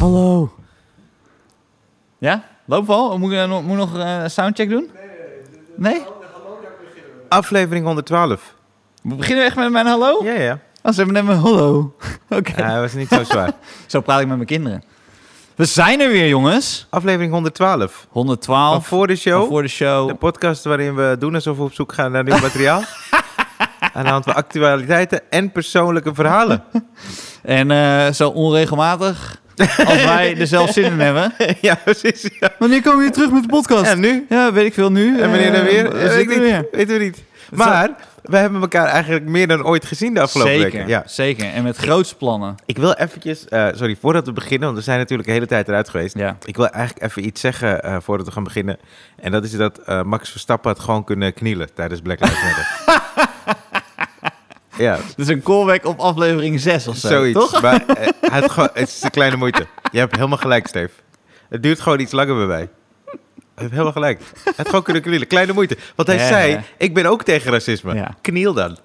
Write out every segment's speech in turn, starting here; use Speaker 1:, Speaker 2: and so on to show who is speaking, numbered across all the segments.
Speaker 1: Hallo.
Speaker 2: Ja? Loop wel? Moet ik eh, nog- moet ik nog eh, een soundcheck doen? Nee?
Speaker 1: Aflevering 112.
Speaker 2: We beginnen echt met mijn hallo?
Speaker 1: Ja, ja.
Speaker 2: Oh, ze hebben net mijn hallo. Oké.
Speaker 1: Ja, Hij was niet zo zwaar.
Speaker 2: Zo praat ik met mijn kinderen. We zijn er weer, jongens.
Speaker 1: Aflevering 112. Van
Speaker 2: 112
Speaker 1: voor de
Speaker 2: van
Speaker 1: show.
Speaker 2: voor de show.
Speaker 1: De podcast waarin we doen alsof we op zoek gaan naar nieuw materiaal. Aan de hand van actualiteiten en persoonlijke verhalen.
Speaker 2: En eh, zo onregelmatig als wij er zelf zin in hebben.
Speaker 1: ja, precies. Ja.
Speaker 2: Wanneer komen we weer terug met de podcast?
Speaker 1: En nu?
Speaker 2: Ja, weet ik veel nu.
Speaker 1: En wanneer dan
Speaker 2: Eh,
Speaker 1: weer?
Speaker 2: we
Speaker 1: weet, ik
Speaker 2: zitten
Speaker 1: niet,
Speaker 2: er weer.
Speaker 1: weten we niet. Maar we hebben elkaar eigenlijk meer dan ooit gezien de afgelopen
Speaker 2: Zeker,
Speaker 1: weken. Ja.
Speaker 2: zeker. En met grootse plannen.
Speaker 1: Ik wil eventjes, eh, sorry, voordat we beginnen, want we zijn natuurlijk de hele tijd eruit geweest.
Speaker 2: Ja.
Speaker 1: Ik wil eigenlijk even iets zeggen eh, voordat we gaan beginnen. En dat is dat eh, Max Verstappen had gewoon kunnen knielen tijdens Black Lives Matter. ja,
Speaker 2: Dit is een callback op aflevering 6 of zo,
Speaker 1: zoiets.
Speaker 2: toch?
Speaker 1: Maar eh, hij had gewoon, het is een kleine moeite. Je hebt helemaal gelijk, Steve. Het duurt gewoon iets langer bij mij. Je hebt helemaal gelijk. Hij had gewoon kunnen knielen. Kleine moeite. Want hij
Speaker 2: Ja.
Speaker 1: zei, ik ben ook tegen racisme.
Speaker 2: Ja.
Speaker 1: Kniel dan.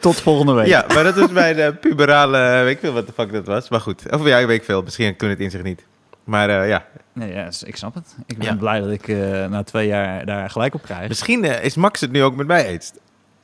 Speaker 2: Tot volgende week.
Speaker 1: Ja, maar dat is mijn eh, puberale, eh, weet ik veel wat de fuck dat was. Maar goed, of ja, weet ik veel. Misschien kunnen het in zich niet. Maar eh, ja,
Speaker 2: Nee, ja, s- ik snap het. Ik ben
Speaker 1: Ja.
Speaker 2: blij dat ik eh, na twee jaar daar gelijk op krijg.
Speaker 1: misschien eh, is Max het nu ook met mij eens.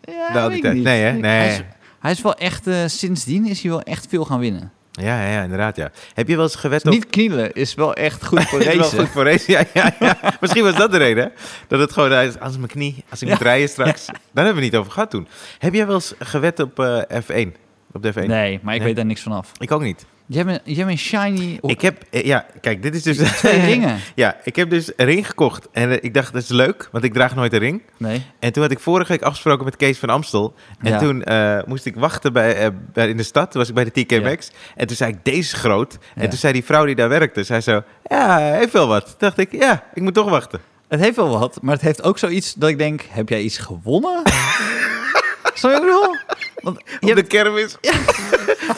Speaker 2: ja, weet
Speaker 1: nou, die
Speaker 2: ik
Speaker 1: tijd.
Speaker 2: niet.
Speaker 1: Nee, hè? Nee.
Speaker 2: Hij is, hij is wel echt, eh, sindsdien is hij wel echt veel gaan winnen.
Speaker 1: Ja, ja, ja, inderdaad, ja. Heb je wel eens gewet
Speaker 2: Dus
Speaker 1: op...
Speaker 2: niet knielen is wel echt goed voor
Speaker 1: Het is wel
Speaker 2: racen.
Speaker 1: goed voor race, ja, ja, ja. Misschien was dat de reden, hè? Dat het gewoon, eh, als mijn knie, als ik moet rijden straks. Daar hebben we het niet over gehad toen. Heb jij wel eens gewet op eh, F1? Op de F1?
Speaker 2: Nee, maar ik
Speaker 1: Nee.
Speaker 2: weet daar niks van af.
Speaker 1: Ik ook niet.
Speaker 2: Jij bent, jij bent shiny op
Speaker 1: Ik heb, eh, ja, kijk, dit is dus...
Speaker 2: twee ringen.
Speaker 1: Ja, ik heb dus een ring gekocht. En eh, ik dacht, dat is leuk, want ik draag nooit een ring.
Speaker 2: Nee.
Speaker 1: En toen had ik vorige week afgesproken met Kees van Amstel. En
Speaker 2: Ja.
Speaker 1: toen eh, moest ik wachten bij, eh, bij- in de stad. Toen was ik bij de TK
Speaker 2: Ja.
Speaker 1: Maxx. En toen zei ik, deze is groot.
Speaker 2: Ja.
Speaker 1: En toen zei die vrouw die daar werkte, zei zo... Ja, hij heeft wel wat. Toen dacht ik, ja, ik moet toch wachten.
Speaker 2: Het heeft wel wat, maar het heeft ook zoiets dat ik denk, heb jij iets gewonnen? Snap je wat ik bedoel? Want
Speaker 1: Op
Speaker 2: je
Speaker 1: de kermis.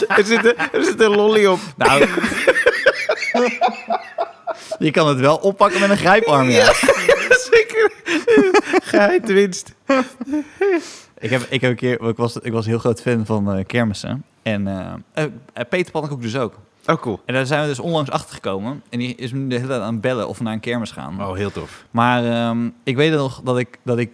Speaker 1: er, zit een, er zit een lolly op.
Speaker 2: Nou. je kan het wel oppakken met een grijparm. Ja.
Speaker 1: Zeker. Geheidwinst.
Speaker 2: Ik, heb, ik, heb een keer, ik, was, ik was een heel groot fan van eh, kermissen. En eh, eh, Peter Pannenkoek dus ook.
Speaker 1: Oh, cool.
Speaker 2: En daar zijn we dus onlangs achter gekomen. En die is me de hele tijd aan het bellen of we naar een kermis gaan.
Speaker 1: Oh, heel tof.
Speaker 2: Maar ehm, ik weet nog dat ik. Dat ik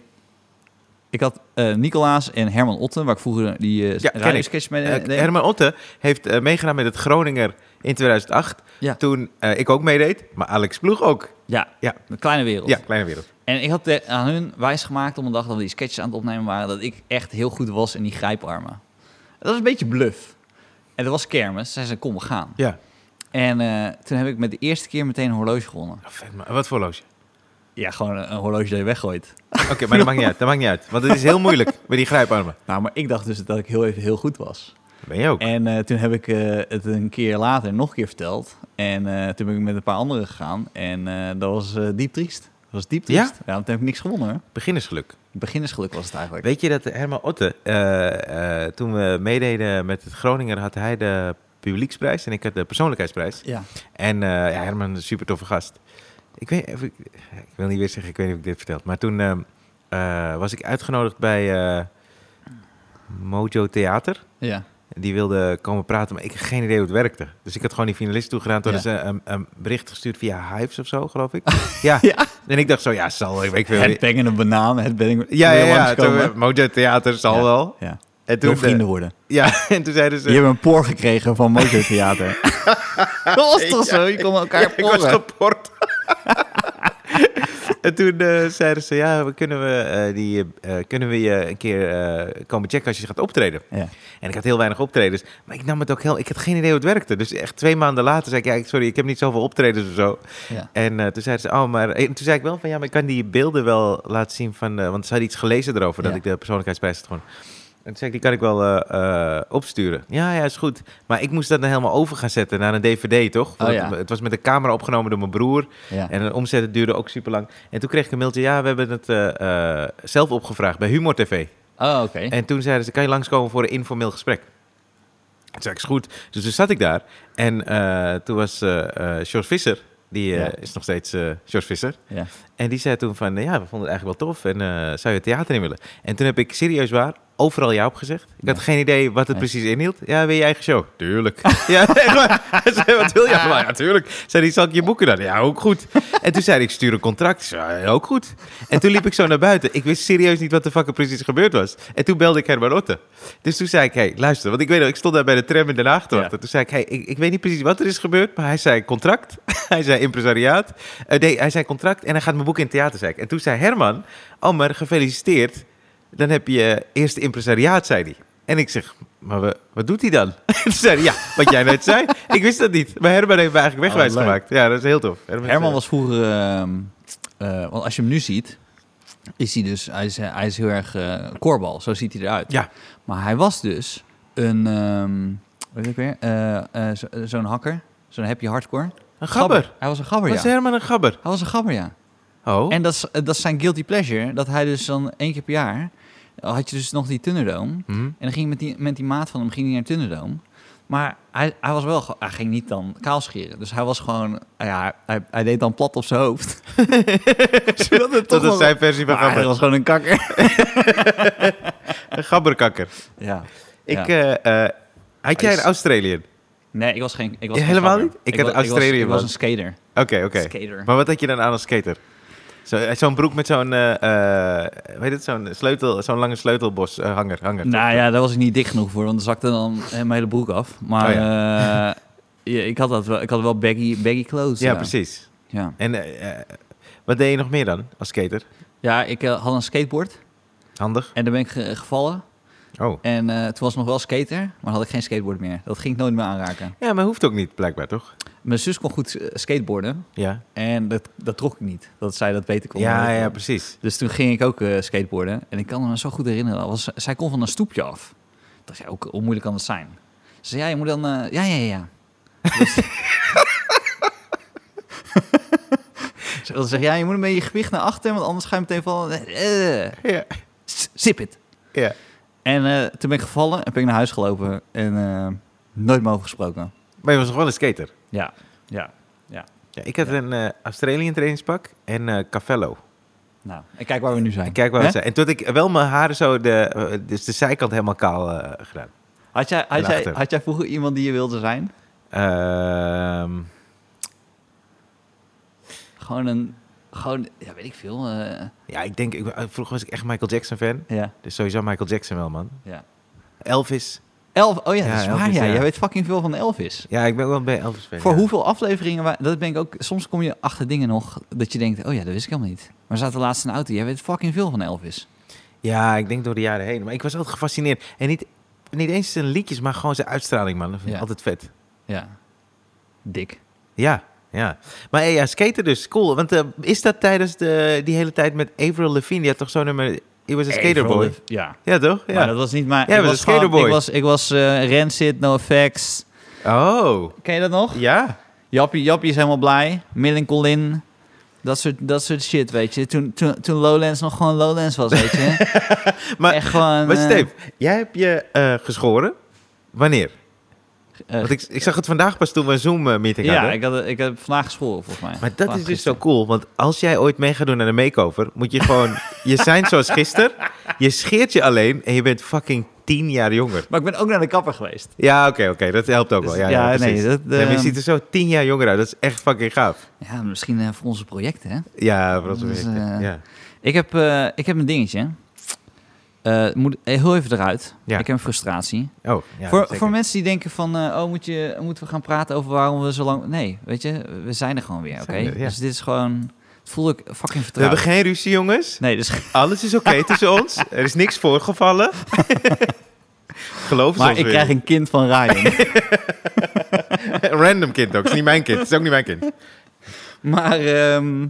Speaker 2: ik had eh Nicolaas en Herman Otten, waar ik vroeger die eh
Speaker 1: Ja, ken
Speaker 2: radiosketch mee
Speaker 1: Eh,
Speaker 2: deed.
Speaker 1: Herman Otte heeft eh, meegedaan met het Groninger in 2008.
Speaker 2: Ja.
Speaker 1: Toen eh, ik ook meedeed, maar Alex Ploeg ook.
Speaker 2: ja,
Speaker 1: Ja.
Speaker 2: een kleine wereld.
Speaker 1: Ja, kleine wereld.
Speaker 2: En ik had de- aan hun wijsgemaakt om een dag dat we die sketches aan het opnemen waren... dat ik echt heel goed was in die grijparmen. Dat was een beetje bluff. En dat was kermis. Zij zei, kom, we gaan.
Speaker 1: Ja.
Speaker 2: En eh, toen heb ik met de eerste keer meteen een horloge gewonnen.
Speaker 1: Oh, vet, maar wat voor loge?
Speaker 2: Ja, gewoon een, een horloge dat je weggooit.
Speaker 1: Oké, maar dat maakt niet uit. Dat maakt niet uit. Want het is heel moeilijk met die grijparmen.
Speaker 2: Nou, maar ik dacht dus dat ik heel even heel goed was.
Speaker 1: Ben je ook?
Speaker 2: En eh, toen heb ik eh, het een keer later nog een keer verteld. En eh, toen ben ik met een paar anderen gegaan. En eh, dat was eh, diep triest. Dat was diep triest. Ja? want toen heb ik niks gewonnen hoor.
Speaker 1: Beginnersgeluk.
Speaker 2: Beginnersgeluk was het eigenlijk.
Speaker 1: Weet je dat Herman Otte, eh, eh, toen we meededen met het Groninger, had hij de publieksprijs en ik had de persoonlijkheidsprijs.
Speaker 2: Ja.
Speaker 1: En eh, ja, Herman is een super toffe gast. Ik, weet, of ik, ik wil niet weer zeggen, ik weet niet of ik dit verteld. Maar toen ehm, eh, was ik uitgenodigd bij eh, Mojo Theater.
Speaker 2: Ja.
Speaker 1: Die wilde komen praten, maar ik had geen idee hoe het werkte. Dus ik had gewoon die finalist toegedaan. Toen
Speaker 2: Ja.
Speaker 1: hadden ze een, een bericht gestuurd via Hives of zo, geloof ik. ja.
Speaker 2: Ja.
Speaker 1: En ik dacht zo, ja, zal wel, ik weet
Speaker 2: Het
Speaker 1: veel.
Speaker 2: bengende banaan, het ben
Speaker 1: Ja, ja, ja. Toen, eh,
Speaker 2: ja.
Speaker 1: Mojo Theater zal
Speaker 2: Ja.
Speaker 1: wel.
Speaker 2: ja.
Speaker 1: En
Speaker 2: Door
Speaker 1: toen, eh,
Speaker 2: vrienden worden.
Speaker 1: ja, en toen zeiden ze...
Speaker 2: Je hebt een por gekregen van Mojo Theater. dat was toch zo? Je kon elkaar
Speaker 1: Ja, ik was
Speaker 2: porren.
Speaker 1: geport. en toen eh, zeiden ze, ja, we kunnen we, eh, die, eh, kunnen we je een keer eh, komen checken als je gaat optreden?
Speaker 2: Ja.
Speaker 1: En ik had heel weinig optredens. Maar ik nam het ook heel... Ik had geen idee hoe het werkte. Dus echt twee maanden later zei ik... Ja, ik- sorry, ik heb niet zoveel optredens of zo.
Speaker 2: Ja.
Speaker 1: En eh, toen zeiden ze... Oh, maar... en toen zei ik wel van... Ja, maar ik kan die beelden wel laten zien van... eh, want ze hadden iets gelezen erover. Dat
Speaker 2: Ja.
Speaker 1: ik de persoonlijkheidsprijs had gewonnen. En toen zei ik... Die kan ik wel eh, eh, opsturen. Ja, ja, is goed. Maar ik moest dat dan helemaal over gaan zetten naar een dvd, toch? Want
Speaker 2: Oh, ja.
Speaker 1: Het was met de camera opgenomen door mijn broer.
Speaker 2: Ja.
Speaker 1: En een omzet het duurde ook super lang. En toen kreeg ik een mailtje... Ja, we hebben het eh, eh, zelf opgevraagd bij Humor TV.
Speaker 2: Oh, oké.
Speaker 1: En toen zeiden ze, kan je langskomen voor een informeel gesprek? Toen zei ik, is goed. Dus toen zat ik daar. En eh, toen was eh eh, George Visser, die eh,
Speaker 2: Ja.
Speaker 1: is nog steeds eh George Visser.
Speaker 2: Ja.
Speaker 1: En die zei toen van, ja, we vonden het eigenlijk wel tof. En eh, zou je het theater in willen? En toen heb ik serieus waar overal ja op gezegd. Ik had
Speaker 2: Ja.
Speaker 1: geen idee wat het
Speaker 2: Nee.
Speaker 1: precies inhield. Ja, wil je eigen show? Tuurlijk. ja, echt waar. Hij zei, wat wil je? allemaal? Ja, tuurlijk. Zei hij, zal ik je boeken dan? Ja, ook goed. En toen zei hij, ik stuur een contract. Ik zei, ja, ook goed. En toen liep ik zo naar buiten. Ik wist serieus niet wat de fuck er precies gebeurd was. En toen belde ik Herman Otte. Dus toen zei ik, hey, luister. Want ik weet nog, ik stond daar bij de tram in Den Haag te
Speaker 2: Ja.
Speaker 1: wachten. Toen zei ik, hey, ik, ik weet niet precies wat er is gebeurd. Maar hij zei contract. hij zei impresariaat. Eh, nee, hij zei contract en hij gaat mijn boek in het theater, zei ik. En toen zei Herman, oh, maar gefeliciteerd. Dan heb je eerste impresariaat, zei hij. En ik zeg, maar we- wat doet hij dan? Toen zei hij, ja, wat jij net zei. Ik wist dat niet. Maar Herman heeft me eigenlijk
Speaker 2: Oh,
Speaker 1: wegwijs
Speaker 2: leuk.
Speaker 1: gemaakt. Ja, dat is heel tof. is,
Speaker 2: Herman
Speaker 1: eh,
Speaker 2: was vroeger... ehm, eh, want als je hem nu ziet, is hij dus... Hij is, hij is heel erg eh koorbal, zo ziet hij eruit.
Speaker 1: eh, Ja.
Speaker 2: Maar hij was dus een... ehm weet ik weer? Eh, eh, zo- eh, zo'n hacker. Zo'n happy hardcore.
Speaker 1: Een gabber.
Speaker 2: Hij was een gabber, Oh, ja.
Speaker 1: Was Herman een gabber?
Speaker 2: Hij was een gabber, ja.
Speaker 1: Oh,
Speaker 2: En dat is, eh, dat is zijn guilty pleasure. Dat hij dus dan één keer per jaar... Had je dus nog die Thunderdome.
Speaker 1: Hm.
Speaker 2: En dan ging hij met die, met die maat van hem ging hij naar Thunderdome. Maar hij, hij was wel, ge- hij ging niet dan kaal scheren. Dus hij was gewoon, ja, hij, hij deed dan plat op zijn hoofd. Zodat het
Speaker 1: dat is
Speaker 2: nog-
Speaker 1: zijn versie van
Speaker 2: Maar hij
Speaker 1: gabber.
Speaker 2: was gewoon een kakker.
Speaker 1: Een gabberkakker.
Speaker 2: Ja.
Speaker 1: Ik, eh, eh, had jij
Speaker 2: Hij is-
Speaker 1: een Australian?
Speaker 2: Nee, ik was geen, ik was
Speaker 1: Ja,
Speaker 2: geen
Speaker 1: helemaal
Speaker 2: gabber.
Speaker 1: niet? Ik had
Speaker 2: wa-
Speaker 1: een Australiër,
Speaker 2: Ik was, ik was
Speaker 1: man.
Speaker 2: een skater.
Speaker 1: Oké, oké.
Speaker 2: Skater.
Speaker 1: Maar wat had je dan aan als skater? Zo- eh, Zo'n broek met zo'n, eh, eh, weet het, zo'n sleutel, zo'n lange sleutelbos, eh, hanger, hanger.
Speaker 2: Nou ja, daar was ik niet dik genoeg voor, want dan zakte dan eh, mijn hele broek af. Maar
Speaker 1: Oh
Speaker 2: eh, ja, ik had dat wel, ik had wel baggy, baggy clothes.
Speaker 1: ja, precies.
Speaker 2: Ja,
Speaker 1: En eh, eh, wat deed je nog meer dan als skater?
Speaker 2: ja ik eh, had een skateboard
Speaker 1: Handig.
Speaker 2: en daar ben ik ge- gevallen.
Speaker 1: Oh.
Speaker 2: En eh, toen was ik nog wel skater, maar dan had ik geen skateboard meer. Dat ging ik nooit meer aanraken.
Speaker 1: Ja, maar hoeft ook niet, blijkbaar, toch?
Speaker 2: Mijn zus kon goed eh, skateboarden
Speaker 1: Ja,
Speaker 2: en dat, dat trok ik niet. Dat zij dat beter kon.
Speaker 1: ja,
Speaker 2: dan ik
Speaker 1: ja
Speaker 2: kon.
Speaker 1: precies.
Speaker 2: Dus toen ging ik ook eh, skateboarden en ik kan me zo goed herinneren. dat Was, zij kon van een stoepje af. Ik dacht, ja, ook, hoe moeilijk kan dat zijn? Ze zei, ja, je moet dan... eh, ja, ja, ja, ja. Dus, ze wilde zeggen, ja, je moet een beetje je gewicht naar achter, want anders ga je meteen vallen. Eh, eh,
Speaker 1: Ja,
Speaker 2: s- zip it.
Speaker 1: ja.
Speaker 2: En eh, toen ben ik gevallen en ben ik naar huis gelopen en eh, nooit meer over gesproken.
Speaker 1: Maar je was nog wel een skater.
Speaker 2: Ja, ja, ja.
Speaker 1: Ja, ik had een eh Australian trainingspak en eh Cavello.
Speaker 2: Nou, en kijk waar we nu zijn.
Speaker 1: En kijk waar we
Speaker 2: Hè?
Speaker 1: zijn. En toen had ik wel mijn haren zo, de, eh, dus de zijkant helemaal kaal eh, gedaan.
Speaker 2: Had jij, had,
Speaker 1: En
Speaker 2: jij,
Speaker 1: achter.
Speaker 2: had jij vroeger iemand die je wilde zijn?
Speaker 1: Ehm,
Speaker 2: Gewoon een, gewoon, ja, weet ik veel. eh,
Speaker 1: ja, ik denk, ik, vroeger was ik echt Michael Jackson fan.
Speaker 2: ja,
Speaker 1: Dus sowieso Michael Jackson wel, man.
Speaker 2: ja.
Speaker 1: Elvis.
Speaker 2: Elf, oh ja,
Speaker 1: Ja,
Speaker 2: dat is waar.
Speaker 1: Elvis,
Speaker 2: ja.
Speaker 1: ja.
Speaker 2: Jij weet fucking veel van Elvis.
Speaker 1: Ja, ik ben ook wel bij Elvis fan.
Speaker 2: Voor
Speaker 1: ja.
Speaker 2: hoeveel afleveringen, wa- dat ben ik ook, soms kom je achter dingen nog dat je denkt, oh ja, dat wist ik helemaal niet. Maar zaten laatst in de auto, jij weet fucking veel van Elvis.
Speaker 1: Ja, ik denk door de jaren heen. Maar ik was altijd gefascineerd. En niet, niet eens zijn liedjes, maar gewoon zijn uitstraling, man. Dat vind ik
Speaker 2: Ja.
Speaker 1: altijd vet.
Speaker 2: Ja. Dik.
Speaker 1: Ja, ja. Maar eh, ja, skaten dus. Cool. Want eh, is dat tijdens de, die hele tijd met Avril Lavigne? Die had toch zo'n nummer... He was a skaterboy.
Speaker 2: Ja.
Speaker 1: Ja, toch? Ja.
Speaker 2: Maar dat was niet mijn...
Speaker 1: Jij
Speaker 2: ik
Speaker 1: bent
Speaker 2: was
Speaker 1: een skaterboy.
Speaker 2: gewoon- Ik was, ik was eh, Rancid, No Effects.
Speaker 1: Oh,
Speaker 2: Ken je dat nog?
Speaker 1: ja.
Speaker 2: Jappie, Jappie is helemaal blij. Millen Colin. Dat soort, dat soort shit, weet je. Toen, toen, toen Lowlands nog gewoon Lowlands was, weet je.
Speaker 1: Maar-
Speaker 2: Echt gewoon...
Speaker 1: Maar
Speaker 2: eh,
Speaker 1: Steve, jij hebt je eh, geschoren. Wanneer?
Speaker 2: eh,
Speaker 1: Want ik, ik zag het vandaag pas toen we een Zoom-meeting
Speaker 2: ja,
Speaker 1: hadden.
Speaker 2: ik, had, ik heb vandaag geschoren, volgens mij.
Speaker 1: Maar dat
Speaker 2: Vandaag
Speaker 1: is dus zo
Speaker 2: gisteren.
Speaker 1: cool, want als jij ooit mee gaat doen aan de makeover, moet je gewoon... je zijn zoals gisteren, je scheert je alleen en je bent fucking tien jaar jonger.
Speaker 2: Maar ik ben ook naar de kapper geweest.
Speaker 1: Ja, oké, oké, dat helpt ook wel.
Speaker 2: Dus-
Speaker 1: Ja,
Speaker 2: ja,
Speaker 1: ja, precies.
Speaker 2: nee, dat,
Speaker 1: Nee, maar je
Speaker 2: ehm,
Speaker 1: ziet er zo tien jaar jonger uit, dat is echt fucking gaaf.
Speaker 2: Ja, misschien eh, voor onze projecten, hè.
Speaker 1: Ja, voor ons
Speaker 2: Dat is,
Speaker 1: werk,
Speaker 2: eh,
Speaker 1: ja.
Speaker 2: Ik heb, eh, ik heb een dingetje. Eh, moet heel even eruit.
Speaker 1: Ja.
Speaker 2: Ik heb een frustratie.
Speaker 1: Oh, ja,
Speaker 2: voor,
Speaker 1: zeker.
Speaker 2: voor mensen die denken van, eh, oh, moet je, moeten we gaan praten over waarom we zo lang... Nee, weet je, we zijn er gewoon weer, oké?
Speaker 1: Zijn er, ja.
Speaker 2: Dus dit is gewoon... Het voelde ik fucking
Speaker 1: We hebben
Speaker 2: vertrouwd.
Speaker 1: geen ruzie, jongens.
Speaker 2: Nee, dus...
Speaker 1: Alles is oké tussen ons. Er is niks voorgevallen. Geloof het
Speaker 2: Maar
Speaker 1: ons
Speaker 2: ik
Speaker 1: weer.
Speaker 2: krijg een kind van Ryan.
Speaker 1: Random kind ook. Het is niet mijn kind. Het is ook niet mijn kind.
Speaker 2: maar, ehm,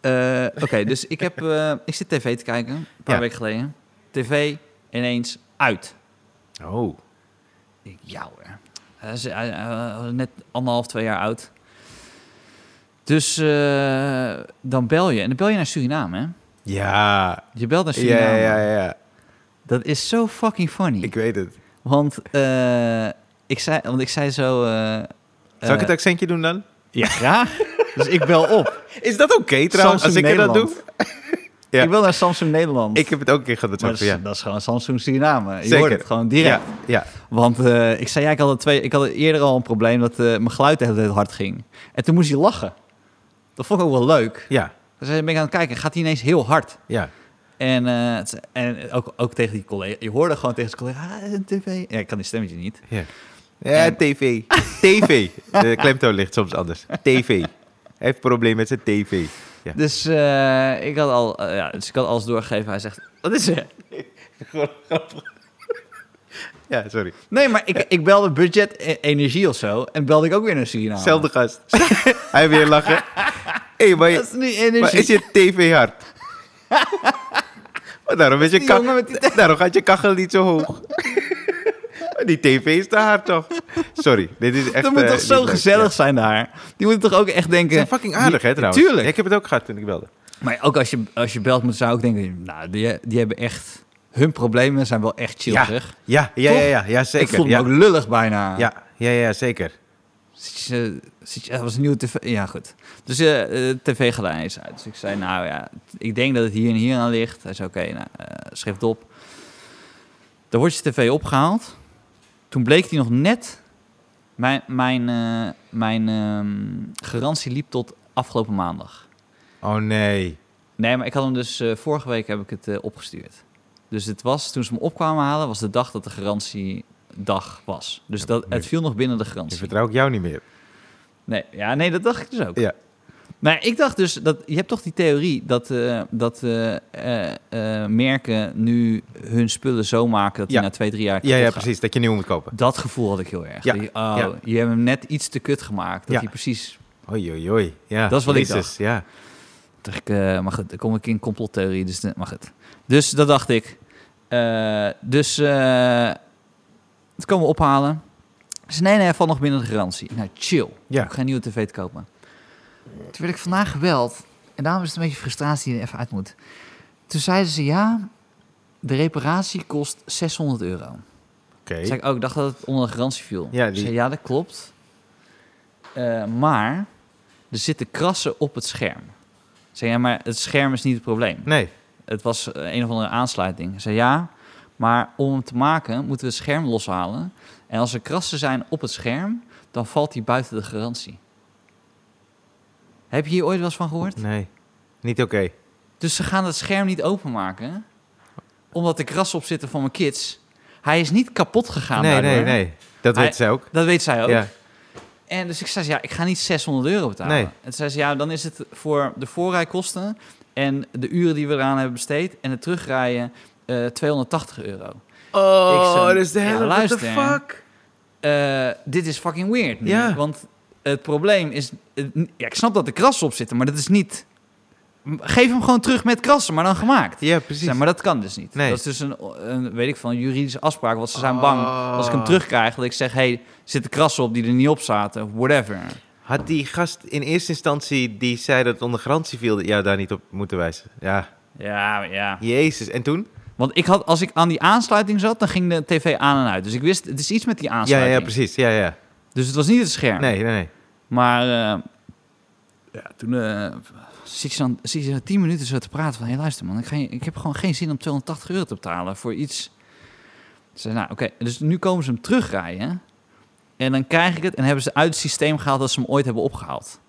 Speaker 2: eh, oké, dus ik, heb, eh, ik zit tv te kijken, een paar
Speaker 1: Ja.
Speaker 2: weken geleden. TV ineens uit.
Speaker 1: Oh.
Speaker 2: Ik, ja hoor. Hij is hij- hij was net anderhalf, twee jaar oud. Dus eh, dan bel je. En dan bel je naar Suriname, hè?
Speaker 1: Ja.
Speaker 2: Je belt naar
Speaker 1: Ja,
Speaker 2: Suriname.
Speaker 1: ja, ja, ja.
Speaker 2: Dat is zo fucking funny.
Speaker 1: Ik weet het.
Speaker 2: Want, eh, ik zei, want ik zei zo... eh,
Speaker 1: Zal ik
Speaker 2: eh,
Speaker 1: het accentje doen dan?
Speaker 2: Ja, graag. dus ik bel op.
Speaker 1: Is dat oké trouwens,
Speaker 2: Samsung
Speaker 1: als ik er dat doe?
Speaker 2: Nederland.
Speaker 1: Ja.
Speaker 2: Ik wil naar Samsung Nederland.
Speaker 1: Ik heb het ook een keer gehad.
Speaker 2: Maar
Speaker 1: Dat
Speaker 2: dat,
Speaker 1: zo,
Speaker 2: is,
Speaker 1: ja.
Speaker 2: dat is gewoon Samsung Suriname. Je
Speaker 1: Zeker.
Speaker 2: hoort het gewoon direct.
Speaker 1: Ja, ja.
Speaker 2: Want eh, ik zei, ja, ik had, het twee, ik had het eerder al een probleem dat eh, mijn geluid de hele tijd hard ging. En toen moest hij lachen. Dat vond ik ook wel leuk.
Speaker 1: ja,
Speaker 2: Dus ben ik aan het kijken, gaat hij ineens heel hard.
Speaker 1: ja.
Speaker 2: En, eh, het- en ook, ook tegen die collega. Je hoorde gewoon tegen zijn collega, ah, een tv. Ja, ik kan die stemmetje niet.
Speaker 1: Ja, Ja, tv. TV. De klemtoon ligt soms anders. TV. Hij heeft een probleem met zijn tv. Ja.
Speaker 2: Dus, eh, ik had al, eh, ja, dus ik had alles doorgegeven. Hij zegt, wat is er?
Speaker 1: Ja, sorry.
Speaker 2: Nee, maar ik, ik belde budget eh, energie of zo. En belde ik ook weer naar Suriname.
Speaker 1: Zelfde gast. Hij weer lachen. hey, maar,
Speaker 2: Dat
Speaker 1: je-
Speaker 2: is niet energie.
Speaker 1: maar is je tv hard? Maar daarom, is je
Speaker 2: Die
Speaker 1: kach-
Speaker 2: jongen met die
Speaker 1: daarom gaat je kachel niet zo hoog. Maar die tv is te hard, toch? Sorry, dit is echt...
Speaker 2: dat moet
Speaker 1: eh,
Speaker 2: toch
Speaker 1: niet
Speaker 2: zo
Speaker 1: leuk.
Speaker 2: gezellig
Speaker 1: Ja.
Speaker 2: zijn daar? Die moeten toch ook echt
Speaker 1: Ze zijn
Speaker 2: denken...
Speaker 1: fucking aardig, hè, trouwens?
Speaker 2: tuurlijk.
Speaker 1: Ja, ik heb het ook gehad toen ik belde.
Speaker 2: Maar ook als je, als je belt, moet zou ik denken... Nou, die, die hebben echt... Hun problemen zijn wel echt chill,
Speaker 1: ja.
Speaker 2: zeg.
Speaker 1: Ja, ja, ja, ja, ja, zeker.
Speaker 2: ik voel me
Speaker 1: ja.
Speaker 2: ook lullig bijna.
Speaker 1: Ja, ja, ja, zeker.
Speaker 2: Zit je, zit je, dat was een nieuwe tv. Ja, goed. Dus eh eh, tv-geluid is uit. Dus ik zei, nou ja, ik denk dat het hier en hier aan ligt. Hij zei, oké, nou, eh, schrijf het op. Dan wordt je tv opgehaald. Toen bleek die nog net... Mijn, mijn, eh, mijn ehm, garantie liep tot afgelopen maandag.
Speaker 1: Oh nee.
Speaker 2: Nee, maar ik had hem dus... eh, vorige week heb ik het eh, opgestuurd. Dus het was, toen ze hem opkwamen halen, was de dag dat de garantiedag was. Dus dat, het viel nog binnen de
Speaker 1: Nu
Speaker 2: garantie.
Speaker 1: vertrouw ik jou niet meer.
Speaker 2: Nee, ja, nee, dat dacht ik dus ook.
Speaker 1: Ja.
Speaker 2: Maar ik dacht dus dat je hebt toch die theorie dat, eh, dat eh, eh, eh, merken nu hun spullen zo maken dat die
Speaker 1: Ja.
Speaker 2: na twee, drie jaar.
Speaker 1: Ja, ja,
Speaker 2: kapot gaan.
Speaker 1: precies. Dat je nieuw moet kopen.
Speaker 2: Dat gevoel had ik heel erg.
Speaker 1: Ja,
Speaker 2: Die- oh,
Speaker 1: ja.
Speaker 2: Je hebt hem net iets te kut gemaakt. Dat
Speaker 1: Ja.
Speaker 2: hij precies.
Speaker 1: Oei, oei, oei. Ja,
Speaker 2: Dat is wat ik
Speaker 1: Jezus,
Speaker 2: dacht.
Speaker 1: Ja.
Speaker 2: Dacht ik, eh, maar goed, dan kom ik in complottheorie. Dus eh, maar goed. Dus dat dacht ik. Eh, dus eh, het komen we ophalen. Dus nee, nee, valt nog binnen de garantie. Nou, chill.
Speaker 1: Ja.
Speaker 2: Ik ga een nieuwe tv te kopen. Toen werd ik vandaag gebeld. En daarom is het een beetje frustratie die er even uit moet. Toen zeiden ze ja, de reparatie kost 600 euro.
Speaker 1: Oké.
Speaker 2: Zei ik ook, ik dacht dat het onder de garantie viel.
Speaker 1: Ja,
Speaker 2: Ja,
Speaker 1: die-
Speaker 2: zei, ja dat klopt. Eh, maar er zitten krassen op het scherm. Zei ja, maar het scherm is niet het probleem.
Speaker 1: Nee.
Speaker 2: Het was eh, een of andere aansluiting. Zei ja, maar om hem te maken moeten we het scherm loshalen. En als er krassen zijn op het scherm, dan valt die buiten de garantie. Heb je hier ooit wel eens van gehoord?
Speaker 1: Nee. Niet oké.
Speaker 2: Dus ze gaan het scherm niet openmaken, omdat er krassen op zitten van mijn kids. Hij is niet kapot gegaan
Speaker 1: Nee, nee,
Speaker 2: daardoor.
Speaker 1: nee. Dat
Speaker 2: Hij-
Speaker 1: weet zij ook.
Speaker 2: Dat weet zij ook.
Speaker 1: Ja.
Speaker 2: En dus ik zei, ze, ja, ik ga niet 600 euro betalen.
Speaker 1: Nee.
Speaker 2: En toen zei ze, ja, dan is het voor de voorrijkosten en de uren die we eraan hebben besteed en het terugrijden eh, 280 euro.
Speaker 1: Oh,
Speaker 2: Ik zo-
Speaker 1: dat is de
Speaker 2: Ja,
Speaker 1: hele... what the
Speaker 2: luister.
Speaker 1: fuck?
Speaker 2: Eh, dit is fucking weird nu,
Speaker 1: Ja.
Speaker 2: want het probleem is, eh, n- ja, ik snap dat er krassen op zitten, maar dat is niet... M- Geef hem gewoon terug met krassen, maar dan gemaakt.
Speaker 1: Ja, precies.
Speaker 2: Ja, maar dat kan dus niet.
Speaker 1: Nee.
Speaker 2: Dat is dus een, een, weet ik van, juridische afspraak. Want ze zijn bang als ik hem
Speaker 1: Ah.
Speaker 2: terugkrijg, dat ik zeg, hé, hey, zitten krassen op die er niet op zaten, of whatever.
Speaker 1: Had die gast in eerste instantie die zei dat het onder garantie viel, ja, daar niet op moeten wijzen. Ja.
Speaker 2: Ja, ja.
Speaker 1: Jezus. En toen?
Speaker 2: Want ik had, als ik aan die aansluiting zat, dan ging de tv aan en uit. Dus ik wist, het is iets met die
Speaker 1: Ja,
Speaker 2: aansluiting.
Speaker 1: ja, precies. Ja, ja.
Speaker 2: Dus het was niet het scherm.
Speaker 1: Nee, nee, nee.
Speaker 2: Maar eh, ja, toen eh, zit, je dan, zit je dan tien minuten zo te praten van... hé, luister man, ik, ga, je- ik heb gewoon geen zin om 280 euro te betalen voor iets. Ze zei, nou oké, dus nu komen ze hem terugrijden. En dan krijg ik het en hebben ze uit het systeem gehaald dat ze hem ooit hebben opgehaald.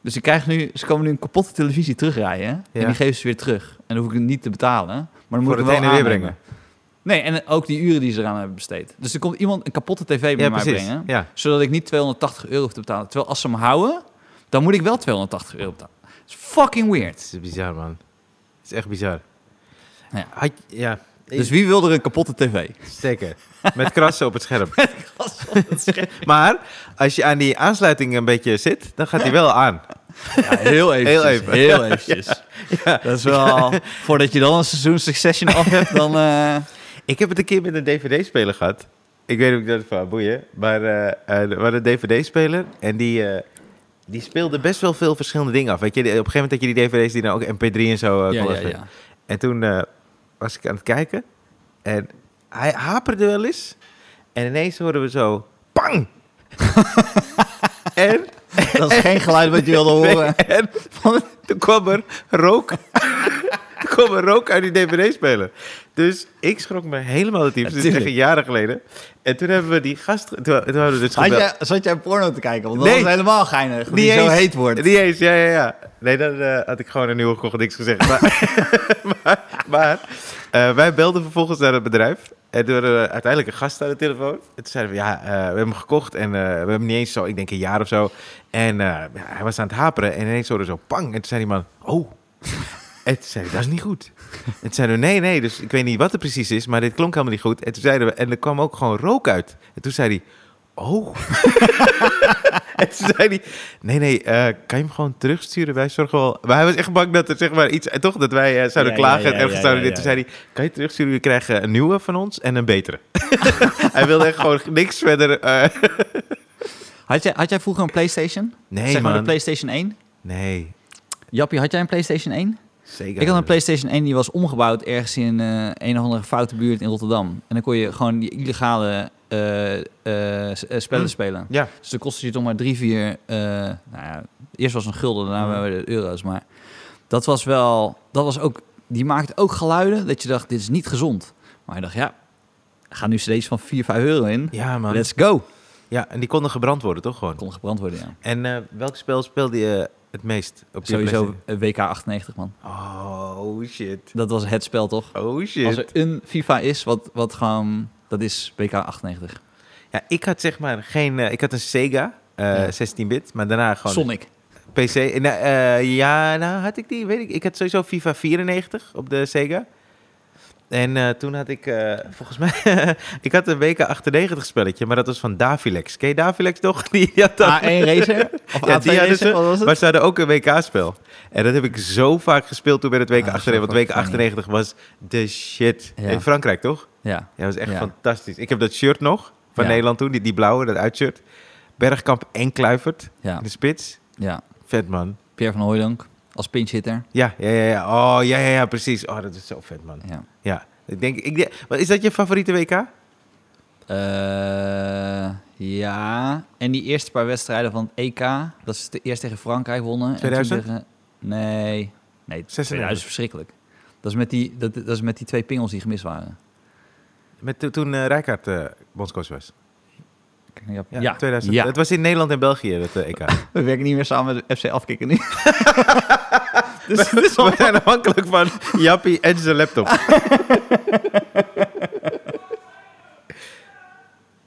Speaker 2: Dus ik krijg nu, ze komen nu een kapotte televisie terugrijden.
Speaker 1: Ja.
Speaker 2: En die geven ze weer terug. En dan hoef ik het niet te betalen. Maar dan moet
Speaker 1: Voor
Speaker 2: ik
Speaker 1: het
Speaker 2: hem
Speaker 1: heen
Speaker 2: wel
Speaker 1: en weer
Speaker 2: aannemen.
Speaker 1: brengen.
Speaker 2: Nee, en ook die uren die ze eraan hebben besteed. Dus er komt iemand een kapotte tv bij
Speaker 1: Ja,
Speaker 2: mij
Speaker 1: precies.
Speaker 2: brengen.
Speaker 1: Ja.
Speaker 2: Zodat ik niet 280 euro hoef te betalen. Terwijl als ze hem houden, dan moet ik wel 280 euro betalen. Dat is fucking weird.
Speaker 1: Het is bizar, man. Het is echt bizar.
Speaker 2: Ja.
Speaker 1: Had, ja.
Speaker 2: Dus wie wil er een kapotte tv?
Speaker 1: Zeker. Met krassen op het scherm. Maar als je aan die aansluiting een beetje zit, dan gaat hij wel aan.
Speaker 2: Ja, heel eventjes.
Speaker 1: Heel even.
Speaker 2: Heel eventjes. Dat is wel... Voordat je dan een seizoen Succession af hebt, dan... eh,
Speaker 1: Ik heb het een keer met een DVD-speler gehad. Ik weet niet of ik dat van boeien. Maar eh eh, er was een DVD-speler en die, eh, die speelde best wel veel verschillende dingen af. Weet je, op een gegeven moment had je die DVD's die nou ook MP3 en zo eh,
Speaker 2: ja,
Speaker 1: kon
Speaker 2: ja,
Speaker 1: afspelen.
Speaker 2: ja.
Speaker 1: En toen eh, was ik aan het kijken. En hij haperde wel eens. En ineens hoorden we zo... Pang! en,
Speaker 2: Dat is geen geluid wat je wilde horen.
Speaker 1: en toen kwam er rook kwam er rook uit die DVD-speler. Dus ik schrok me helemaal de tyfus. Dit is echt
Speaker 2: Tuurlijk.
Speaker 1: jaren geleden. En toen hebben we die gast... Toen, toen hadden we dus
Speaker 3: Had
Speaker 1: gebeld.
Speaker 3: jij, zat jij porno te kijken? Want dat
Speaker 1: Nee.
Speaker 3: was helemaal geinig. dat
Speaker 1: Niet
Speaker 3: eh, Die zo
Speaker 1: eens.
Speaker 3: heet wordt.
Speaker 1: Niet eens, ja, ja, ja. Nee, dan eh, had ik gewoon een nieuwe kocht niks gezegd. Maar, maar, maar, eh, wij belden vervolgens naar het bedrijf. En toen hadden we uiteindelijk een gast aan de telefoon. En toen zeiden we, ja, eh, we hebben hem gekocht. En eh, we hebben hem niet eens zo, ik denk een jaar of zo. En eh, ja, hij was aan het haperen. En ineens hoorde zo, pang. En toen zei die man, oh. En toen zei hij, dat is niet goed. En toen zeiden we, nee, nee, dus ik weet niet wat het precies is, maar dit klonk helemaal niet goed. En toen zeiden we, en er kwam ook gewoon rook uit. En toen zei hij, oh. en toen zei hij, nee, nee, eh, kan je hem gewoon terugsturen? Wij zorgen wel... Maar hij was echt bang dat er, zeg maar, iets... En toch, dat wij eh, zouden
Speaker 3: Ja,
Speaker 1: klagen
Speaker 3: ja, ja,
Speaker 1: en ergens
Speaker 3: ja,
Speaker 1: zouden
Speaker 3: ja,
Speaker 1: dit.
Speaker 3: ja.
Speaker 1: Toen zei hij, kan je terugsturen? Jullie krijgen een nieuwe van ons en een betere. hij wilde echt gewoon niks verder... eh,
Speaker 2: Had jij, had jij vroeger een PlayStation?
Speaker 1: nee,
Speaker 2: zeg maar de
Speaker 1: man.
Speaker 2: PlayStation 1?
Speaker 1: Nee,
Speaker 2: Jappie, had jij een PlayStation 1?
Speaker 1: zeker.
Speaker 2: Ik had een
Speaker 1: plek.
Speaker 2: PlayStation 1 die was omgebouwd ergens in eh, een of andere foute buurt in Rotterdam. En dan kon je gewoon die illegale eh, eh, s- eh, spellen
Speaker 1: Hm.
Speaker 2: spelen.
Speaker 1: Ja,
Speaker 2: Dus dan kostte je toch maar drie, vier... eh, nou ja, eerst was het een gulden, daarna
Speaker 1: Hm.
Speaker 2: waren het euro's. Maar dat was wel... Dat was ook, die maakte ook geluiden dat je dacht, dit is niet gezond. Maar je dacht, ja, ga nu steeds van 4, 5 euro in.
Speaker 1: ja man.
Speaker 2: Let's go.
Speaker 1: Ja, en die konden gebrand worden, toch gewoon?
Speaker 2: Kon gebrand worden, ja.
Speaker 1: En eh, welk spel speelde je het meest op je
Speaker 2: Sowieso
Speaker 1: PlayStation?
Speaker 2: eh, WK98, man.
Speaker 1: Oh, shit.
Speaker 2: Dat was het spel, toch?
Speaker 1: Oh, shit.
Speaker 2: Als er een FIFA is, wat, wat gewoon... Dat is WK98.
Speaker 1: Ja, ik had zeg maar geen... eh, ik had een Sega, eh,
Speaker 2: Ja.
Speaker 1: 16-bit, maar daarna gewoon...
Speaker 2: Sonic.
Speaker 1: PC. Nou, eh, ja, nou had ik die, weet ik. Ik had sowieso FIFA 94 op de Sega. En eh, toen had ik, eh, volgens mij, ik had een WK98 spelletje, maar dat was van Davilex. Ken je Davilex toch? Die had dan-
Speaker 2: A1 Racer? Of
Speaker 1: Ja,
Speaker 2: A2
Speaker 1: die hadden
Speaker 2: Racer?
Speaker 1: ze,
Speaker 2: Wat was het?
Speaker 1: maar ze hadden ook een WK-spel. En dat heb ik zo vaak gespeeld toen bij het
Speaker 2: Ah,
Speaker 1: WK98.
Speaker 2: dat is wel
Speaker 1: want WK98
Speaker 2: fucking
Speaker 1: was de shit.
Speaker 2: Ja.
Speaker 1: In Frankrijk, toch?
Speaker 2: ja.
Speaker 1: Ja, dat was echt
Speaker 2: Ja.
Speaker 1: fantastisch. Ik heb dat shirt nog, van
Speaker 2: Ja.
Speaker 1: Nederland toen, die, die blauwe, dat uitshirt. Bergkamp en Kluivert,
Speaker 2: Ja.
Speaker 1: in de spits.
Speaker 2: ja.
Speaker 1: Vet, man.
Speaker 2: Pierre van Hooydonk als pinch hitter.
Speaker 1: Ja, ja, ja, ja. Oh, ja, ja, ja, precies. Oh, dat is zo vet, man.
Speaker 2: Ja.
Speaker 1: Ja. Ik denk, ik denk, wat is dat je favoriete WK?
Speaker 2: Eh, ja. En die eerste paar wedstrijden van het EK. Dat is de eerst tegen Frankrijk wonnen.
Speaker 1: 2000?
Speaker 2: En toen tegen, nee. Nee,
Speaker 1: 96.
Speaker 2: 2000 is verschrikkelijk. Dat is, met die, dat, dat is met die twee pingels die gemist waren.
Speaker 1: Met, to- toen eh Rijkaard eh, bondscoach was.
Speaker 2: Kijk, Ja,
Speaker 1: Ja,
Speaker 2: ja.
Speaker 1: 2000.
Speaker 2: Ja.
Speaker 1: Het was in Nederland en België, dat eh, EK.
Speaker 2: We werken niet meer samen met de FC Afkikken nu. dus, Ah.
Speaker 1: dus we zijn afhankelijk van Jappie en zijn laptop.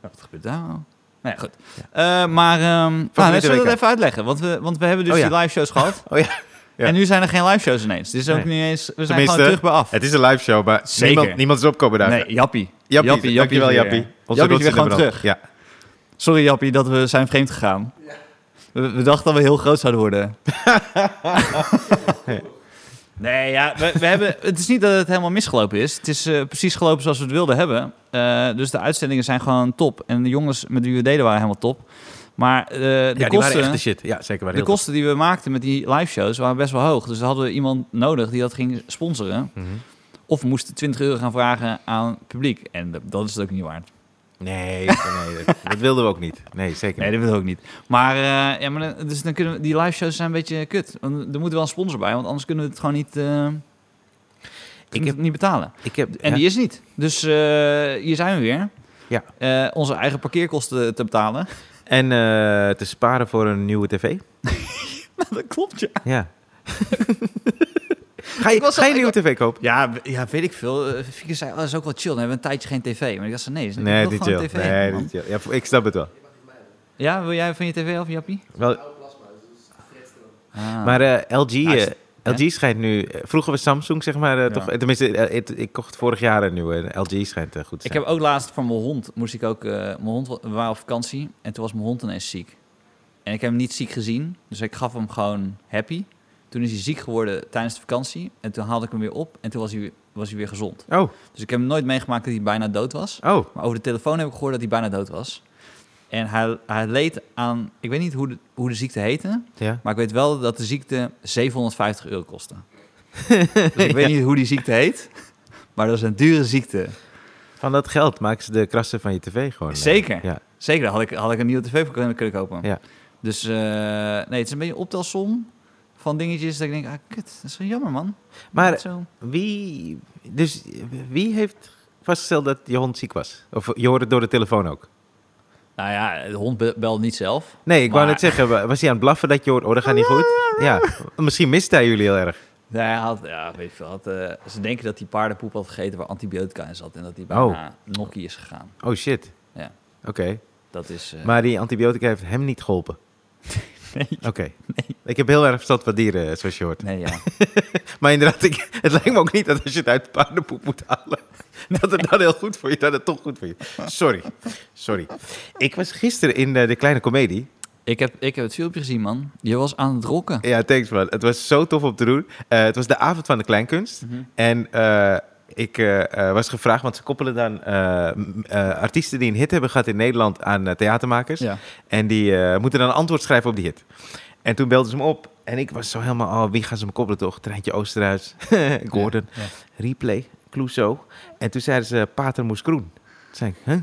Speaker 2: Wat gebeurt daar? nou? Nou ja, goed. Eh, maar ehm nou,
Speaker 1: Favoriete
Speaker 2: we zullen we
Speaker 1: WK?
Speaker 2: dat even uitleggen. Want we, want we hebben dus
Speaker 1: Oh ja.
Speaker 2: die live shows gehad.
Speaker 1: Oh ja. Ja.
Speaker 2: En nu zijn er geen live shows ineens. Dus ook
Speaker 1: Nee.
Speaker 2: niet eens. We zijn
Speaker 1: Tenminste,
Speaker 2: gewoon terug bij af.
Speaker 1: Het is een live show, maar
Speaker 2: Zeker.
Speaker 1: niemand, niemand is opkomen daar.
Speaker 2: Nee, Jappie.
Speaker 1: Jappie,
Speaker 2: Jappie,
Speaker 1: dankjewel
Speaker 2: is weer-
Speaker 1: Jappie. Onze
Speaker 2: Jappie is weer gewoon
Speaker 1: rots in de brand.
Speaker 2: terug.
Speaker 1: Ja.
Speaker 2: Sorry Jappie dat we zijn vreemd gegaan. We, we dachten dat we heel groot zouden worden. nee, ja, we, we hebben, het is niet dat het helemaal misgelopen is. Het is eh, precies gelopen zoals we het wilden hebben. Eh, dus de uitzendingen zijn gewoon top. En de jongens met wie we deden waren helemaal top. Maar eh, de
Speaker 1: ja, die waren
Speaker 2: kosten...
Speaker 1: echt de shit. Ja, zeker. Waren
Speaker 2: De
Speaker 1: heel
Speaker 2: kosten die we maakten met die live shows waren best wel hoog. Dus daar hadden we iemand nodig die dat ging sponsoren.
Speaker 1: tof. Mhm.
Speaker 2: Of we moesten 20 euro gaan vragen aan het publiek. En dat- dat is het ook niet waard.
Speaker 1: Nee, nee dat, dat wilden we ook niet. Nee, zeker
Speaker 2: Nee,
Speaker 1: niet.
Speaker 2: dat wil ik ook niet. Maar, eh, ja, maar dan- dus dan kunnen we, die live shows zijn een beetje kut. Want er moet wel een sponsor bij, want anders kunnen we het gewoon niet, eh,
Speaker 1: Ik
Speaker 2: ik
Speaker 1: heb,
Speaker 2: niet betalen.
Speaker 1: ik heb,
Speaker 2: En
Speaker 1: ja.
Speaker 2: die is niet. Dus eh, hier zijn we weer.
Speaker 1: Ja.
Speaker 2: Eh, onze eigen parkeerkosten te betalen.
Speaker 1: en eh, te sparen voor een nieuwe tv.
Speaker 2: dat klopt, ja.
Speaker 1: Ja. ga je,
Speaker 2: Ik was
Speaker 1: ga
Speaker 2: al-
Speaker 1: je een nieuwe tv kopen?
Speaker 2: Ja, w- ja, weet ik veel. Eh, Fieke zei, oh, dat is ook wel chill. Dan hebben we een tijdje geen tv. Maar ik dacht, nee, dat is ik
Speaker 1: Nee,
Speaker 2: wil
Speaker 1: niet
Speaker 2: gewoon
Speaker 1: chill.
Speaker 2: TV,
Speaker 1: Nee,
Speaker 2: man.
Speaker 1: niet chill. Ja, ik snap het wel.
Speaker 2: Ja, wil jij van je tv af, Jappie?
Speaker 1: wel
Speaker 2: Ah.
Speaker 1: maar eh, LG, eh,
Speaker 2: Nice.
Speaker 1: LG schijnt nu... eh, vroeger was Samsung, zeg maar, eh,
Speaker 2: Ja.
Speaker 1: toch... eh, Tenminste, eh, het- ik kocht vorig jaar een nieuwe. en LG schijnt eh, goed te
Speaker 2: Ik
Speaker 1: zijn.
Speaker 2: heb ook laatst van mijn hond, moest ik ook, eh, mijn hond, wa- we waren op vakantie en toen was mijn hond ineens ziek. En ik heb hem niet ziek gezien, dus ik gaf hem gewoon happy. Toen is hij ziek geworden tijdens de vakantie en toen haalde ik hem weer op en toen was hij, weer- was hij weer gezond.
Speaker 1: Oh,
Speaker 2: Dus ik heb hem nooit meegemaakt dat hij bijna dood was.
Speaker 1: oh.
Speaker 2: Maar over de telefoon heb ik gehoord dat hij bijna dood was. En hij, hij leed aan, ik weet niet hoe de, hoe de ziekte heette,
Speaker 1: Ja.
Speaker 2: maar ik weet wel dat de ziekte 750 euro kostte. dus ik weet niet hoe die ziekte heet, maar dat is een dure ziekte.
Speaker 1: Van dat geld maken ze de krassen van je tv gewoon. eh.
Speaker 2: Zeker.
Speaker 1: Ja.
Speaker 2: Zeker, daar had ik, had ik een nieuwe tv voor kunnen, kunnen kopen.
Speaker 1: Ja.
Speaker 2: Dus eh, nee, het is een beetje een optelsom van dingetjes dat ik denk, ah, kut, dat is wel jammer, man. Dat
Speaker 1: Maar
Speaker 2: zo.
Speaker 1: wie, dus, wie heeft vastgesteld dat je hond ziek was? Of je hoorde het door de telefoon ook?
Speaker 4: Nou ja, de hond be- belde niet zelf.
Speaker 1: Nee, ik wou
Speaker 4: Maar-
Speaker 1: net zeggen, wa- was hij aan het blaffen dat je hoort, oh, dat gaat niet goed? Ja, misschien mist hij jullie heel erg.
Speaker 4: Nee, hij had, ja, weet je veel. had, eh, ze denken dat hij paardenpoep had gegeten waar antibiotica in zat. En dat hij bijna nokkie is gegaan.
Speaker 1: Oh shit.
Speaker 4: Ja.
Speaker 1: Oké,
Speaker 4: Dat is... eh,
Speaker 1: maar die antibiotica heeft hem niet geholpen.
Speaker 4: Nee.
Speaker 1: Oké. Ik heb heel erg verstand van dieren, zoals je hoort.
Speaker 4: Nee, ja.
Speaker 1: Maar inderdaad, ik, het lijkt me ook niet dat als je het uit paardenpoep moet halen, dat het dan heel goed voor je, dat het toch goed voor je. Sorry, sorry. Ik was gisteren in eh, de kleine comedie.
Speaker 2: Ik heb, ik heb het filmpje gezien, man. Je was aan het rocken.
Speaker 1: Ja, thanks man. Het was zo tof om te doen. Eh, het was de avond van de kleinkunst.
Speaker 2: Mhm.
Speaker 1: En eh, ik eh, eh, was gevraagd, want ze koppelen dan eh, m- eh, artiesten die een hit hebben gehad in Nederland aan eh, theatermakers.
Speaker 2: Ja.
Speaker 1: En die eh, moeten dan een antwoord schrijven op die hit. En toen belden ze me op. En ik was zo helemaal, oh, wie gaan ze me koppelen toch? Treintje Oosterhuis, Gordon,
Speaker 2: Ja, ja.
Speaker 1: Replay, Clouseau. En toen zeiden ze Pater Moes Kroen. Toen zei ik, huh?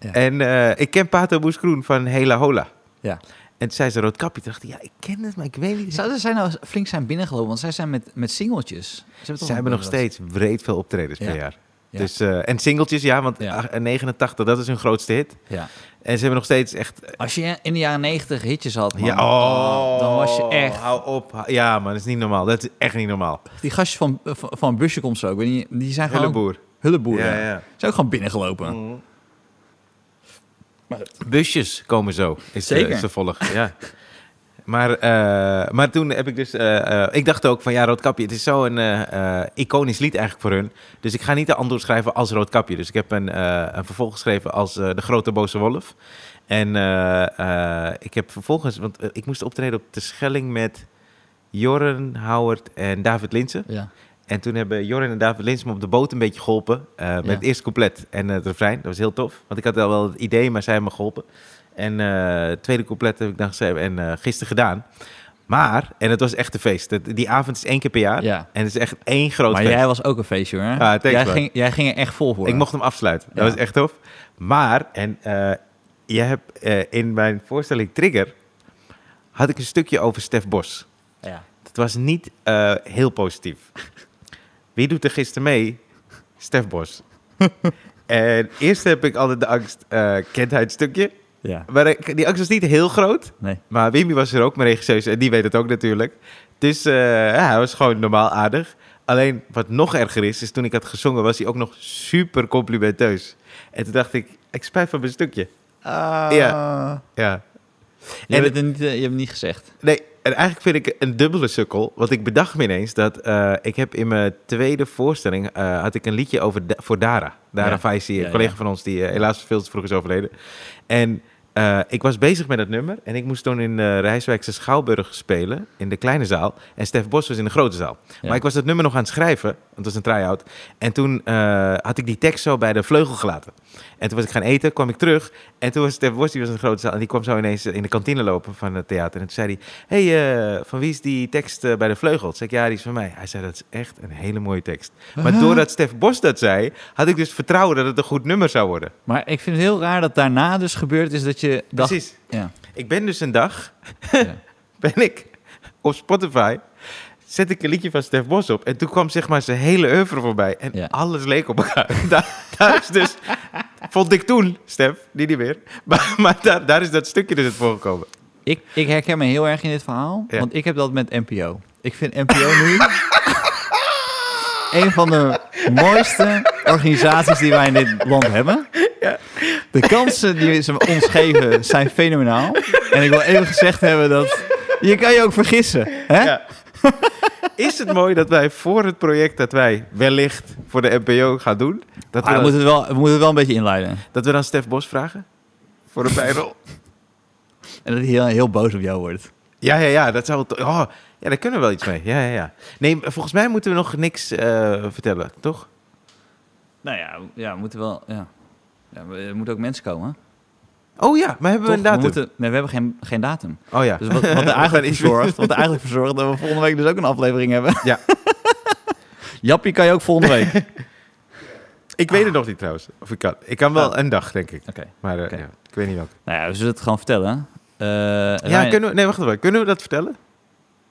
Speaker 2: Ja.
Speaker 1: En eh, ik ken Pater Moes Kroen van Hela Hola.
Speaker 2: Ja.
Speaker 1: En toen zei ze Roodkapje. Toen dacht ik, ja, ik ken het, maar ik weet niet.
Speaker 2: Zouden zij nou flink zijn binnengelopen? Want zij zijn met, met singeltjes. Ze hebben, toch
Speaker 1: Ze hebben nog steeds breed veel optredens
Speaker 2: Ja.
Speaker 1: per jaar.
Speaker 2: Ja.
Speaker 1: Dus, eh, en singeltjes, ja, want
Speaker 2: Ja.
Speaker 1: ach- 89, dat is hun grootste hit.
Speaker 2: Ja.
Speaker 1: En ze hebben nog steeds echt... eh,
Speaker 2: Als je in de jaren negentig hitjes had, man,
Speaker 1: ja, oh,
Speaker 2: dan was je echt...
Speaker 1: Hou op. hou- Ja, man, dat is niet normaal. Dat is echt niet normaal.
Speaker 2: Die gastjes van, van, van Busje komt zo, ik weet niet, die zijn gewoon...
Speaker 1: Hulleboer.
Speaker 2: Hulleboer,
Speaker 1: Ja,
Speaker 2: ja.
Speaker 1: ja.
Speaker 2: Zijn ook gewoon binnengelopen.
Speaker 1: Busjes komen zo, is de-
Speaker 2: Zeker.
Speaker 1: is de volg. Ja. Maar, eh, maar toen heb ik dus... eh, eh, ik dacht ook van, ja, Roodkapje, het is zo'n eh, eh, iconisch lied eigenlijk voor hun. Dus ik ga niet de antwoord schrijven als Roodkapje. Dus ik heb een, eh, een vervolg geschreven als eh, De Grote Boze Wolf. En eh, eh, ik heb vervolgens... Want eh, ik moest optreden op de Schelling met Jorren, Howard en David Linsen.
Speaker 2: Ja.
Speaker 1: En toen hebben Jorren en David Lins me op de boot een beetje geholpen. eh, met
Speaker 2: Ja.
Speaker 1: het eerste couplet en eh, het refrein. Dat was heel tof. Want ik had al wel het idee, maar zij hebben me geholpen. En eh, het tweede couplet heb ik dan geschreven en eh, gisteren gedaan. Maar, en het was echt een feest. Dat- Die avond is één keer per jaar.
Speaker 2: Ja.
Speaker 1: En het is echt één groot
Speaker 2: Maar
Speaker 1: feest.
Speaker 2: jij was ook een feestje, hoor.
Speaker 1: thanks,
Speaker 2: jij,
Speaker 1: man.
Speaker 2: ging, jij ging er echt vol voor.
Speaker 1: Ik mocht hem afsluiten. Dat
Speaker 2: Ja.
Speaker 1: was echt tof. Maar, en eh, jij hebt eh, in mijn voorstelling Trigger... had ik een stukje over Stef Bos.
Speaker 4: ja.
Speaker 1: Het was niet eh, heel positief. Wie doet er gisteren mee? Stef Bos. en eerst heb ik altijd de angst, eh, kent hij het stukje?
Speaker 4: Ja.
Speaker 1: Maar ik- die angst was niet heel groot.
Speaker 4: Nee.
Speaker 1: Maar Wimmy was er ook, mijn regisseur, en die weet het ook natuurlijk. Dus eh, ja, hij was gewoon normaal aardig. Alleen wat nog erger is, is toen ik had gezongen, was hij ook nog super complimenteus. En toen dacht ik, ik spijt van mijn stukje. Ah. Ja. Ja.
Speaker 2: Je,
Speaker 1: En-
Speaker 2: hebt het niet, eh, je hebt het niet gezegd.
Speaker 1: Nee, en eigenlijk vind ik een dubbele sukkel. Want ik bedacht me ineens dat eh, ik heb in mijn tweede voorstelling eh, had ik een liedje over Da- voor Dara. Dara
Speaker 2: Ja.
Speaker 1: Faisi, een
Speaker 4: Ja,
Speaker 1: collega
Speaker 4: ja.
Speaker 1: van ons die eh, helaas veel te vroeg is overleden. En eh, ik was bezig met dat nummer en ik moest toen in eh Rijswijkse Schouwburg spelen in de kleine zaal. En Stef Bos was in de grote zaal.
Speaker 2: Ja.
Speaker 1: Maar ik was dat nummer nog aan het schrijven, want het was een try-out. En toen eh, had ik die tekst zo bij de vleugel gelaten. En toen was ik gaan eten, kwam ik terug. En toen was Stef Bos, die was in de grote zaal. En die kwam zo ineens in de kantine lopen van het theater. En toen zei hij, hey, eh, van wie is die tekst eh, bij de vleugel? Toen zei ik, ja, die is van mij. Hij zei, dat is echt een hele mooie tekst. Maar doordat Stef Bos dat zei, had ik dus vertrouwen dat het een goed nummer zou worden.
Speaker 2: Maar ik vind het heel raar dat daarna dus gebeurd is dat je dacht...
Speaker 1: Precies.
Speaker 2: Ja.
Speaker 1: Ik ben dus een dag,
Speaker 2: Ja.
Speaker 1: ben ik op Spotify, zet ik een liedje van Stef Bos op. En toen kwam zeg maar zijn hele oeuvre voorbij. En
Speaker 2: Ja.
Speaker 1: alles leek op elkaar. daar, daar is dus, vond ik toen, Stef, die niet meer. Maar, maar daar, daar is dat stukje dus het voorgekomen.
Speaker 2: Ik, ik herken me heel erg in dit verhaal,
Speaker 1: Ja.
Speaker 2: want ik heb dat met NPO. Ik vind NPO nu een van de mooiste organisaties die wij in dit land hebben. De kansen die ze ons geven zijn fenomenaal. En ik wil even gezegd hebben dat je kan je ook vergissen. Hè?
Speaker 1: Ja. Is het mooi dat wij voor het project dat wij wellicht voor de NPO gaan doen, dat,
Speaker 2: Maar eh,
Speaker 1: we,
Speaker 2: we, moeten het wel, we moeten het wel een beetje inleiden.
Speaker 1: dat we dan Stef Bos vragen? Voor een bijrol?
Speaker 2: En dat hij heel, heel boos op jou wordt.
Speaker 1: Ja, ja, ja, dat zou wel to- oh, ja, daar kunnen we wel iets mee. Ja, ja, ja. Nee, maar volgens mij moeten we nog niks eh, vertellen, toch?
Speaker 2: Nou ja, ja we moeten wel... Ja. Ja, we- er moeten ook mensen komen.
Speaker 1: Oh ja, maar hebben we een
Speaker 2: Toch?
Speaker 1: datum?
Speaker 2: We moeten, nee, we hebben geen, geen datum.
Speaker 1: Oh ja.
Speaker 2: Dus wat, wat er eigenlijk voor zorgt, wat er eigenlijk voor zorgt dat we volgende week dus ook een aflevering hebben.
Speaker 1: Ja.
Speaker 2: Jappie kan je ook volgende week. Oké.
Speaker 1: Ik weet het nog niet trouwens. Of ik kan. Ik kan wel een dag, denk ik. Maar eh,
Speaker 2: Oké.
Speaker 1: ja, ik weet niet welke.
Speaker 2: Nou ja, we zullen het gewoon vertellen. Eh,
Speaker 1: Ja,
Speaker 2: Ryan-
Speaker 1: kunnen we... Nee, wacht even. Kunnen we dat vertellen?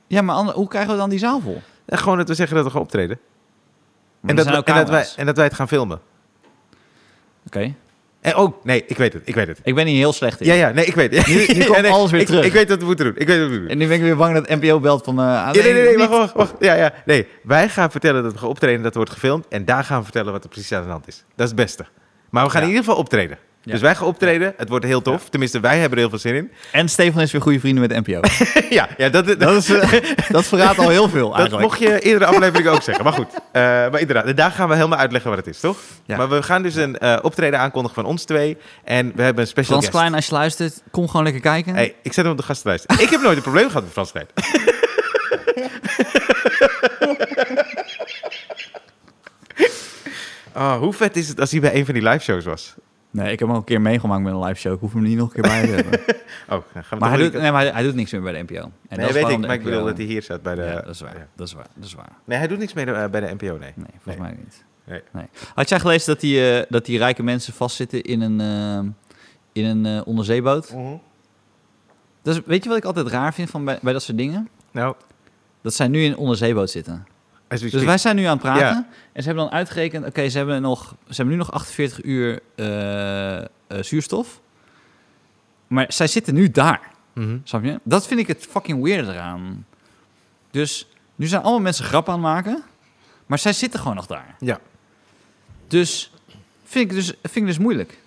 Speaker 2: Ja, maar ander- hoe krijgen we dan die zaal vol?
Speaker 1: En gewoon dat we zeggen dat we gaan optreden.
Speaker 2: er
Speaker 1: En dat,
Speaker 2: zijn
Speaker 1: we,
Speaker 2: ook
Speaker 1: en, dat wij,
Speaker 2: camera's.
Speaker 1: en dat wij het gaan filmen.
Speaker 2: Oké.
Speaker 1: En oh, nee, ik weet het, ik weet het.
Speaker 2: Ik ben hier heel slecht in.
Speaker 1: Ja, ja, nee, ik weet het.
Speaker 3: nu komt
Speaker 1: Ja, nee,
Speaker 3: alles weer
Speaker 1: ik,
Speaker 3: terug.
Speaker 1: Ik weet wat we moeten doen. Ik weet wat we moeten doen.
Speaker 3: En nu ben ik weer bang dat NPO belt van... eh, ah,
Speaker 1: Ja, nee, nee, nee,
Speaker 3: niet.
Speaker 1: wacht, wacht, wacht. Ja, ja, nee. Wij gaan vertellen dat we gaan optreden, dat wordt gefilmd. En daar gaan we vertellen wat er precies aan de hand is. Dat is het beste. Maar we gaan
Speaker 4: Ja.
Speaker 1: in ieder geval optreden.
Speaker 4: Ja.
Speaker 1: Dus wij gaan optreden. Het wordt heel tof. Tenminste, wij hebben er heel veel zin in.
Speaker 3: En Stefan is weer goede vrienden met NPO.
Speaker 1: ja, ja, dat, dat,
Speaker 3: dat, is, eh, dat verraadt al heel veel
Speaker 1: dat
Speaker 3: eigenlijk.
Speaker 1: mocht je eerdere aflevering ook zeggen. Maar goed. Eh, maar inderdaad, en daar gaan we helemaal uitleggen wat het is, toch?
Speaker 3: Ja.
Speaker 1: Maar we gaan dus een eh, optreden aankondigen van ons twee. En we hebben een special
Speaker 2: Frans
Speaker 1: guest.
Speaker 2: Klein, als je luistert, kom gewoon lekker kijken.
Speaker 1: Hey, ik zet hem op de gastenlijst. Ik heb nooit een probleem gehad met Frans Klein. Ah, hoe vet is het als hij bij een van die live shows was?
Speaker 3: Nee, ik heb hem al een keer meegemaakt met een live show. Ik hoef hem niet nog een keer bij te hebben.
Speaker 1: Oh, dan gaan we
Speaker 2: maar,
Speaker 1: toch
Speaker 2: hij
Speaker 1: wel
Speaker 2: doet,
Speaker 1: die-
Speaker 2: nee, maar hij, hij doet niks meer bij de NPO. En dat
Speaker 1: Nee,
Speaker 2: is
Speaker 1: weet ik,
Speaker 2: waarom de
Speaker 1: maar ik
Speaker 2: NPO
Speaker 1: bedoel dat hij hier zat bij de...
Speaker 2: ja, dat is waar.
Speaker 1: Eh, ja.
Speaker 2: Dat is waar. Dat is waar.
Speaker 1: Nee, hij doet niks meer eh, bij de NPO, nee.
Speaker 2: Nee, volgens mij niet.
Speaker 1: Nee.
Speaker 2: Had jij gelezen dat die, eh, dat die rijke mensen vastzitten in een, eh, in een eh, onderzeeboot? Dat is, weet je wat ik altijd raar vind van bij, bij dat soort dingen?
Speaker 1: Nou,
Speaker 2: Dat zij nu in een onderzeeboot zitten.
Speaker 1: as we
Speaker 2: Dus
Speaker 1: speak.
Speaker 2: wij zijn nu aan het praten.
Speaker 1: Ja.
Speaker 2: En ze hebben dan uitgerekend... Oké, ze, hebben nog- ze hebben nu nog 48 uur eh, eh, zuurstof. Maar zij zitten nu daar.
Speaker 1: Mhm.
Speaker 2: Snap je? Dat vind ik het fucking weird eraan. Dus nu zijn allemaal mensen grap aan het maken. Maar zij zitten gewoon nog daar.
Speaker 1: Ja.
Speaker 2: Dus vind ik dus, vind ik dus moeilijk.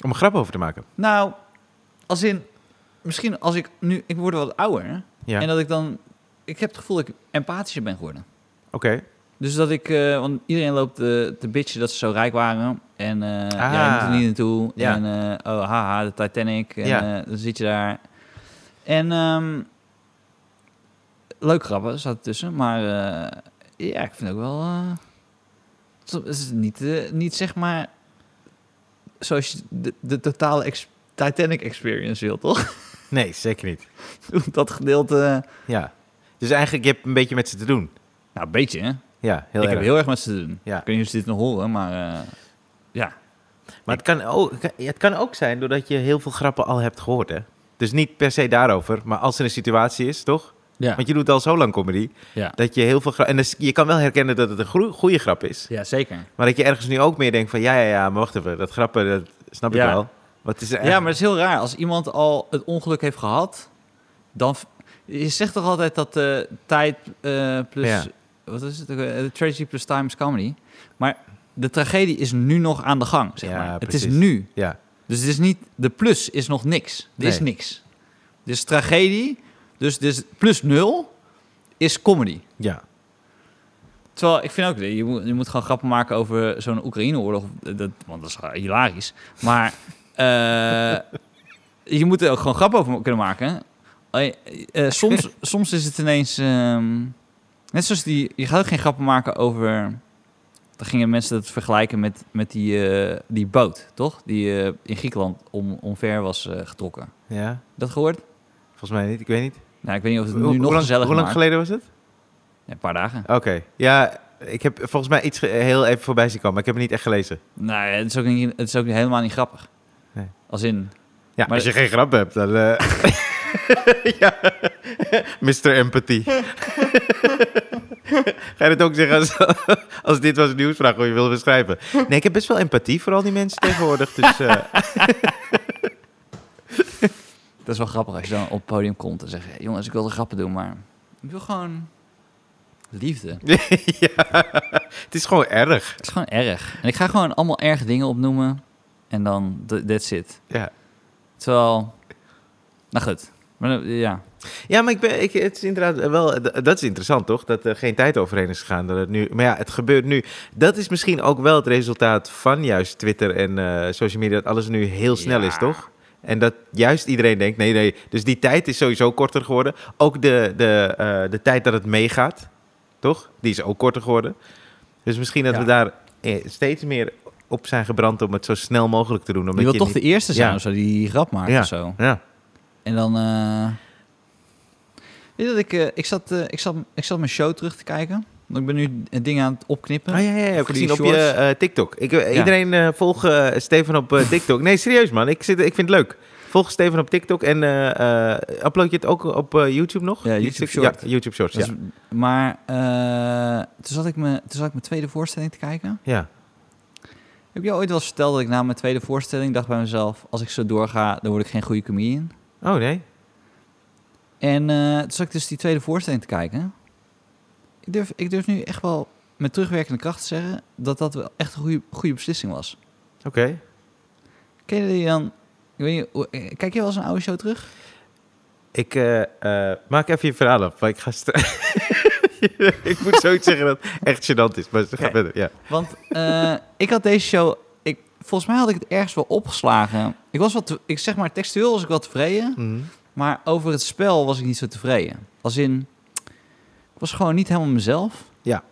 Speaker 1: Om een grap over te maken.
Speaker 2: Nou, als in... Misschien als ik nu... Ik word wat ouder.
Speaker 1: Ja,
Speaker 2: En
Speaker 1: oké.
Speaker 2: dat ik dan... Ik heb het gevoel dat ik empathischer ben geworden. Dus dat ik, eh, want iedereen loopt eh, te bitchen dat ze zo rijk waren. En eh ja, je moet er niet naartoe.
Speaker 1: Ah. Ja.
Speaker 2: En eh, oh, haha, de Titanic. En
Speaker 1: Ja.
Speaker 2: eh, dan zit je daar. En ehm, leuk grappen zat tussen. Maar eh, ja, ik vind ook wel... eh, het is- het is niet, eh, niet zeg maar zoals je de, de totale ex- Titanic experience wil, toch?
Speaker 1: Nee, zeker niet.
Speaker 2: dat gedeelte... eh,
Speaker 1: Ja. Dus eigenlijk, je hebt een beetje met ze te doen.
Speaker 2: Nou, een beetje, hè?
Speaker 1: Ja, heel
Speaker 2: ik
Speaker 1: erg.
Speaker 2: heb heel erg met ze te doen.
Speaker 1: Ja.
Speaker 2: Ik weet niet of ze dit nog horen, maar... eh, ja,
Speaker 1: Maar het kan, ook, het kan ook zijn doordat je heel veel grappen al hebt gehoord, hè? Dus niet per se daarover, maar als er een situatie is, toch?
Speaker 2: Ja.
Speaker 1: Want je doet al zo lang comedy,
Speaker 2: Ja.
Speaker 1: dat je heel veel grappen... En dus, je kan wel herkennen dat het een groe- goede grap is.
Speaker 2: ja, zeker.
Speaker 1: Maar dat je ergens nu ook meer denkt van... Ja, ja, ja, maar wacht even, dat grappen, dat snap ik
Speaker 2: Ja.
Speaker 1: wel. Wat is er
Speaker 2: Ja,
Speaker 1: eigenlijk-
Speaker 2: maar het is heel raar. Als iemand al het ongeluk heeft gehad, dan... v- Je zegt toch altijd dat eh, tijd eh, plus...
Speaker 1: Ja.
Speaker 2: Wat is het? ook weer? Eh, tragedy plus time is comedy. Maar de tragedie is nu nog aan de gang, zeg
Speaker 1: Ja,
Speaker 2: maar. Het is
Speaker 1: precies.
Speaker 2: nu.
Speaker 1: Ja,
Speaker 2: Dus het is niet... De plus is nog niks. Er is
Speaker 1: Nee.
Speaker 2: niks. Dus tragedie, dus, dus plus nul, is comedy.
Speaker 1: ja.
Speaker 2: Terwijl ik vind ook, je moet, je moet gewoon grappen maken over zo'n Oekraïne-oorlog. Dat, want dat is hilarisch. Maar eh, je moet er ook gewoon grappen over kunnen maken. Eh, eh, soms, soms is het ineens. ehm, net zoals die. Je gaat ook geen grappen maken over. Dan gingen mensen dat vergelijken met, met die, eh, die boot, toch? Die eh, in Griekenland om, omver was eh, getrokken.
Speaker 1: Ja,
Speaker 2: Dat gehoord?
Speaker 1: volgens mij niet, ik weet niet.
Speaker 2: Nou, ik weet niet of het nu
Speaker 1: Hoe- hoe
Speaker 2: nog
Speaker 1: lang,
Speaker 2: gezellig
Speaker 1: Hoe lang
Speaker 2: maakt.
Speaker 1: geleden was het?
Speaker 2: Ja, een paar dagen.
Speaker 1: Oké, ja... Ik heb volgens mij iets ge- heel even voorbij zien komen, maar ik heb het niet echt gelezen.
Speaker 2: Nou, het is ook, niet, het is ook helemaal niet grappig.
Speaker 1: Nee.
Speaker 2: Als in,
Speaker 1: Ja,
Speaker 2: Maar-
Speaker 1: als je geen grap hebt, dan... eh ja, Mr. Empathy. Ga je dat ook zeggen als, als dit was een nieuwsvraag hoe je wilde beschrijven? Nee, ik heb best wel empathie voor al die mensen tegenwoordig. Dus, eh,
Speaker 2: Dat is wel grappig als je dan op het podium komt en zegt: hey, jongens, ik wil de grappen doen, maar ik wil gewoon liefde.
Speaker 1: ja, het is gewoon erg.
Speaker 2: Het is gewoon erg. En ik ga gewoon allemaal erge dingen opnoemen en dan th- that's it.
Speaker 1: Ja,
Speaker 2: Terwijl, nou goed, maar dan- ja,
Speaker 1: ja maar ik ben, ik, het is inderdaad eh, wel... d- Dat is interessant, toch? Dat er geen tijd overheen is gegaan. Dat het nu, maar ja, het gebeurt nu. Dat is misschien ook wel het resultaat van juist Twitter en eh, social media. Dat alles nu heel snel
Speaker 2: Ja.
Speaker 1: is, toch? En dat juist iedereen denkt, nee, nee. Dus die tijd is sowieso korter geworden. Ook de, de, eh, de tijd dat het meegaat, toch? Die is ook korter geworden. Dus misschien dat
Speaker 2: Ja.
Speaker 1: we daar eh, steeds meer op zijn gebrand om het zo snel mogelijk te doen.
Speaker 2: je
Speaker 1: Omdat
Speaker 2: wil toch de eerste zijn
Speaker 1: Ja.
Speaker 2: of zo die die grap maakt
Speaker 1: Ja.
Speaker 2: of zo.
Speaker 1: de... Ja,
Speaker 2: En dan, eh, weet je dat ik, eh, ik, zat, eh, ik, zat, ik zat mijn show terug te kijken. Want ik ben nu eh, dingen aan het opknippen.
Speaker 1: Ah, ja, ja, ja. Heb ik
Speaker 2: Voor die
Speaker 1: gezien op je
Speaker 2: shorts.
Speaker 1: eh, TikTok. Ik, eh, Iedereen eh volg eh, Stefan op eh, TikTok. Nee, serieus man. Ik, zit, ik vind het leuk. Volg Steven op TikTok en eh, eh, upload je het ook op eh, YouTube nog?
Speaker 2: Ja, YouTube Short.
Speaker 1: Ja, YouTube Shorts,
Speaker 2: Dat
Speaker 1: ja.
Speaker 2: is- Dus, maar eh, toen, zat ik me, toen zat ik mijn tweede voorstelling te kijken.
Speaker 1: ja.
Speaker 2: Heb je ooit wel eens verteld dat ik na mijn tweede voorstelling dacht bij mezelf... als ik zo doorga, dan word ik geen goede comedian?
Speaker 1: Oh, nee.
Speaker 2: En eh, toen zat ik dus die tweede voorstelling te kijken. Ik durf, ik durf nu echt wel met terugwerkende kracht te zeggen... dat dat wel echt een goede, goede beslissing was.
Speaker 1: Oké.
Speaker 2: Ken je die dan... Ik weet niet, hoe- eh, kijk je wel eens een oude show terug?
Speaker 1: Ik eh, eh, maak even je verhaal af, want ik ga... stra- ik moet zoiets zeggen dat het echt gênant is, maar ga
Speaker 2: Oké.
Speaker 1: verder. Ja.
Speaker 2: Want eh, ik had deze show... Ik, volgens mij had ik het ergens wel opgeslagen. Ik was wat... te- Ik zeg maar, textueel was ik wel tevreden.
Speaker 1: Mhm.
Speaker 2: Maar over het spel was ik niet zo tevreden. Als in, ik was gewoon niet helemaal mezelf.
Speaker 1: Ja.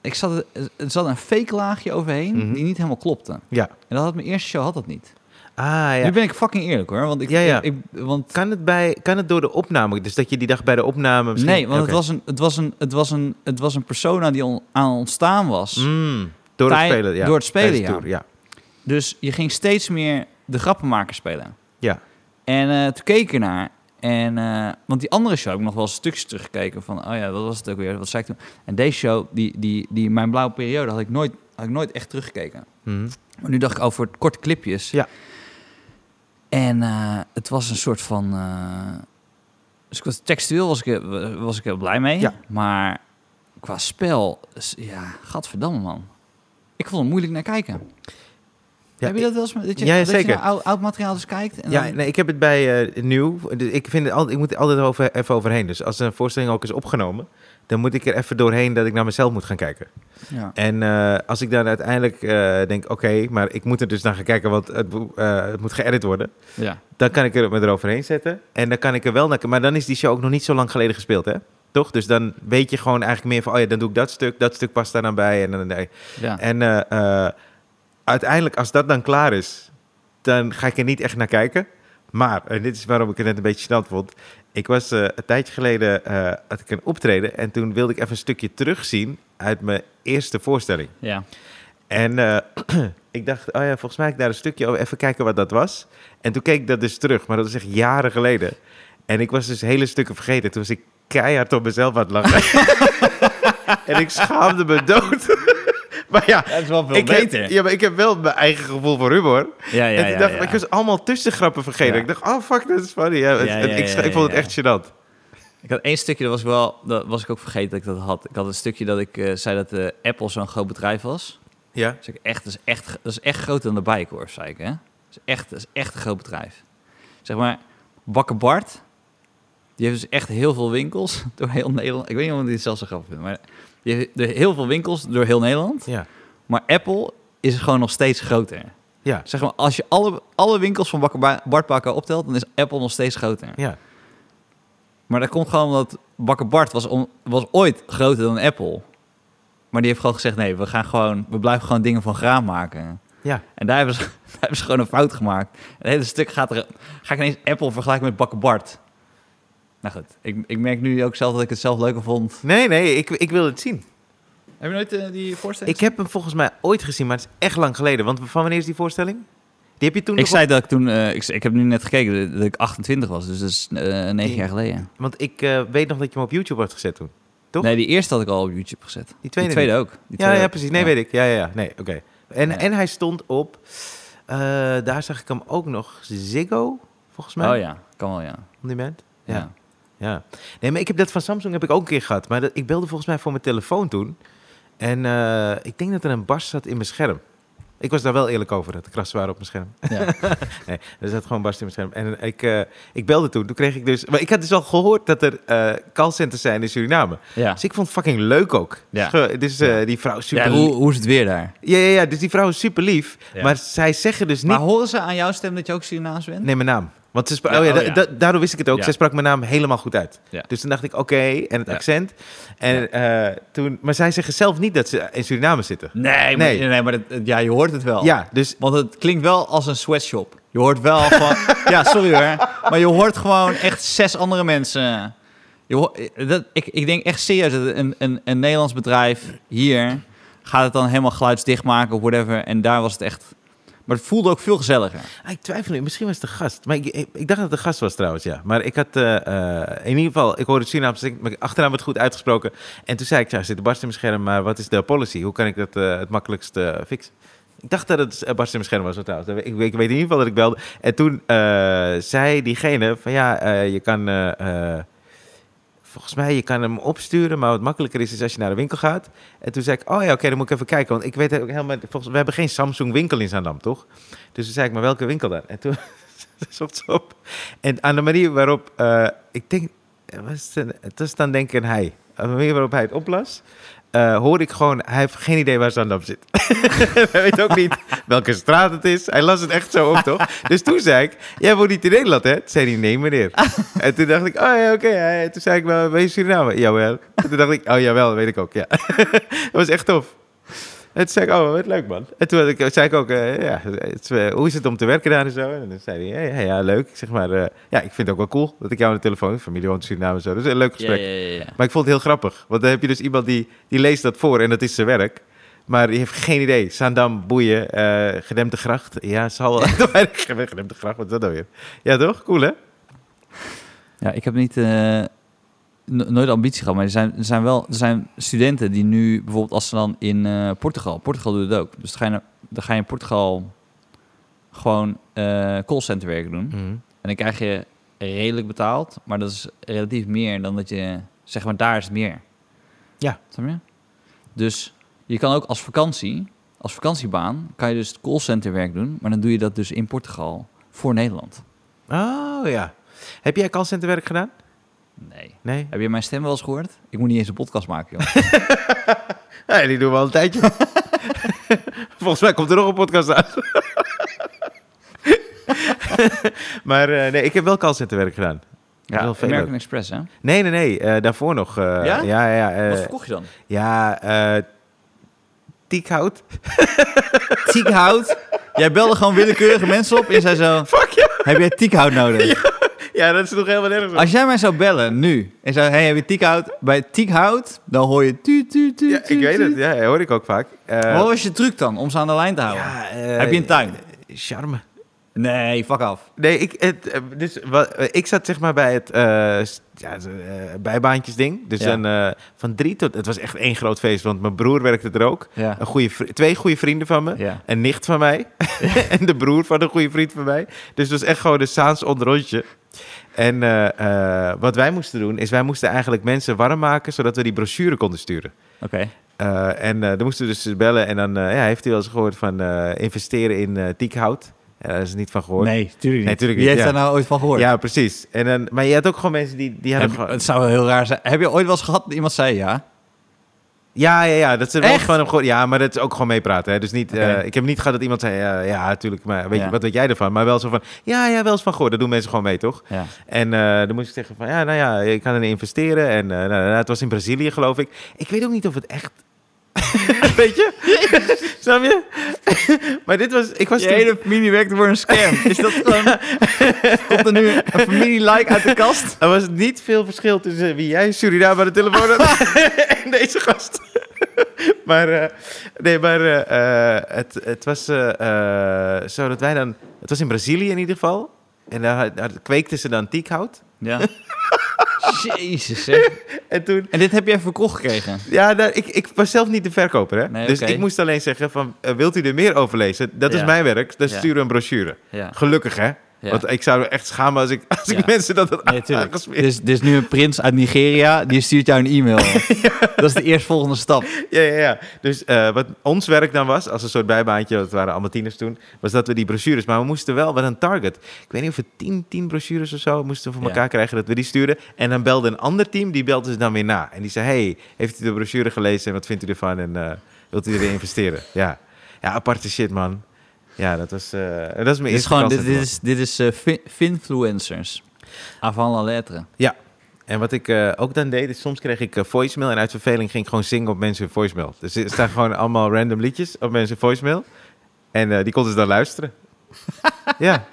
Speaker 2: Ik zat, er zat een fake laagje overheen
Speaker 1: Mhm.
Speaker 2: die niet helemaal klopte.
Speaker 1: Ja.
Speaker 2: En dat had mijn eerste show had dat niet.
Speaker 1: Ah,
Speaker 2: Nu
Speaker 1: ja.
Speaker 2: ben ik fucking eerlijk hoor. Want ik,
Speaker 1: Ja, ja.
Speaker 2: ik, ik- want,
Speaker 1: Kan het, bij, kan het door de opname? Dus dat je die dag bij de opname misschien...
Speaker 2: nee, want
Speaker 1: Oké.
Speaker 2: het, was een, het, was een, het, was een, het was een persona die on- aan ontstaan was.
Speaker 1: Mm, door het
Speaker 2: Tij-
Speaker 1: spelen, ja.
Speaker 2: door het spelen,
Speaker 1: Tijdens de
Speaker 2: ja.
Speaker 1: tour, ja.
Speaker 2: Dus je ging steeds meer de grappenmaker spelen.
Speaker 1: Ja.
Speaker 2: En eh, toen keek ik ernaar. En, eh, want die andere show heb ik nog wel eens stukjes teruggekeken van, oh ja, dat was het ook weer, wat zei ik toen? En deze show, die, die, die mijn blauwe periode, had ik nooit, had ik nooit echt teruggekeken.
Speaker 1: Mhm.
Speaker 2: Maar nu dacht ik over korte clipjes.
Speaker 1: Ja.
Speaker 2: En eh, het was een soort van, eh, dus ik was, textueel was ik, eh, was ik heel blij mee.
Speaker 1: Ja.
Speaker 2: Maar qua spel, is- ja, gadverdamme man. Ik vond het moeilijk naar kijken.
Speaker 1: Ja,
Speaker 2: Heb je dat wel eens? met- Dat je,
Speaker 1: Ja,
Speaker 2: dat je
Speaker 1: zeker.
Speaker 2: naar oud, oud materiaal dus kijkt? En
Speaker 1: Ja,
Speaker 2: dan-
Speaker 1: nee, ik heb het bij eh, nieuw. Dus ik, vind het al, ik moet er altijd over, even overheen. Dus als een voorstelling ook is opgenomen, dan moet ik er even doorheen dat ik naar mezelf moet gaan kijken.
Speaker 2: ja.
Speaker 1: En eh, als ik dan uiteindelijk eh, denk, oké, maar ik moet er dus naar gaan kijken, want het, bo- eh, het moet geëdit worden.
Speaker 2: ja.
Speaker 1: Dan kan ik er me eroverheen zetten. En dan kan ik er wel naar Maar dan is die show ook nog niet zo lang geleden gespeeld, hè? Toch? Dus dan weet je gewoon eigenlijk meer van, oh ja, dan doe ik dat stuk, dat stuk past daar dan bij. En, dan nee.
Speaker 2: ja.
Speaker 1: en eh, eh, uiteindelijk, als dat dan klaar is, dan ga ik er niet echt naar kijken. Maar, en dit is waarom ik het net een beetje gênant vond. Ik was eh, een tijdje geleden, eh had ik een optreden. En toen wilde ik even een stukje terugzien uit mijn eerste voorstelling.
Speaker 2: Ja.
Speaker 1: En eh, ik dacht, oh ja, volgens mij heb ik daar een stukje over. Even kijken wat dat was. En toen keek ik dat dus terug, maar dat is echt jaren geleden. En ik was dus hele stukken vergeten. Toen was ik keihard op mezelf aan het lachen. en ik schaamde me dood. maar ja,
Speaker 4: Dat is wel veel
Speaker 1: ik
Speaker 4: beter.
Speaker 1: heb, ja, maar ik heb wel mijn eigen gevoel voor humor.
Speaker 4: ja, ja,
Speaker 1: en ik, dacht, maar ik was allemaal tussengrappen vergeten.
Speaker 4: Ja.
Speaker 1: Ik dacht, oh fuck, dat is funny. Ja, het-
Speaker 4: Ja,
Speaker 1: het-
Speaker 4: ja,
Speaker 1: ik,
Speaker 4: ja,
Speaker 1: ik vond het
Speaker 4: ja,
Speaker 1: echt gênant.
Speaker 4: Ik had één stukje, dat was, wel, dat was ik ook vergeten dat ik dat had. Ik had een stukje dat ik eh, zei dat eh, Apple zo'n groot bedrijf was.
Speaker 1: Ja.
Speaker 4: Dus ik echt, dat, is echt, dat is echt groter dan de Bijenkorf, zei ik. Hè? Dat, is echt, dat is echt een groot bedrijf. Zeg maar, Bakker Bart, die heeft dus echt heel veel winkels door heel Nederland. Ik weet niet of ik dit zelfs zo grappig vind, maar die heeft er heel veel winkels door heel Nederland.
Speaker 1: Ja.
Speaker 4: Maar Apple is gewoon nog steeds groter.
Speaker 1: Ja.
Speaker 4: Zeg maar, als je alle, alle winkels van Bakker Ba- Bart bij elkaar optelt, dan is Apple nog steeds groter.
Speaker 1: Ja.
Speaker 4: Maar dat komt gewoon omdat Bakker Bart was, om, was ooit groter dan Apple. Maar die heeft gewoon gezegd, nee, we, gaan gewoon, we blijven gewoon dingen van graan maken.
Speaker 1: Ja.
Speaker 4: En daar hebben, ze, daar hebben ze gewoon een fout gemaakt. Het hele stuk gaat er... Ga ik ineens Apple vergelijken met Bakker Bart? Nou goed, ik, ik merk nu ook zelf dat ik het zelf leuker vond.
Speaker 1: Nee, nee, ik, ik wil het zien.
Speaker 4: Heb je nooit eh, die voorstelling?
Speaker 1: Ik heb hem volgens mij ooit gezien, maar het is echt lang geleden. Want van wanneer is die voorstelling? Die heb je toen
Speaker 4: Ik
Speaker 1: nog
Speaker 4: zei dat ik toen... eh, ik, ik heb nu net gekeken dat ik 28 was. Dus dat is eh, negen
Speaker 1: Nee.
Speaker 4: jaar geleden.
Speaker 1: op- Want ik eh, weet nog dat je hem op YouTube had gezet toen. Toch?
Speaker 4: Nee, die eerste had ik al op YouTube gezet.
Speaker 1: Die
Speaker 4: Die
Speaker 1: tweede,
Speaker 4: tweede ook. Die
Speaker 1: niet.
Speaker 4: tweede
Speaker 1: Ja, ja,
Speaker 4: ook.
Speaker 1: precies. Nee,
Speaker 4: Ja.
Speaker 1: weet ik. Ja, ja, ja. Nee, oké. En,
Speaker 4: Ja.
Speaker 1: en hij stond op... eh, daar zag ik hem ook nog. Ziggo, volgens mij.
Speaker 4: Oh ja, kan wel, ja.
Speaker 1: Op die moment. Ja.
Speaker 4: ja.
Speaker 1: Ja. Nee, maar ik heb dat van Samsung heb ik ook een keer gehad. Maar dat, ik belde volgens mij voor mijn telefoon toen. En eh, ik denk dat er een barst zat in mijn scherm. Ik was daar wel eerlijk over, dat de krassen waren op mijn scherm.
Speaker 4: Ja.
Speaker 1: nee, er zat gewoon barst in mijn scherm. En ik, eh, ik belde toen, toen kreeg ik dus... Maar ik had dus al gehoord dat er eh, callcenters zijn in Suriname.
Speaker 4: ja.
Speaker 1: Dus ik vond het fucking leuk ook.
Speaker 4: Ja.
Speaker 1: Dus, eh, Dus eh, die vrouw is super
Speaker 4: Ja,
Speaker 1: lief.
Speaker 4: hoe, hoe is het weer daar?
Speaker 1: Ja, ja, ja, dus die vrouw is super lief.
Speaker 4: Ja.
Speaker 1: Maar zij zeggen dus niet...
Speaker 2: Maar horen ze aan jouw stem dat je ook Surinaams bent?
Speaker 1: Nee, mijn naam. Want ze spra-
Speaker 4: Hm? Ja,
Speaker 1: oh ja,
Speaker 4: oh
Speaker 1: da-
Speaker 4: ja.
Speaker 1: da- daardoor wist ik het ook.
Speaker 4: Ja.
Speaker 1: Zij sprak mijn naam helemaal goed uit.
Speaker 4: Ja.
Speaker 1: Dus toen dacht ik, oké, en het
Speaker 4: Ja.
Speaker 1: accent. En, eh, toen, maar zij zeggen zelf niet dat ze in Suriname zitten.
Speaker 4: Nee,
Speaker 1: Nee.
Speaker 4: maar, nee, maar dat- dat- ja, je hoort het wel.
Speaker 1: Ja, dus
Speaker 4: Want het klinkt wel als een sweatshop. Je hoort wel van... ja, sorry hoor. Maar je hoort gewoon echt zes andere mensen. Je hoor- dat, ik, ik denk echt serieus dat een, een, een Nederlands bedrijf hier... gaat het dan helemaal geluidsdicht maken of whatever. En daar was het echt...
Speaker 2: Maar het voelde ook veel gezelliger.
Speaker 1: Ah, ik twijfel nu, misschien was het de gast. Maar ik, ik, ik dacht dat het de gast was trouwens, ja. Maar ik had, eh, eh, in ieder geval, ik hoorde Sinaams, mijn achternaam werd goed uitgesproken. En toen zei ik, ja, er zit een barst in mijn scherm, maar wat is de policy? Hoe kan ik dat eh, het makkelijkst eh, fixen? Ik dacht dat het een barst in mijn scherm was, hoor, trouwens. Ik, ik weet in ieder geval dat ik belde. En toen eh, zei diegene van, ja, eh, je kan... eh, eh, Volgens mij, je kan hem opsturen, maar wat makkelijker is, is als je naar de winkel gaat. En toen zei ik, oh ja, oké, dan moet ik even kijken. Want ik weet ook helemaal, volgens, we hebben geen Samsung winkel in Zaandam, toch? Dus toen zei ik, maar welke winkel dan? En toen zocht ze op. En aan de manier waarop, eh, ik denk, eh, was het, een- het was dan denk ik een hij. Aan de manier waarop hij het oplas, eh hoorde ik gewoon, hij heeft geen idee waar Zandam zit. hij weet ook niet welke straat het is. Hij las het echt zo op, toch? Dus toen zei ik, jij woont niet in Nederland, hè? Toen zei hij, nee meneer. en toen dacht ik, oh ja, oké. ja, ja. Toen zei ik, maar ben je Suriname? Jawel. En toen dacht ik, oh jawel, weet ik ook, ja. dat was echt tof. En toen zei ik, oh, wat leuk man. En toen had ik, zei ik ook, eh, ja, het is, eh, hoe is het om te werken daar en zo? En dan zei hij, ja, ja, ja, leuk. Ik zeg maar, eh, ja, ik vind het ook wel cool dat ik jou aan de telefoon, familie woont in Suriname en zo. Dus een leuk
Speaker 2: Ja,
Speaker 1: gesprek.
Speaker 2: ja, ja, ja.
Speaker 1: Maar ik vond het heel grappig, want dan heb je dus iemand die, die leest dat voor en dat is zijn werk. Maar die heeft geen idee. Zaandam, boeien, eh gedempte gracht. Ja, zal wel. gedempte gracht, wat is dat nou weer? Ja, toch? Cool, hè?
Speaker 2: Ja, ik heb niet, eh, no- nooit de ambitie gehad, maar er zijn, er zijn wel er zijn studenten die nu bijvoorbeeld als ze dan in eh, Portugal, Portugal doet het ook, dus dan ga je, naar- dan ga je in Portugal gewoon eh callcenter werken doen.
Speaker 1: Hm. Mhm.
Speaker 2: En dan krijg je redelijk betaald, maar dat is relatief meer dan dat je, zeg maar, daar is het meer.
Speaker 1: Ja.
Speaker 2: Snap je? Dus je kan ook als vakantie, als vakantiebaan, kan je dus het callcenterwerk doen, maar dan doe je dat dus in Portugal voor Nederland.
Speaker 1: Oh, ja. Heb jij callcenterwerk gedaan?
Speaker 2: Nee.
Speaker 1: Nee?
Speaker 2: Heb je mijn stem wel eens gehoord? Ik moet niet eens een podcast maken, joh.
Speaker 1: Ja, die doen we al een tijdje. Volgens mij komt er nog een podcast aan. maar eh, nee, ik heb wel callcenterwerk gedaan. Ja, wel veel
Speaker 2: American
Speaker 1: ook.
Speaker 2: Express, hè?
Speaker 1: Nee, nee, nee. eh, daarvoor nog. eh,
Speaker 2: Ja?
Speaker 1: Ja, ja. eh,
Speaker 2: Wat verkocht je dan?
Speaker 1: ja, eh tiekhout.
Speaker 3: Tiekhout. Jij belde gewoon willekeurige mensen op en je zei zo... Fuck Heb jij tiekhout nodig?
Speaker 1: Ja, dat is nog helemaal nergens. op.
Speaker 3: Als jij mij zou bellen nu en zou... Hey, heb je tiekhout? Bij tiekhout, dan hoor je tuut, tuut, tuut,
Speaker 1: Ja, ik
Speaker 3: tuut,
Speaker 1: weet
Speaker 3: tuut.
Speaker 1: het. Ja, hoor ik ook vaak. Eh,
Speaker 3: Wat was je truc dan om ze aan de lijn te houden?
Speaker 1: ja, eh,
Speaker 3: heb je een tuin?
Speaker 1: Charme.
Speaker 3: Nee, fuck af.
Speaker 1: Nee, ik, het, eh, dus, wat, eh, ik zat zeg maar bij het eh, st- ja, zo, eh, bijbaantjesding. Dus
Speaker 3: Ja.
Speaker 1: dan, eh, van drie tot... Het was echt één groot feest, want mijn broer werkte er ook.
Speaker 3: Ja.
Speaker 1: Een goede, vri- twee goede vrienden van me.
Speaker 3: Ja.
Speaker 1: Een nicht van mij. en de broer van een goede vriend van mij. Dus dat was echt gewoon een Saans onderrondje. En eh, eh, wat wij moesten doen, is wij moesten eigenlijk mensen warm maken... zodat we die brochure konden sturen.
Speaker 2: Oké.
Speaker 1: Eh, en eh, dan moesten we dus bellen. En dan eh, ja, heeft u wel eens gehoord van eh, investeren in eh tiekhout. Ja, daar is er niet van gehoord.
Speaker 3: Nee, tuurlijk
Speaker 1: Nee,
Speaker 3: niet.
Speaker 1: tuurlijk
Speaker 3: Wie
Speaker 1: niet,
Speaker 3: heeft
Speaker 1: ja.
Speaker 3: daar nou ooit van gehoord?
Speaker 1: Ja, precies. En dan, maar je had ook gewoon mensen die, die hadden
Speaker 3: Heb-
Speaker 1: gewoon...
Speaker 3: het zou wel heel raar zijn. Heb je ooit wel eens gehad dat iemand zei ja?
Speaker 1: Ja, ja, ja. Dat ze wel
Speaker 3: Echt?
Speaker 1: gewoon hem gewoon... Ja, maar dat is ook gewoon meepraten. Hè. Dus niet... eh,
Speaker 3: Oké.
Speaker 1: ik heb niet gehad dat iemand zei... ja, ja, natuurlijk. Maar weet
Speaker 3: Ja.
Speaker 1: je, wat weet jij ervan? Maar wel zo van... Ja, ja, wel eens van gehoord. Dat doen mensen gewoon mee, toch?
Speaker 3: Ja.
Speaker 1: En eh, dan moest ik zeggen van... Ja, nou ja, ik kan erin investeren. En eh, nou, nou, nou, het was in Brazilië, geloof ik. Ik weet ook niet of het echt... weet je? Snap je? maar dit was... Ik was
Speaker 3: Je
Speaker 1: toen-
Speaker 3: hele familie werkt voor een scam. Is dat gewoon... Komt er nu een familie-like uit de kast?
Speaker 1: Er was niet veel verschil tussen wie jij in Suriname aan de telefoon had en deze gast. maar eh, nee, maar eh, eh, het, het was eh, eh, zo dat wij dan... Het was in Brazilië in ieder geval. En daar, had- daar kweekten ze dan tiekhout.
Speaker 2: Ja. Jezus, zeg.
Speaker 1: En toen...
Speaker 2: En dit heb jij verkocht gekregen?
Speaker 1: Ja, nou, ik, ik was zelf niet de verkoper, hè?
Speaker 2: Nee,
Speaker 1: dus
Speaker 2: oké.
Speaker 1: ik moest alleen zeggen van... eh, wilt u er meer over lezen? Dat is
Speaker 2: Ja.
Speaker 1: mijn werk. Dan
Speaker 2: Ja.
Speaker 1: sturen we een brochure.
Speaker 2: Ja.
Speaker 1: Gelukkig, hè?
Speaker 2: Ja.
Speaker 1: Want ik zou me echt schamen als ik, als
Speaker 2: Ja.
Speaker 1: ik mensen dat had
Speaker 2: Nee, tuurlijk.
Speaker 1: aangesmeerd.
Speaker 3: Dus, dus nu een prins uit Nigeria, die stuurt jou een e-mail. Dat is de eerstvolgende stap.
Speaker 1: Ja, ja, ja. Dus eh, wat ons werk dan was, als een soort bijbaantje, dat waren allemaal tieners toen, was dat we die brochures, maar we moesten wel met een target. Ik weet niet of we tien, tien brochures of zo moesten we voor
Speaker 2: Ja.
Speaker 1: elkaar krijgen dat we die stuurden. En dan belde een ander team, die belde ze dan weer na. En die zei, hey, heeft u de brochure gelezen en wat vindt u ervan en eh, wilt u erin investeren? Ja. ja, aparte shit, man. Ja, dat was, eh, dat is mijn
Speaker 2: Dit is
Speaker 1: eerste
Speaker 2: gewoon, dit,
Speaker 1: callcenter,
Speaker 2: dit
Speaker 1: man.
Speaker 2: is, dit is eh, fin- finfluencers. Avant la lettre.
Speaker 1: En wat ik eh, ook dan deed, is soms kreeg ik eh, voicemail en uit verveling ging ik gewoon zingen op mensen hun voicemail. Dus er staan gewoon allemaal random liedjes op mensen hun voicemail. En eh, die konden ze dan luisteren. ja,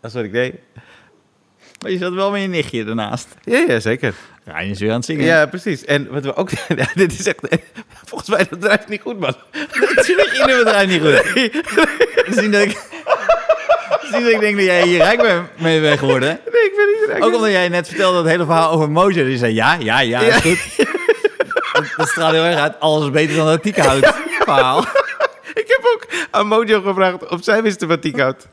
Speaker 1: dat is wat ik deed.
Speaker 3: Oh,
Speaker 2: Maar je zat wel met je nichtje ernaast.
Speaker 1: Ja, ja zeker.
Speaker 2: Ryan is weer aan het zingen.
Speaker 1: Ja, precies. En wat we ook... Ja, dit is echt... eh, Volgens mij dat draait niet goed, man.
Speaker 5: Ik neem het eruit niet goed. Zien dat ik... Zien dat ik denk dat jij hier rijk ben- mee bent geworden. hè?
Speaker 1: Nee, ik ben niet raak.
Speaker 5: Ook omdat jij net vertelde dat hele verhaal over Mojo. Die zei ja, ja, ja, is goed. Dat, dat straalt heel erg uit. Alles is beter dan dat Tiekhout verhaal.
Speaker 1: Ik heb ook aan Mojo gevraagd of zij wist wat die houdt.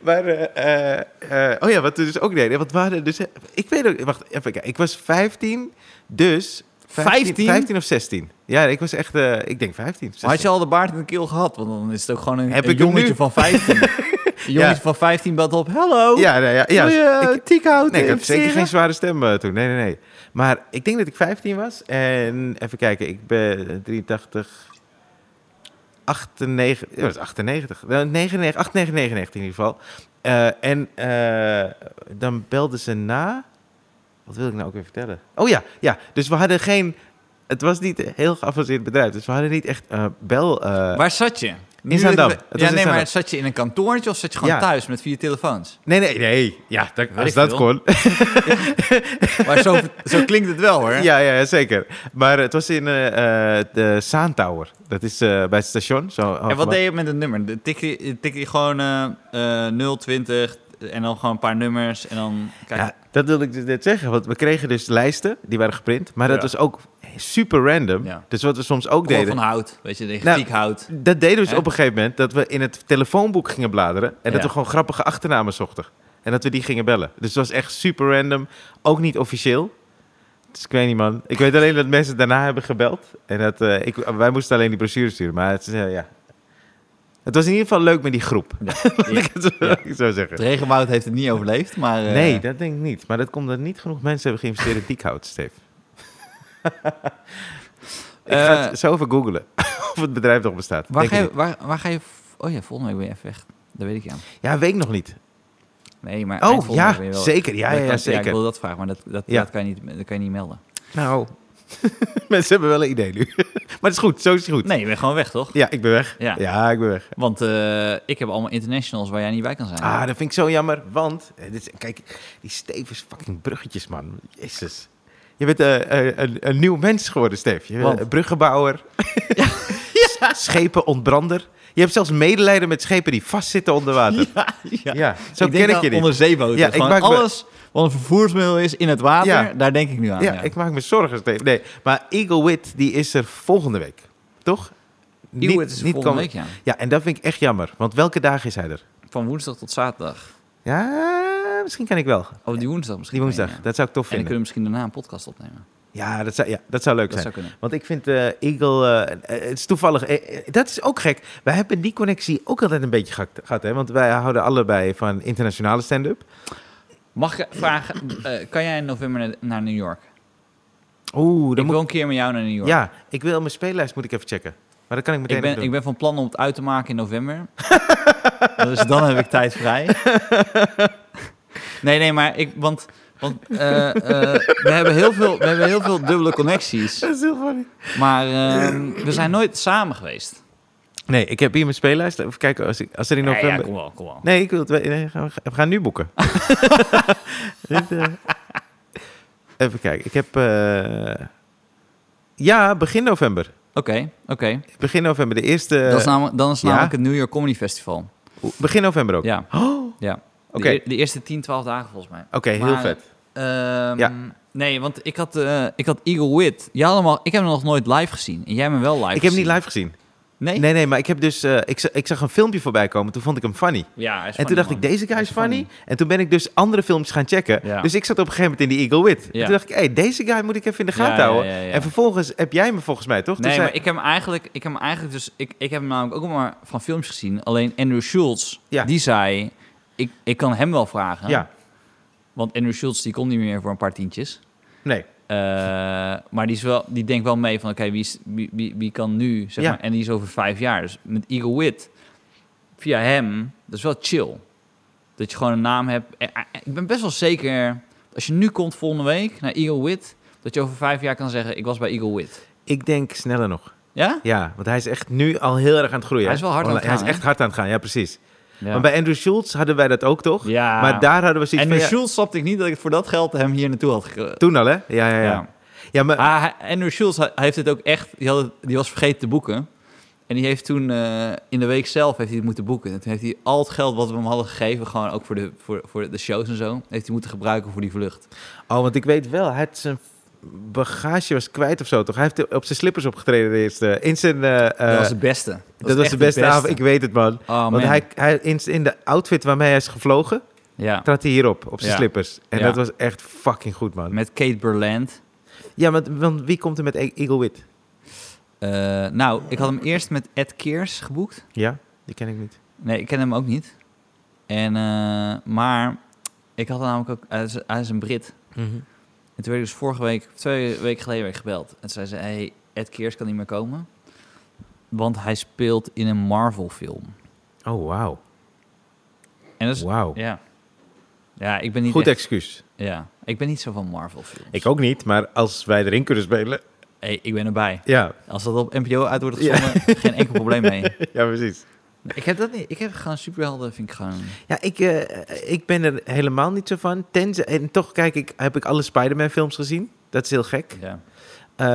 Speaker 1: Maar, eh, eh, eh, oh ja, wat we dus ook deden. Want we hadden dus, ik weet ook, wacht even kijken. Ik was 15, dus.
Speaker 5: 15?
Speaker 1: 15 of 16. Ja, ik was echt, eh, ik denk 15.
Speaker 2: Maar had je al de baard in de keel gehad? Want dan is het ook gewoon een,
Speaker 1: Heb
Speaker 2: een
Speaker 1: ik hem
Speaker 2: jongetje
Speaker 1: nu?
Speaker 2: van 15. een jongetje van 15 belt op. Hallo,
Speaker 1: 16. Ja, nee, ja, ja.
Speaker 2: wil
Speaker 5: dus
Speaker 2: je ik,
Speaker 1: Nee, ik had zeker geen zware stem eh, toen. Nee, nee, nee. Maar ik denk dat ik 15 was. En even kijken, ik ben 83. 98, ja, dat is 98. Eh, 99, 98, 99 in ieder geval. Eh, en eh, dan belde ze na. Wat wil ik nou ook weer vertellen? Oh ja, ja. Dus we hadden geen. Het was niet een heel geavanceerd bedrijf. Dus we hadden niet echt eh, bel. eh,
Speaker 2: Waar zat je? Nu dat
Speaker 1: Zaandam.
Speaker 2: we-
Speaker 1: Het was
Speaker 2: Ja,
Speaker 1: in
Speaker 2: nee, maar
Speaker 1: Zaandam.
Speaker 2: zat je in een kantoortje of zat je gewoon
Speaker 1: Ja.
Speaker 2: thuis met vier telefoons?
Speaker 1: Nee, nee, nee. Ja, dat,
Speaker 2: ik
Speaker 1: als dat
Speaker 2: veel.
Speaker 1: kon.
Speaker 2: Maar zo, zo klinkt het wel hoor.
Speaker 1: Ja, ja, ja, zeker. Maar het was in eh, eh, de Saantower. Dat is eh, bij het station. Zo, oh,
Speaker 2: En wat deed je met het nummer? De- Tik je, tik je gewoon eh eh 020 en dan gewoon een paar nummers en dan... Kijk,
Speaker 1: Ja, dat wilde ik dus net zeggen. Want we kregen dus lijsten, die waren geprint. Maar dat
Speaker 2: Ja.
Speaker 1: was ook super random.
Speaker 2: Ja.
Speaker 1: Dus wat we soms ook
Speaker 2: Cor
Speaker 1: deden...
Speaker 2: van hout, weet je, de
Speaker 1: Nou,
Speaker 2: getiek hout.
Speaker 1: Dat deden we dus
Speaker 2: Hè?
Speaker 1: op een gegeven moment. Dat we in het telefoonboek gingen bladeren. En dat
Speaker 2: Ja.
Speaker 1: we gewoon grappige achternamen zochten. En dat we die gingen bellen. Dus het was echt super random. Ook niet officieel. Dus ik weet niet, man. Ik weet alleen dat mensen daarna hebben gebeld. En dat, eh, ik, wij moesten alleen die brochure sturen. Maar het, is, eh, ja. het was in ieder geval leuk met die groep.
Speaker 2: Ja.
Speaker 1: Laat ik het zo, ik zo
Speaker 2: Het
Speaker 1: zeggen.
Speaker 2: regenwoud heeft het niet overleefd, maar... eh,
Speaker 1: Nee, dat denk ik niet. Maar dat komt omdat niet genoeg mensen hebben geïnvesteerd in diekhout, Steve. ik ga
Speaker 2: Eh.
Speaker 1: het zo even googelen. of het bedrijf nog bestaat.
Speaker 2: Waar
Speaker 1: Denk
Speaker 2: ga,
Speaker 1: ik
Speaker 2: je, waar, waar ga je... Oh ja, volgende week ben je even weg. Dat weet ik ja.
Speaker 1: niet. Ja, weet ik nog niet.
Speaker 2: Nee, maar eind
Speaker 1: Oh,
Speaker 2: volgende week ben
Speaker 1: ja,
Speaker 2: je wel-
Speaker 1: zeker. Ja,
Speaker 2: Dat
Speaker 1: ja, ja,
Speaker 2: kan- ik
Speaker 1: zeker.
Speaker 2: wilde dat vragen, maar dat, dat,
Speaker 1: Ja.
Speaker 2: dat, kan je niet, dat kan je niet melden.
Speaker 1: Nou, mensen hebben wel een idee nu. maar het is goed, zo is het goed.
Speaker 2: Nee, je bent gewoon weg, toch?
Speaker 1: Ja, ik ben weg.
Speaker 2: Ja.
Speaker 1: Ja, ik ben weg.
Speaker 2: Want eh, ik heb allemaal internationals waar jij niet bij kan zijn.
Speaker 1: Ah, dat vind ik zo jammer, want... eh, Dit is, kijk, die Steve is fucking bruggetjes, man. Jezus. Je bent eh, eh, een, een nieuw mens geworden, Steve. Je bent
Speaker 2: Want?
Speaker 1: een bruggenbouwer. Ja. Schepenontbrander. Je hebt zelfs medelijden met schepen die vastzitten onder water. Ja, zo
Speaker 2: denk
Speaker 1: ken ik
Speaker 2: aan
Speaker 1: je niet.
Speaker 2: onder zeeboten.
Speaker 1: Ja, ik
Speaker 2: Gewoon
Speaker 1: maak me-
Speaker 2: alles wat een vervoersmiddel is in het water,
Speaker 1: Ja.
Speaker 2: daar denk ik nu aan.
Speaker 1: Ja,
Speaker 2: ja.
Speaker 1: ik maak me zorgen, Steve. Nee, maar Eagle Wit, die is er volgende week. Toch?
Speaker 2: Eeuw, het is volgende
Speaker 1: komende-
Speaker 2: week, ja.
Speaker 1: Ja, en dat vind ik echt jammer. Want welke dag is hij er?
Speaker 2: Van woensdag tot zaterdag.
Speaker 1: Ja, misschien kan ik wel.
Speaker 2: Of die woensdag misschien.
Speaker 1: Die woensdag.
Speaker 2: Ja. En
Speaker 1: Dat zou ik tof
Speaker 2: dan kunnen
Speaker 1: vinden.
Speaker 2: we misschien daarna een podcast opnemen.
Speaker 1: Ja, dat zou, ja, dat zou leuk
Speaker 2: Dat
Speaker 1: zijn.
Speaker 2: zou kunnen.
Speaker 1: Want ik vind eh, Eagle... eh, eh, het is toevallig... eh, eh, dat is ook gek. Wij hebben die connectie ook altijd een beetje gehakt- gehad. Hè? Want wij houden allebei van internationale stand-up.
Speaker 2: Mag ik vragen, eh, kan jij in november naar- naar New York?
Speaker 1: Oeh,
Speaker 2: ik
Speaker 1: dan moet...
Speaker 2: wil een keer met jou naar New York.
Speaker 1: Ja, ik wil mijn speellijst moet ik even checken. Maar dat kan ik meteen
Speaker 2: Ik ben,
Speaker 1: even
Speaker 2: ik ben
Speaker 1: doen.
Speaker 2: van plan om het uit te maken in november. dus dan heb ik tijd vrij. nee, nee, maar ik. Want, want eh, eh, we, hebben heel veel, we hebben heel veel dubbele connecties.
Speaker 1: Dat is heel funny.
Speaker 2: Maar ehm, we zijn nooit samen geweest.
Speaker 1: Nee, ik heb hier mijn speellijst. Even kijken, als, ik, als er in
Speaker 2: Nee,
Speaker 1: november...
Speaker 2: ja, kom wel, kom wel.
Speaker 1: Nee, ik wil het. we- nee, gaan we, we gaan nu boeken. Dit, eh, Even kijken. Ik heb. eh, Ja, begin november.
Speaker 2: Oké, oké.
Speaker 1: Begin november. De eerste.
Speaker 2: Dat is namelijk- dan is
Speaker 1: Eh, ja.
Speaker 2: namelijk het New York Comedy Festival.
Speaker 1: Begin november ook.
Speaker 2: Ja,
Speaker 1: Oh,
Speaker 2: ja. De
Speaker 1: Oké.
Speaker 2: eer- De, eerste 10, 12 dagen volgens mij.
Speaker 1: Oké, heel
Speaker 2: Maar-
Speaker 1: vet.
Speaker 2: Ehm,
Speaker 1: Ja.
Speaker 2: Nee, want ik had, eh, ik had Eagle Wit. Jij had hem al- ik heb hem nog nooit live gezien. En jij hebt hem wel live
Speaker 1: Ik heb hem
Speaker 2: gezien.
Speaker 1: niet live gezien.
Speaker 2: Nee?
Speaker 1: Nee, nee, maar ik heb dus. eh, ik, za- ik zag een filmpje voorbij komen. Toen vond ik hem funny.
Speaker 2: Ja, hij is
Speaker 1: En toen
Speaker 2: funny,
Speaker 1: dacht
Speaker 2: man.
Speaker 1: ik, deze guy
Speaker 2: Hij
Speaker 1: is funny. En toen ben ik dus andere films gaan checken.
Speaker 2: Ja.
Speaker 1: Dus ik zat op een gegeven moment in die Eagle Wit. En
Speaker 2: Ja.
Speaker 1: toen dacht ik, hey, deze guy moet ik even in de
Speaker 2: Ja,
Speaker 1: gaten
Speaker 2: ja,
Speaker 1: houden.
Speaker 2: ja, ja.
Speaker 1: En vervolgens heb jij me volgens mij, toch? Toen
Speaker 2: Nee,
Speaker 1: zei-
Speaker 2: maar ik heb hem eigenlijk, ik heb hem eigenlijk dus, ik, ik heb hem namelijk ook maar van films gezien. Alleen Andrew Schultz,
Speaker 1: Ja.
Speaker 2: die zei, ik, ik kan hem wel vragen.
Speaker 1: Ja,
Speaker 2: Want Andrew Schultz, die komt niet meer voor een paar tientjes.
Speaker 1: nee.
Speaker 2: Eh, maar die, is wel, die denkt wel mee van, oké, wie, is- wie, wie, wie kan nu, zeg
Speaker 1: Ja.
Speaker 2: maar. En die is over vijf jaar. Dus met Eagle Wit, via hem, dat is wel chill. Dat je gewoon een naam hebt. Eh, eh, Ik ben best wel zeker, als je nu komt volgende week naar Eagle Wit, dat je over vijf jaar kan zeggen, ik was bij Eagle Wit.
Speaker 1: Ik denk sneller nog.
Speaker 2: Ja?
Speaker 1: Ja, want hij is echt nu al heel erg aan het groeien.
Speaker 2: Hij is wel hard aan het
Speaker 1: Hij
Speaker 2: gaan,
Speaker 1: is echt hard aan het gaan, ja, precies.
Speaker 2: Ja.
Speaker 1: Want bij Andrew Schultz hadden wij dat ook toch?
Speaker 2: Ja.
Speaker 1: Maar daar hadden we zoiets
Speaker 2: En
Speaker 1: van...
Speaker 2: met
Speaker 1: ja,
Speaker 2: Schulz snapte ik niet dat ik voor dat geld hem hier naartoe had ge...
Speaker 1: Toen al, hè? Ja, ja, ja. ja. maar
Speaker 2: Ah, hij- Andrew Schulz hij heeft het ook echt, die, had het- die was vergeten te boeken. En die heeft toen eh, in de week zelf heeft hij het moeten boeken. En toen heeft hij al het geld wat we hem hadden gegeven, gewoon ook voor de, voor, voor de shows en zo, heeft hij moeten gebruiken voor die vlucht.
Speaker 1: Oh, want ik weet wel, hij had zijn bagage was kwijt of zo, toch? Hij heeft op zijn slippers opgetreden eerst. eh, in zijn... eh, eh,
Speaker 2: dat was de beste. Dat,
Speaker 1: dat was
Speaker 2: echt
Speaker 1: de beste avond, ik weet het, man.
Speaker 2: Oh, man.
Speaker 1: want hij, hij, in, in de outfit waarmee hij is gevlogen,
Speaker 2: Ja,
Speaker 1: trad hij hierop, op zijn
Speaker 2: Ja.
Speaker 1: slippers. En
Speaker 2: Ja.
Speaker 1: dat was echt fucking goed, man.
Speaker 2: met Kate Berland.
Speaker 1: Ja, want, want wie komt er met E- Eagle Wit?
Speaker 2: Eh, nou, ik had hem eerst met Ed Keers geboekt.
Speaker 1: Ja, die ken ik niet.
Speaker 2: Nee, ik ken hem ook niet. En, eh, maar ik had namelijk ook, hij is, hij is een Brit.
Speaker 1: Mhm.
Speaker 2: En toen werd ik dus vorige week, twee weken geleden werd ik gebeld. En toen zei ze, hey, Ed Keers kan niet meer komen. Want hij speelt in een Marvel film.
Speaker 1: Oh, wauw.
Speaker 2: En dat is,
Speaker 1: Wauw.
Speaker 2: Dus- ja. Ja, ik ben niet
Speaker 1: Goed
Speaker 2: echt-
Speaker 1: excuus.
Speaker 2: ja, ik ben niet zo van Marvel films.
Speaker 1: Ik ook niet, maar als wij erin kunnen spelen...
Speaker 2: Hey, ik ben erbij.
Speaker 1: Ja,
Speaker 2: Als dat op NPO uit wordt gezonden, geen enkel probleem mee.
Speaker 1: ja precies.
Speaker 2: Ik heb dat niet. Ik heb gewoon superhelden, vind ik gewoon...
Speaker 1: Ja, ik, eh, ik ben er helemaal niet zo van. Tenzij, en toch kijk ik, heb ik alle Spider-Man films gezien. Dat is heel gek.
Speaker 2: Ja.
Speaker 1: Eh,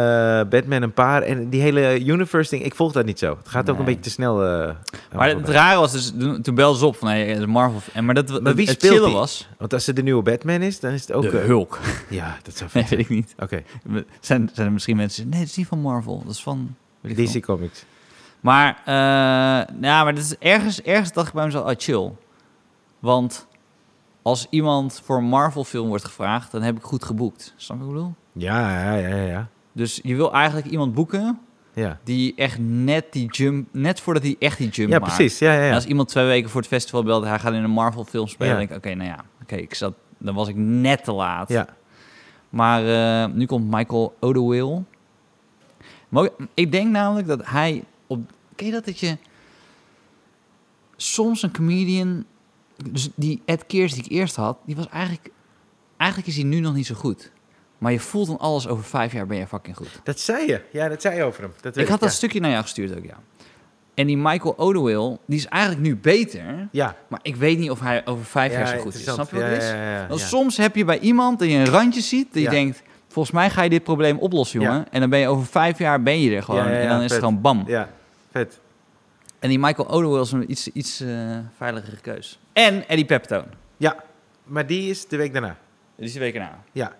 Speaker 1: Batman een paar. En die hele universe ding, ik volg dat niet zo. Het gaat ook
Speaker 2: Nee.
Speaker 1: een beetje te snel. eh,
Speaker 2: Maar
Speaker 1: voorbij.
Speaker 2: het rare was dus, toen toen belden ze op van, hey, het is Marvel... En maar dat,
Speaker 1: Maar wie
Speaker 2: het
Speaker 1: speelt
Speaker 2: chille
Speaker 1: die?
Speaker 2: was...
Speaker 1: Want als ze de nieuwe Batman is, dan is het ook...
Speaker 2: de
Speaker 1: eh,
Speaker 2: Hulk.
Speaker 1: ja, dat zou
Speaker 2: Nee,
Speaker 1: vet
Speaker 2: weet ik niet.
Speaker 1: zijn. Oké,
Speaker 2: Zijn, zijn er misschien mensen... die zeggen, Nee, het is niet van Marvel. Dat is van... weet ik veel.
Speaker 1: DC Comics.
Speaker 2: Maar, eh nou, maar dat is ergens, ergens dacht ik bij mezelf, ah, chill. Want als iemand voor een Marvel-film wordt gevraagd, dan heb ik goed geboekt. Snap je wat ik bedoel?
Speaker 1: Ja, ja, ja, ja, ja.
Speaker 2: Dus je wil eigenlijk iemand boeken
Speaker 1: Ja,
Speaker 2: die echt net die jump, net voordat hij echt die jump
Speaker 1: ja
Speaker 2: maakt.
Speaker 1: precies. Ja, ja,
Speaker 2: En
Speaker 1: ja.
Speaker 2: als iemand twee weken voor het festival belt, hij gaat in een Marvel-film spelen,
Speaker 1: Ja.
Speaker 2: dan denk ik, oké, nou ja, oké, ik zat, dan was ik net te laat.
Speaker 1: ja.
Speaker 2: Maar eh, nu komt Michael O'Dowell. Maar ook- ik denk namelijk dat hij... Op, ken je dat dat je... Soms een comedian... Dus die Ed Keers die ik eerst had, die was eigenlijk... Eigenlijk is hij nu nog niet zo goed. Maar je voelt dan alles, over vijf jaar ben je fucking goed.
Speaker 1: Dat zei je. Ja, dat zei je over hem. Dat weet
Speaker 2: Ik had dat
Speaker 1: ja.
Speaker 2: stukje naar jou gestuurd ook, ja. En die Michael O'Dowell, die is eigenlijk nu beter.
Speaker 1: Ja.
Speaker 2: Maar ik weet niet of hij over vijf
Speaker 1: Ja,
Speaker 2: jaar zo goed is.
Speaker 1: interessant.
Speaker 2: Snap je wat het
Speaker 1: Ja,
Speaker 2: is?
Speaker 1: ja, ja, ja,
Speaker 2: Want
Speaker 1: ja.
Speaker 2: soms heb je bij iemand dat je een randje ziet, dat je
Speaker 1: Ja.
Speaker 2: denkt, volgens mij ga je dit probleem oplossen, jongen.
Speaker 1: Ja.
Speaker 2: En dan ben je over vijf jaar ben je er gewoon.
Speaker 1: Ja, ja, ja,
Speaker 2: en dan is
Speaker 1: vet.
Speaker 2: het gewoon bam.
Speaker 1: Ja, vet.
Speaker 2: En die Michael O'Dowell is een iets, iets eh, veiligere keus. En Eddie Pepitone.
Speaker 1: Ja, maar die is de week daarna.
Speaker 2: Die is de week erna.
Speaker 1: Ja.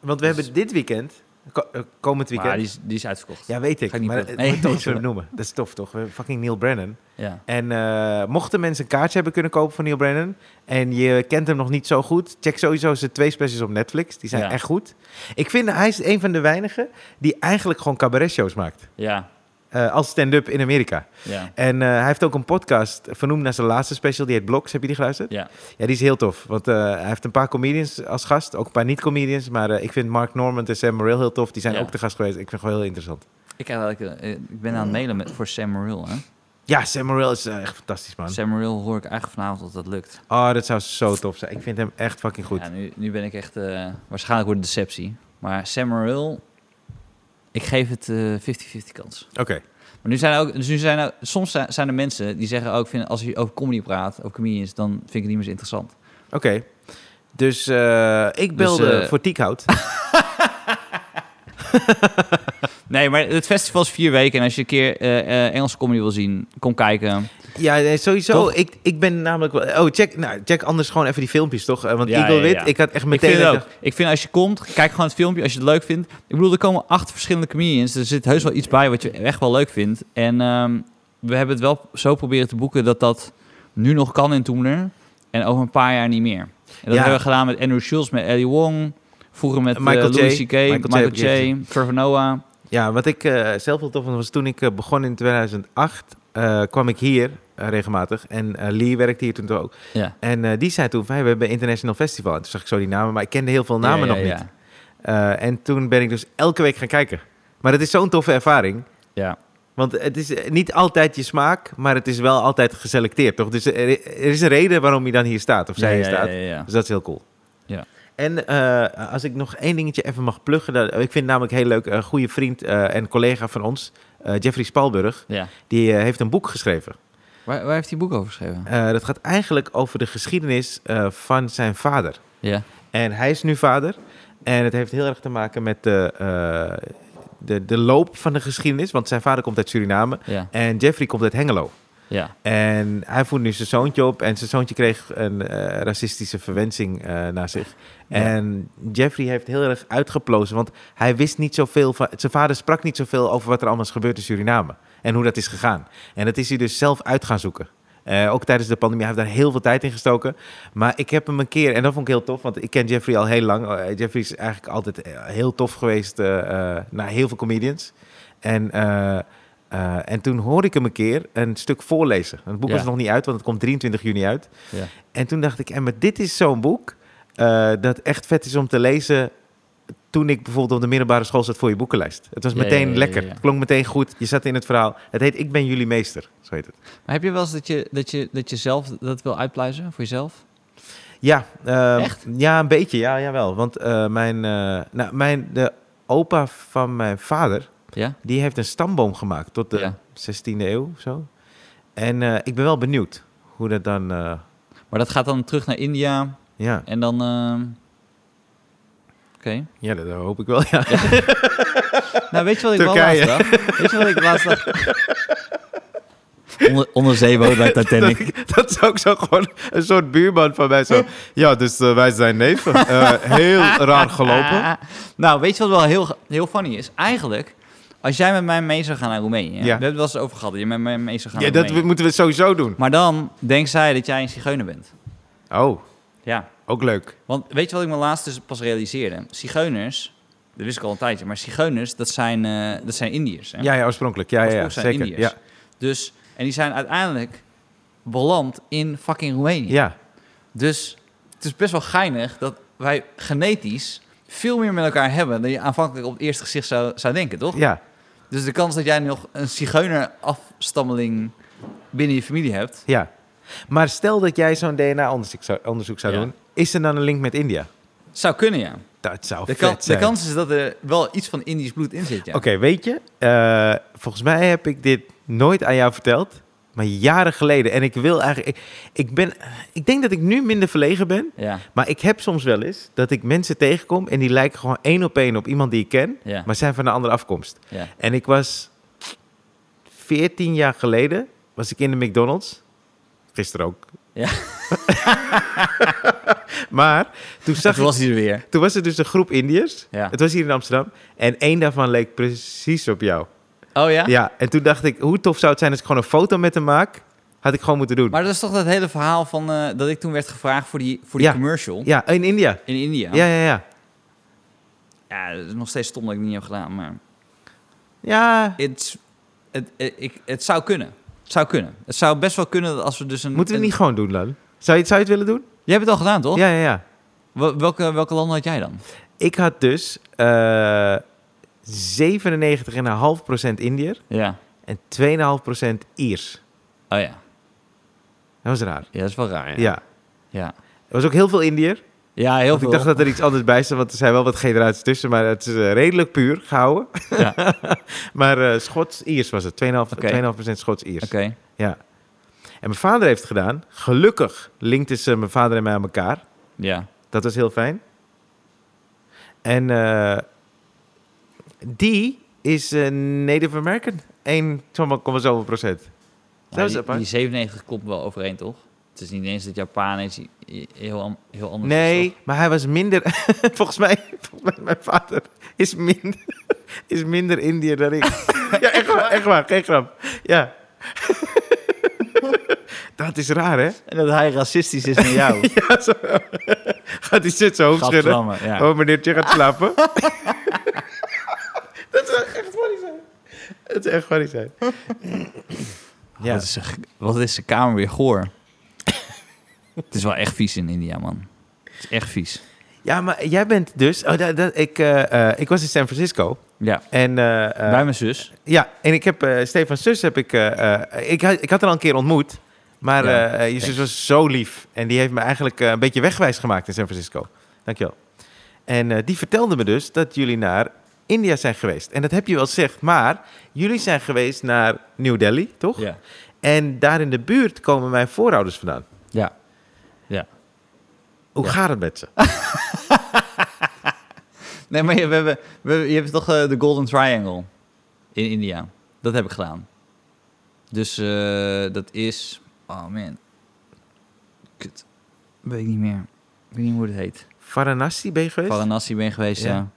Speaker 1: Want we hebben dit weekend, ko- eh, komend weekend...
Speaker 2: Maar die is, die is uitverkocht.
Speaker 1: Ja, weet
Speaker 2: Ga
Speaker 1: ik.
Speaker 2: ik niet
Speaker 1: maar
Speaker 2: praten.
Speaker 1: eh,
Speaker 2: Nee,
Speaker 1: moet toch
Speaker 2: nee,
Speaker 1: zo
Speaker 2: sorry.
Speaker 1: noemen. Dat is tof, toch? We hebben fucking Neil Brennan.
Speaker 2: Ja.
Speaker 1: En eh, mochten mensen een kaartje hebben kunnen kopen van Neil Brennan... en je kent hem nog niet zo goed... check sowieso zijn twee specials op Netflix. Die zijn
Speaker 2: Ja.
Speaker 1: echt goed. Ik vind, hij is een van de weinigen... die eigenlijk gewoon cabaret-shows maakt.
Speaker 2: Ja.
Speaker 1: Eh, als stand-up in Amerika.
Speaker 2: Ja.
Speaker 1: En eh, hij heeft ook een podcast vernoemd naar zijn laatste special. Die heet Blocks. Heb je die geluisterd?
Speaker 2: Ja.
Speaker 1: Ja, die is heel tof. Want eh, hij heeft een paar comedians als gast. Ook een paar niet-comedians. Maar eh, ik vind Mark Norman en Sam Morril heel tof. Die zijn
Speaker 2: Ja.
Speaker 1: ook te gast geweest. Ik vind het gewoon heel interessant.
Speaker 2: Ik, krijg eigenlijk, eh, ik ben aan het mailen met, voor Sam Morril. Hè?
Speaker 1: Ja, Sam Morril is eh, echt fantastisch, man.
Speaker 2: Sam Morril hoor ik eigenlijk vanavond dat dat lukt.
Speaker 1: Oh, dat zou zo tof zijn. Ik vind hem echt fucking goed.
Speaker 2: Ja, nu, nu ben ik echt... eh, waarschijnlijk wordt het deceptie. Maar Sam Morril... Ik geef het eh, 50-50 kans.
Speaker 1: Oké.
Speaker 2: Maar nu zijn er ook, dus nu zijn er, soms zi- zijn er mensen die zeggen ook, vind, als je over comedy praat, over comedians, dan vind ik het niet meer zo interessant.
Speaker 1: Oké. Dus eh, ik belde
Speaker 2: eh,
Speaker 1: voor Tiekhout.
Speaker 2: Nee, maar het festival is vier weken en als je een keer eh, eh, Engelse comedy wil zien, kom kijken.
Speaker 1: ja, nee, sowieso.
Speaker 2: Toch?
Speaker 1: Ik, ik ben namelijk wel... Oh, check, nou, check anders gewoon even die filmpjes, toch? Eh, Want
Speaker 2: Ja,
Speaker 1: Eagle
Speaker 2: ja,
Speaker 1: Wit,
Speaker 2: ja.
Speaker 1: ik had echt
Speaker 2: Ik
Speaker 1: meteen...
Speaker 2: vind, het
Speaker 1: dat ik
Speaker 2: ook. ik vind als je komt, kijk gewoon het filmpje als je het leuk vindt. Ik bedoel, er komen acht verschillende comedians, er zit heus wel iets bij wat je echt wel leuk vindt. En ehm, we hebben het wel zo proberen te boeken dat dat nu nog kan in Toemler en over een paar jaar niet meer. En dat
Speaker 1: Ja.
Speaker 2: hebben we gedaan met Andrew Schulz, met Ellie Wong, vroeger met eh,
Speaker 1: Michael J.
Speaker 2: Louis C.K.,
Speaker 1: Michael J.
Speaker 2: Michael
Speaker 1: heb ik
Speaker 2: J., Trevor Noah.
Speaker 1: Ja, wat ik eh, zelf heel tof vond, was toen ik eh, begon in 2008, eh, kwam ik hier eh, regelmatig. En eh, Lee werkte hier toen toch ook.
Speaker 2: Ja.
Speaker 1: En eh, die zei toen van, hey, we hebben een international festival. En toen zag ik zo die namen, maar ik kende heel veel namen
Speaker 2: Ja, ja,
Speaker 1: nog
Speaker 2: ja.
Speaker 1: niet. Eh, en toen ben ik dus elke week gaan kijken. Maar het is zo'n toffe ervaring.
Speaker 2: Ja.
Speaker 1: Want het is eh, niet altijd je smaak, maar het is wel altijd geselecteerd, toch? Dus er, er is een reden waarom je dan hier staat, of zij
Speaker 2: ja,
Speaker 1: hier
Speaker 2: ja,
Speaker 1: staat.
Speaker 2: Ja, ja, ja.
Speaker 1: Dus dat is heel cool.
Speaker 2: Ja.
Speaker 1: En eh, als ik nog één dingetje even mag pluggen. Dat, ik vind het namelijk heel leuk. Een goede vriend eh, en collega van ons, eh, Jeffrey Spalburg.
Speaker 2: Ja.
Speaker 1: Die eh, heeft een boek geschreven.
Speaker 2: Waar, waar heeft hij boek over geschreven?
Speaker 1: Eh, dat gaat eigenlijk over de geschiedenis eh, van zijn vader.
Speaker 2: Ja.
Speaker 1: En hij is nu vader. En het heeft heel erg te maken met de, eh, de, de loop van de geschiedenis. Want zijn vader komt uit Suriname
Speaker 2: Ja.
Speaker 1: en Jeffrey komt uit Hengelo.
Speaker 2: Ja.
Speaker 1: En hij voert nu zijn zoontje op. En zijn zoontje kreeg een eh, racistische verwensing eh naar zich. En Jeffrey heeft heel erg uitgeplozen. Want hij wist niet zoveel van. Zijn vader sprak niet zoveel over wat er allemaal is gebeurd in Suriname. En hoe dat is gegaan. En dat is hij dus zelf uit gaan zoeken. Eh, ook tijdens de pandemie. Hij heeft daar heel veel tijd in gestoken. Maar ik heb hem een keer. En dat vond ik heel tof. Want ik ken Jeffrey al heel lang. Eh, Jeffrey is eigenlijk altijd eh, heel tof geweest. eh, eh, naar heel veel comedians. En. eh, eh, en toen hoorde ik hem een keer een stuk voorlezen. Het boek
Speaker 2: Ja.
Speaker 1: was nog niet uit, want het komt 23 juni uit.
Speaker 2: Ja.
Speaker 1: En toen dacht ik, en maar dit is zo'n boek eh, dat echt vet is om te lezen. Toen ik bijvoorbeeld op de middelbare school zat voor je boekenlijst. Het was
Speaker 2: Ja, ja,
Speaker 1: meteen
Speaker 2: ja, ja,
Speaker 1: lekker.
Speaker 2: ja.
Speaker 1: Het klonk meteen goed. Je zat in het verhaal. Het heet Ik ben jullie meester. Zo heet het.
Speaker 2: Maar heb je wel eens dat je, dat je, dat je zelf dat wil uitpluizen voor jezelf?
Speaker 1: Ja, eh,
Speaker 2: Echt?
Speaker 1: ja een beetje. Ja, jawel. Want eh, mijn, eh, nou, mijn, de opa van mijn vader,
Speaker 2: Ja?
Speaker 1: die heeft een stamboom gemaakt tot de
Speaker 2: Ja.
Speaker 1: 16e eeuw of zo. En eh, ik ben wel benieuwd hoe dat dan... eh,
Speaker 2: Maar dat gaat dan terug naar India
Speaker 1: ja.
Speaker 2: en dan... ehm, Oké.
Speaker 1: ja, dat hoop ik wel. Ja.
Speaker 2: Nou, weet je wat ik
Speaker 1: Turkije.
Speaker 2: wel laatst dacht? Weet je wat ik laatst dacht?
Speaker 3: Onder, onderzeeboot bij Titanic.
Speaker 1: Dat is ook zo gewoon een soort buurman van mij. Zo. Ja, dus eh, wij zijn neven. Eh, heel raar gelopen.
Speaker 2: Ah, nou, weet je wat wel heel, heel funny is? Eigenlijk, als jij met mij mee zou gaan naar Roemenië...
Speaker 1: Ja.
Speaker 2: We hebben het wel eens over gehad, dat je met mij mee zou gaan
Speaker 1: Ja,
Speaker 2: naar
Speaker 1: dat we-
Speaker 2: Roemenië.
Speaker 1: moeten we sowieso doen.
Speaker 2: Maar dan denkt zij dat jij een zigeuner bent.
Speaker 1: Oh,
Speaker 2: Ja.
Speaker 1: ook leuk.
Speaker 2: Want weet je wat ik me laatst dus pas realiseerde? Zigeuners, dat wist ik al een tijdje, maar zigeuners, dat zijn, eh, dat zijn Indiërs. Hè?
Speaker 1: Ja, ja oorspronkelijk. Ja, ja, ja,
Speaker 2: Oorspronkelijk zijn
Speaker 1: zeker.
Speaker 2: Indiërs.
Speaker 1: Ja,
Speaker 2: Dus, en die zijn uiteindelijk beland in fucking Roemenië.
Speaker 1: ja.
Speaker 2: Dus het is best wel geinig dat wij genetisch veel meer met elkaar hebben dan je aanvankelijk op het eerste gezicht zou, zou denken, toch?
Speaker 1: ja.
Speaker 2: Dus de kans dat jij nog een zigeuner afstammeling binnen je familie hebt.
Speaker 1: Ja. Maar stel dat jij zo'n DNA-onderzoek zou, onderzoek zou
Speaker 2: Ja.
Speaker 1: doen, is er dan een link met India?
Speaker 2: Zou kunnen, ja.
Speaker 1: Dat zou
Speaker 2: De,
Speaker 1: vet
Speaker 2: kan- de
Speaker 1: zijn.
Speaker 2: kans is dat er wel iets van Indisch bloed in zit, ja.
Speaker 1: Oké, weet je, eh, volgens mij heb ik dit nooit aan jou verteld, maar jaren geleden. En ik wil eigenlijk, ik, ik ben, ik denk dat ik nu minder verlegen ben,
Speaker 2: Ja,
Speaker 1: maar ik heb soms wel eens dat ik mensen tegenkom en die lijken gewoon één op één op iemand die ik ken,
Speaker 2: ja,
Speaker 1: maar zijn van een andere afkomst.
Speaker 2: ja.
Speaker 1: En ik was 14 jaar geleden, was ik in de McDonald's. Gisteren ook.
Speaker 2: Ja.
Speaker 1: maar toen zag
Speaker 2: Toen
Speaker 1: ik,
Speaker 2: was hij er weer.
Speaker 1: toen was er dus een groep Indiërs.
Speaker 2: Ja.
Speaker 1: Het was hier in Amsterdam. En één daarvan leek precies op jou.
Speaker 2: Oh ja?
Speaker 1: Ja, en toen dacht ik, hoe tof zou het zijn als ik gewoon een foto met hem maak? Had ik gewoon moeten doen.
Speaker 2: Maar dat is toch dat hele verhaal van eh, dat ik toen werd gevraagd voor die, voor die
Speaker 1: Ja.
Speaker 2: commercial
Speaker 1: Ja, in India.
Speaker 2: in India.
Speaker 1: Ja, ja, ja.
Speaker 2: ja, dat is nog steeds stom dat ik het niet heb gedaan, maar...
Speaker 1: Ja,
Speaker 2: It's- het, het, ik, het zou kunnen. Het zou kunnen. Het zou best wel kunnen dat als we dus een...
Speaker 1: moeten we
Speaker 2: een-
Speaker 1: het niet gewoon doen dan? Zou je, zou je het willen doen?
Speaker 2: Jij hebt het al gedaan, toch?
Speaker 1: Ja, ja, ja.
Speaker 2: Wel- Welke, welke landen had jij dan?
Speaker 1: Ik had dus eh 97,5% Indiër
Speaker 2: Ja.
Speaker 1: en 2,5% Iers.
Speaker 2: Oh ja.
Speaker 1: Dat was raar.
Speaker 2: Ja, dat is wel raar. Ja.
Speaker 1: Ja.
Speaker 2: Ja,
Speaker 1: Er was ook heel veel Indiër.
Speaker 2: Ja, heel
Speaker 1: Want
Speaker 2: veel.
Speaker 1: ik dacht dat er iets anders bij stond, want er zijn wel wat generaties tussen, maar het is eh, redelijk puur gehouden.
Speaker 2: Ja.
Speaker 1: maar eh, Schots-Iers was het, 2,5%
Speaker 2: Oké.
Speaker 1: 2,5% Schots-Iers.
Speaker 2: Oké.
Speaker 1: Ja. En mijn vader heeft het gedaan. Gelukkig linkten ze mijn vader en mij aan elkaar.
Speaker 2: Ja.
Speaker 1: Dat was heel fijn. En eh, die is eh, Native American. 1,7 procent. Dat
Speaker 2: Maar
Speaker 1: was
Speaker 2: Nou, die,
Speaker 1: apart.
Speaker 2: die 97 klopt wel overeen, toch? Het is niet eens dat Japan is i- i- heel, an- heel anders. is,
Speaker 1: Nee,
Speaker 2: toch?
Speaker 1: maar hij was minder... volgens, mij, volgens mij, mijn vader is minder, is minder Indiër dan ik. ja, echt waar, echt waar. Geen grap. Ja. Dat is raar, hè?
Speaker 3: En dat hij racistisch is naar jou.
Speaker 1: Ja, zo. Gaat hij zit zo hoofd schudden?
Speaker 2: Gadverdamme, ja.
Speaker 1: Oh, meneertje gaat slapen. dat zou echt funny zijn. Dat zou echt funny zijn. Ja.
Speaker 2: Wat, is zijn, g- wat is zijn kamer weer goor? het is wel echt vies in India, man. Het is echt vies.
Speaker 1: ja, maar jij bent dus... Oh, dat, dat, ik, eh, eh, ik was in San Francisco.
Speaker 2: Ja.
Speaker 1: En, eh, eh,
Speaker 2: Bij mijn zus.
Speaker 1: ja, en ik heb... eh Stefan zus heb ik... eh, eh, ik, had- ik had haar al een keer ontmoet. Maar
Speaker 2: Ja,
Speaker 1: eh, eh, je zus
Speaker 2: thanks.
Speaker 1: was zo lief. En die heeft me eigenlijk eh, een beetje wegwijs gemaakt in San Francisco. Dankjewel. En eh, die vertelde me dus dat jullie naar India zijn geweest. En dat heb je wel gezegd. Maar jullie zijn geweest naar New Delhi, toch?
Speaker 2: Ja.
Speaker 1: En daar in de buurt komen mijn voorouders vandaan.
Speaker 6: Ja. Ja.
Speaker 1: Hoe gaat het met ze?
Speaker 2: Nee, maar je, we hebben, we, hebben- je hebt toch eh, de Golden Triangle in India. Dat heb ik gedaan. Dus eh, dat is... Oh man. Kut. Weet ik niet meer. Ik weet niet hoe het heet.
Speaker 1: Varanasi ben je geweest?
Speaker 2: Varanasi ben je geweest, ja.
Speaker 1: Ja.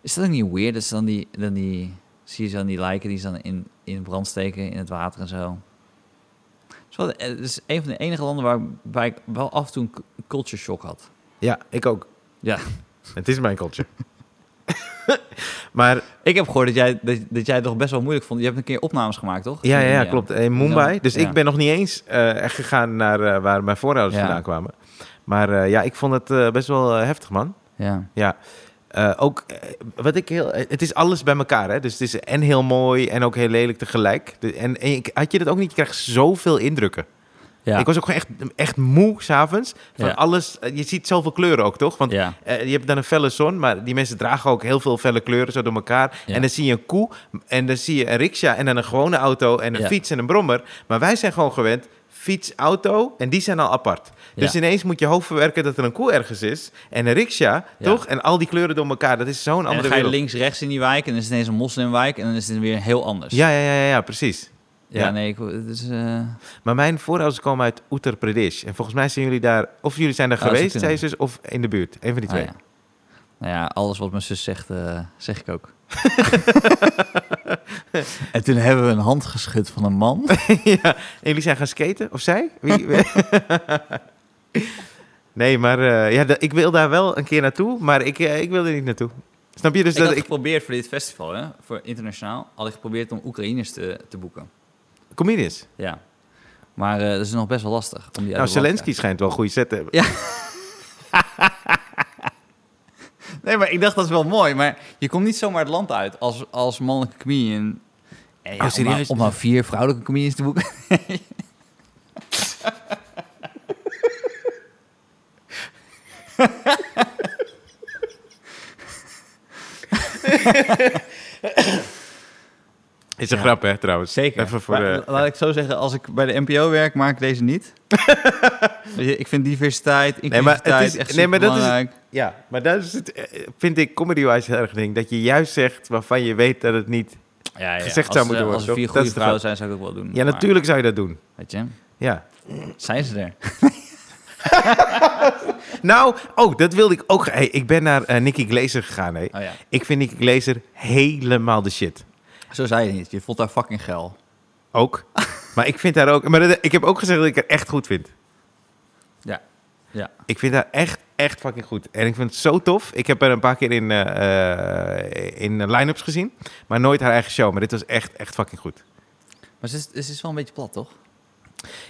Speaker 2: Is dat ook niet weird? Dat is dan die, dan die... Zie je zo dan die lijken die ze dan in, in brand steken in het water en zo. Het is, wel, eh, het is een van de enige landen waarbij ik wel af en toe een cu- culture shock had.
Speaker 1: ja, ik ook.
Speaker 2: Ja.
Speaker 1: Het is mijn culture. maar
Speaker 2: Ik heb gehoord dat jij, dat, dat jij het toch best wel moeilijk vond. Je hebt een keer opnames gemaakt, toch?
Speaker 1: ja, ja,
Speaker 2: In
Speaker 1: ja,
Speaker 2: India.
Speaker 1: klopt. In Mumbai.
Speaker 2: Ja.
Speaker 1: Dus
Speaker 2: Ja.
Speaker 1: ik ben nog niet eens eh, echt gegaan naar eh, waar mijn voorouders
Speaker 2: Ja.
Speaker 1: vandaan kwamen. Maar eh, ja, ik vond het eh, best wel eh, heftig, man.
Speaker 2: Ja.
Speaker 1: Eh, ook eh, wat ik heel. eh, Het is alles bij elkaar, hè? Dus het is en heel mooi en ook heel lelijk tegelijk. De- en en ik, had je dat ook niet? Je krijgt zoveel indrukken.
Speaker 2: Ja.
Speaker 1: Ik was ook gewoon echt, echt moe s'avonds. Van
Speaker 2: Ja.
Speaker 1: alles. eh, Je ziet zoveel kleuren ook, toch? Want
Speaker 2: Ja.
Speaker 1: eh, je hebt dan een felle zon, maar die mensen dragen ook heel veel felle kleuren zo door elkaar.
Speaker 2: Ja.
Speaker 1: En dan zie je een koe, en dan zie je een riksja, en dan een gewone auto, en een
Speaker 2: Ja.
Speaker 1: fiets en een brommer. Maar wij zijn gewoon gewend fiets, auto, en die zijn al apart. Dus
Speaker 2: Ja.
Speaker 1: ineens moet je hoofd verwerken dat er een koe ergens is, en een riksja,
Speaker 2: Ja.
Speaker 1: toch? En al die kleuren door elkaar, dat is zo'n
Speaker 2: En dan
Speaker 1: andere
Speaker 2: ga je
Speaker 1: wereld.
Speaker 2: links, rechts in die wijk en dan is het ineens een moslimwijk en dan is het weer heel anders.
Speaker 1: Ja, ja, ja, ja, ja, precies.
Speaker 2: Ja,
Speaker 1: ja.
Speaker 2: nee, ik, het is, eh,
Speaker 1: Maar mijn voorouders komen uit Uttar Pradesh. En volgens mij zijn jullie daar, of jullie zijn daar
Speaker 2: Oh, dat zou
Speaker 1: geweest, zei
Speaker 2: kunnen.
Speaker 1: Ah, ze, of in de buurt. Een van die
Speaker 2: ah,
Speaker 1: twee.
Speaker 2: ja. Nou ja, alles wat mijn zus zegt, eh, zeg ik ook. en toen hebben we een hand geschud van een man.
Speaker 1: ja, en jullie zijn gaan skaten? Of zij? Wie? nee, maar eh, ja, da- ik wil daar wel een keer naartoe, maar ik, eh, ik wil er niet naartoe. Snap je? Dus
Speaker 2: ik had
Speaker 1: dat ik...
Speaker 2: geprobeerd voor dit festival, hè, voor internationaal, had ik geprobeerd om Oekraïners te, te boeken.
Speaker 1: Comedians.
Speaker 2: Ja. Maar eh, dat is nog best wel lastig. Om die uit
Speaker 1: dus. nou,
Speaker 2: de land te
Speaker 1: Zelensky schijnt wel een goede set te hebben.
Speaker 2: Nee, maar ik dacht dat is wel mooi. Maar je komt niet zomaar het land uit als, als mannelijke comedian. Eh, ja,
Speaker 1: Oh, serieus?
Speaker 2: Om nou, om nou vier vrouwelijke comedians te boeken.
Speaker 1: Is een grap, hè, trouwens.
Speaker 2: Zeker.
Speaker 1: Even voor...
Speaker 2: Maar,
Speaker 1: eh,
Speaker 2: la- Laat ik zo zeggen, als ik bij de NPO werk, maak ik deze niet. Weet je, ik vind diversiteit,
Speaker 1: maar het
Speaker 2: inclusiviteit
Speaker 1: is-
Speaker 2: echt
Speaker 1: nee, maar dat is-
Speaker 2: superbelangrijk.
Speaker 1: Ja, maar dat is het, eh, vind ik comedy-wise heel erg ding. Dat je juist zegt waarvan je weet dat het niet...
Speaker 2: ja, ja.
Speaker 1: gezegd
Speaker 2: als,
Speaker 1: zou
Speaker 2: eh,
Speaker 1: moeten worden,
Speaker 2: Als er
Speaker 1: toch?
Speaker 2: vier
Speaker 1: Dat is
Speaker 2: goede
Speaker 1: het
Speaker 2: vrouwen zijn, zou ik ook wel doen.
Speaker 1: Ja,
Speaker 2: Maar,
Speaker 1: natuurlijk zou je dat doen.
Speaker 2: Weet je,
Speaker 1: Ja.
Speaker 2: zijn ze er?
Speaker 1: Nou, oh, dat wilde ik ook... Hey, ik ben naar eh, Nicky Glazer gegaan, hè.
Speaker 2: Oh ja,
Speaker 1: Ik vind Nicky Glazer helemaal de shit.
Speaker 2: zo zei je niet. Je voelt daar fucking geil.
Speaker 1: Ook. Maar ik vind daar ook. Maar dat- ik heb ook gezegd dat ik het echt goed vind.
Speaker 2: Ja. Ja.
Speaker 1: Ik vind haar echt, echt fucking goed. En ik vind het zo tof. Ik heb haar een paar keer in, eh, eh, in line-ups gezien. Maar nooit haar eigen show. Maar dit was echt, echt fucking goed.
Speaker 2: Maar ze is, ze is wel een beetje plat, toch?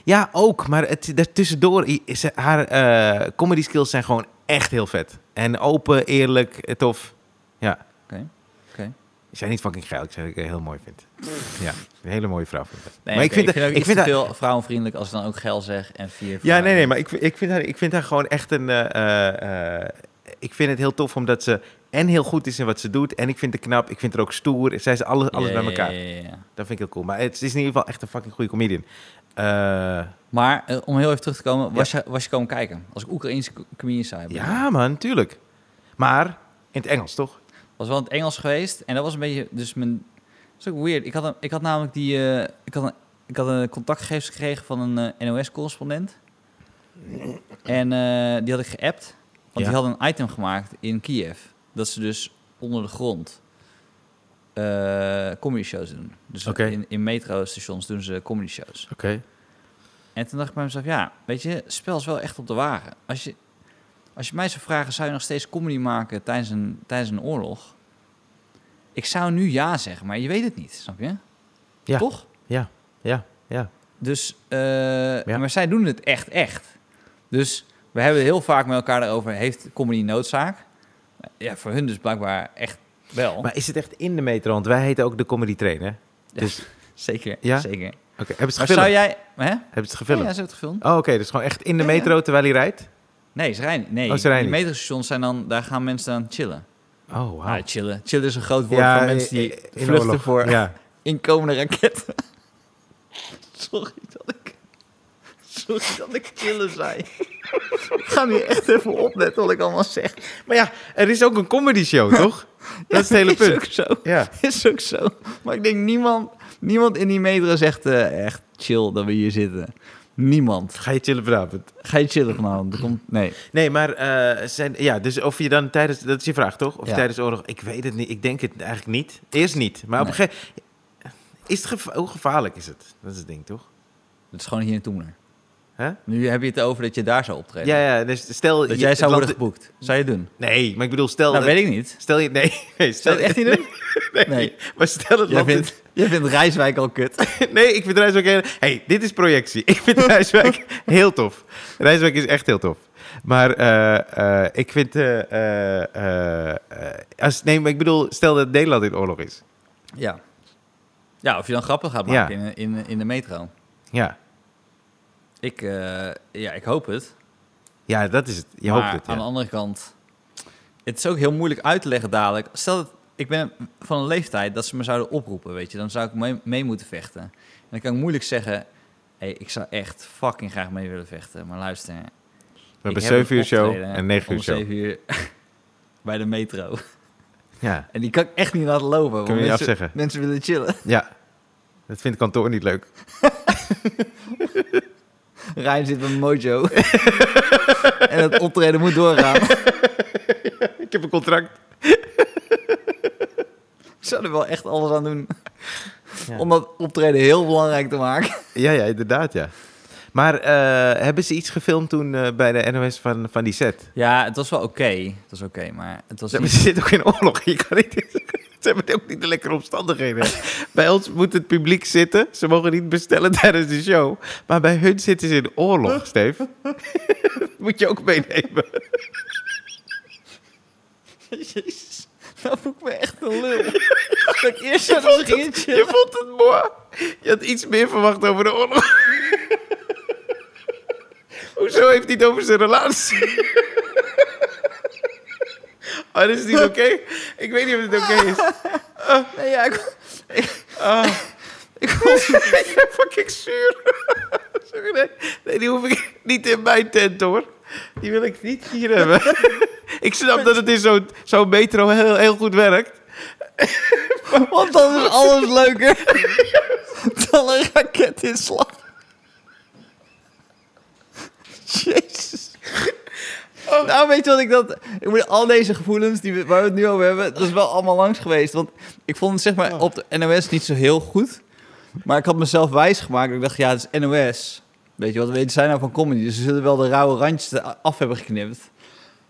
Speaker 1: Ja, ook. Maar het, daartussendoor, i- is, haar eh, comedy skills zijn gewoon echt heel vet. En open, eerlijk, eh, tof. Ja.
Speaker 2: Oké, oké.
Speaker 1: Ze zijn niet fucking geil. Ik zeg dat ik het heel mooi vind. Ja, een hele mooie vrouw. Vind ik.
Speaker 2: Nee, oké,
Speaker 1: maar
Speaker 2: ik vind,
Speaker 1: haar-
Speaker 2: ook iets te
Speaker 1: haar-
Speaker 2: veel vrouwenvriendelijk als ik dan ook geil zeg en vier
Speaker 1: Ja,
Speaker 2: vrouwen.
Speaker 1: nee, nee, maar ik, ik, vind haar, ik vind haar gewoon echt een. eh, eh, ik vind het heel tof omdat ze en heel goed is in wat ze doet. En ik vind het knap. Ik vind haar ook stoer. Zij is alles, alles
Speaker 2: Ja,
Speaker 1: bij
Speaker 2: ja,
Speaker 1: elkaar.
Speaker 2: ja, ja, ja.
Speaker 1: Dat vind ik heel cool. Maar het is in ieder geval echt een fucking goede comedian. Eh,
Speaker 2: Maar eh, om heel even terug te komen, was, je, was je komen kijken? Als ik Oekraïense co- comedians zou hebben.
Speaker 1: ja, man, tuurlijk. Maar in het Engels, toch?
Speaker 2: Was wel in het Engels geweest en dat was een beetje, dus mijn... Dat is ook weird. Ik had, een, ik had namelijk die, eh, ik, had een, ik had een contactgegevens gekregen van een eh, NOS-correspondent. En eh, die had ik geappt, want
Speaker 1: Ja.
Speaker 2: die hadden een item gemaakt in Kiev. Dat ze dus onder de grond eh comedy shows doen. Dus
Speaker 1: Oké.
Speaker 2: in, in metrostations doen ze comedy shows.
Speaker 1: Oké.
Speaker 2: En toen dacht ik bij mezelf, ja, weet je, het spel is wel echt op de wagen. Als je, als je mij zou vragen, zou je nog steeds comedy maken tijdens een, tijdens een oorlog? Ik zou nu ja zeggen, maar je weet het niet, snap je?
Speaker 1: Ja.
Speaker 2: Toch?
Speaker 1: Ja, ja, ja.
Speaker 2: Dus, eh, maar zij doen het echt, echt. Dus we hebben het heel vaak met elkaar daarover, heeft comedy noodzaak? Ja, voor hun dus blijkbaar echt wel.
Speaker 1: Maar is het echt in de metro? Want wij heten ook de comedy train, hè? Oké,
Speaker 2: zeker,
Speaker 1: dus- Ja?
Speaker 2: zeker.
Speaker 1: hebben ze
Speaker 2: Maar
Speaker 1: het
Speaker 2: zou
Speaker 1: gefilmd?
Speaker 2: jij... Hè? Ja,
Speaker 1: Hebben ze het
Speaker 2: ja,
Speaker 1: gefilmd?
Speaker 2: ze hebben het gefilmd.
Speaker 1: Oh, oké. Dus gewoon echt in de
Speaker 2: Ja, ja.
Speaker 1: metro terwijl hij rijdt?
Speaker 2: Nee, ze rijden niet. Nee,
Speaker 1: Oh, ze rijden
Speaker 2: die
Speaker 1: niet.
Speaker 2: metrostations zijn dan... Daar gaan mensen aan chillen.
Speaker 1: Oh,
Speaker 2: Ah,
Speaker 1: wauw.
Speaker 2: chillen. Chillen is een groot woord voor mensen die
Speaker 1: eh, in
Speaker 2: vluchten
Speaker 1: oorlog.
Speaker 2: voor
Speaker 1: Ja.
Speaker 2: inkomende raketten. Sorry dat ik... Sorry dat ik chillen zei. Ik ga nu echt even opletten wat ik allemaal zeg.
Speaker 1: Maar ja, er is ook een comedy show, toch? Dat is het hele
Speaker 2: Is
Speaker 1: punt.
Speaker 2: ook zo.
Speaker 1: Ja.
Speaker 2: Is ook zo. Maar ik denk niemand, niemand in die metro zegt eh, echt chill dat we hier zitten. Niemand.
Speaker 1: Ga je chillen vanavond?
Speaker 2: Ga je chillen vanavond? Er komt... Nee.
Speaker 1: Nee, maar eh, zijn, ja, dus of je dan tijdens, dat is je vraag toch? Of
Speaker 2: Ja.
Speaker 1: tijdens oorlog, ik weet het niet, ik denk het eigenlijk niet. Eerst niet, maar op een gegeven is het geva- hoe gevaarlijk is het? Dat is het ding, toch?
Speaker 2: Het is gewoon hier naartoe naar.
Speaker 1: Hè?
Speaker 2: Nu heb je het over dat je daar zou optreden.
Speaker 1: Ja, ja, dus stel...
Speaker 2: Dat
Speaker 1: je-
Speaker 2: jij
Speaker 1: het
Speaker 2: zou
Speaker 1: land-
Speaker 2: worden geboekt. Zou je doen?
Speaker 1: Nee, maar ik bedoel, stel...
Speaker 2: Nou,
Speaker 1: dat-
Speaker 2: weet ik niet.
Speaker 1: Stel je... Nee, nee stel
Speaker 2: Zou je het echt niet doen?
Speaker 1: Nee,
Speaker 2: Nee.
Speaker 1: maar stel het
Speaker 2: Jij
Speaker 1: land...
Speaker 2: vindt, jij vindt Rijswijk al kut.
Speaker 1: Nee, ik vind Rijswijk... heel- hey, dit is projectie. Ik vind Rijswijk heel tof. Rijswijk is echt heel tof. Maar eh, eh, ik vind... eh, eh, eh, eh, als, nee, maar ik bedoel, stel dat Nederland in oorlog is.
Speaker 2: Ja. Ja, of je dan grappen gaat maken
Speaker 1: Ja.
Speaker 2: in, in, in de metro.
Speaker 1: Ja,
Speaker 2: Ik, eh, ja, ik hoop het.
Speaker 1: ja dat is het. Je
Speaker 2: maar
Speaker 1: hoopt het,
Speaker 2: aan de
Speaker 1: ja.
Speaker 2: andere kant... Het is ook heel moeilijk uit te leggen dadelijk. Stel dat ik ben van een leeftijd dat ze me zouden oproepen, weet je. Dan zou ik mee, mee moeten vechten. En dan kan ik moeilijk zeggen... Hey, ik zou echt fucking graag mee willen vechten. Maar luister,
Speaker 1: We
Speaker 2: Ik
Speaker 1: hebben
Speaker 2: heb
Speaker 1: 7
Speaker 2: een
Speaker 1: uur show
Speaker 2: optreden
Speaker 1: en 9
Speaker 2: om
Speaker 1: uur show.
Speaker 2: 7 uur bij de metro.
Speaker 1: Ja,
Speaker 2: En die kan ik echt niet laten lopen. want
Speaker 1: Kun je je
Speaker 2: mensen,
Speaker 1: afzeggen?
Speaker 2: mensen willen chillen.
Speaker 1: ja. Dat vindt kantoor niet leuk.
Speaker 2: Rijn zit met Mojo. en het optreden moet doorgaan.
Speaker 1: Ik heb een contract.
Speaker 2: Ik zou er wel echt alles aan doen.
Speaker 1: Ja.
Speaker 2: Om dat optreden heel belangrijk te maken.
Speaker 1: Ja, ja, inderdaad, ja. Maar eh, hebben ze iets gefilmd toen eh, bij de NOS van, van die set?
Speaker 2: Ja, het was wel oké. Het was oké, maar het was
Speaker 1: Ze, hebben, ze zitten ook in oorlog. Je kan niet, ze hebben ook niet de lekkere omstandigheden. bij ons moet het publiek zitten. Ze mogen niet bestellen tijdens de show. Maar bij hun zitten ze in oorlog, Steef. Dat moet je ook meenemen.
Speaker 2: Jezus, nou voel ik me echt een lul. dat ik eerst zou dat ze gingen
Speaker 1: Je
Speaker 2: chillen.
Speaker 1: vond het mooi. Je had iets meer verwacht over de oorlog. Hoezo heeft hij het over zijn relatie? Oh, dat is niet oké. Ik weet niet of het oké is.
Speaker 2: Nee, ja, ik,
Speaker 1: Oh. Ik vond het fucking zuur. Sorry, nee. nee, die hoef ik niet in mijn tent hoor. Die wil ik niet hier hebben. ik snap dat het in zo'n zo'n metro heel, heel goed werkt.
Speaker 2: want dan is alles leuker dan een raketinslag. Jezus. Nou, weet je wat ik dat... Ik moet al deze gevoelens die we, waar we het nu over hebben... dat is wel allemaal langs geweest. Want ik vond het zeg maar op de NOS niet zo heel goed. Maar ik had mezelf wijs gemaakt. Ik dacht, ja, het is NOS. Weet je, wat weten zij nou van comedy? Dus ze zullen wel de rauwe randjes er af hebben geknipt.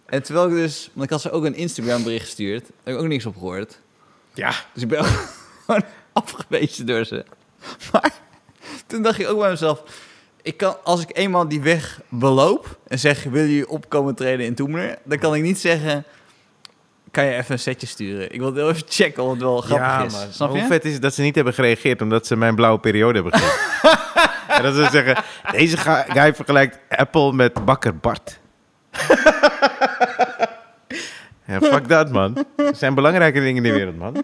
Speaker 2: En terwijl ik dus... Want ik had ze ook een Instagram bericht gestuurd. Daar heb ik ook niks op gehoord.
Speaker 1: Ja.
Speaker 2: Dus ik ben ook gewoon afgewezen door ze. Maar toen dacht ik ook bij mezelf... Ik kan, als ik eenmaal die weg beloop en zeg, wil je opkomen treden in Toemler? Dan kan ik niet zeggen, kan je even een setje sturen? Ik wil het heel even checken of het wel grappig is. Snap je?
Speaker 1: Hoe vet is het dat ze niet hebben gereageerd omdat ze mijn blauwe periode hebben gegeven? en dat ze zeggen, deze ga- guy vergelijkt Apple met bakker Bart. ja, fuck dat man. Er zijn belangrijke dingen in de wereld man.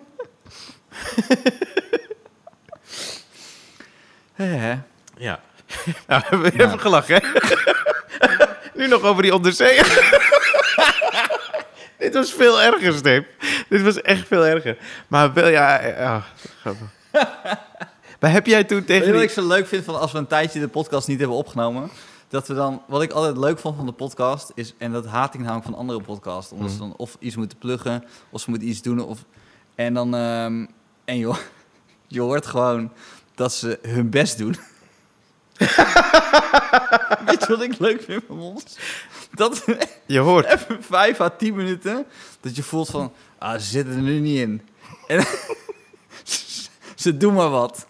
Speaker 2: Hè, hè.
Speaker 1: Ja. Nou, we hebben even gelachen, hè? nu nog over die onderzee. Dit was veel erger, Steve. Dit was echt veel erger. Maar wel, ja... eh, ah, grappig. maar heb jij toen
Speaker 2: Weet je
Speaker 1: tegen
Speaker 2: wat ik
Speaker 1: die...
Speaker 2: zo leuk vind van als we een tijdje de podcast niet hebben opgenomen? Dat we dan, wat ik altijd leuk vond van de podcast is, en dat haat ik namelijk van andere podcasts, omdat ze
Speaker 1: Mhm.
Speaker 2: dan of iets moeten pluggen, of ze moeten iets doen, of, en dan, ehm, en joh, je hoort gewoon dat ze hun best doen. Weet je wat ik leuk vind van ons? Dat we
Speaker 1: Je hoort.
Speaker 2: even 5 à 10 minuten, dat je voelt van, ah, ze zitten er nu niet in. En ze doen maar wat.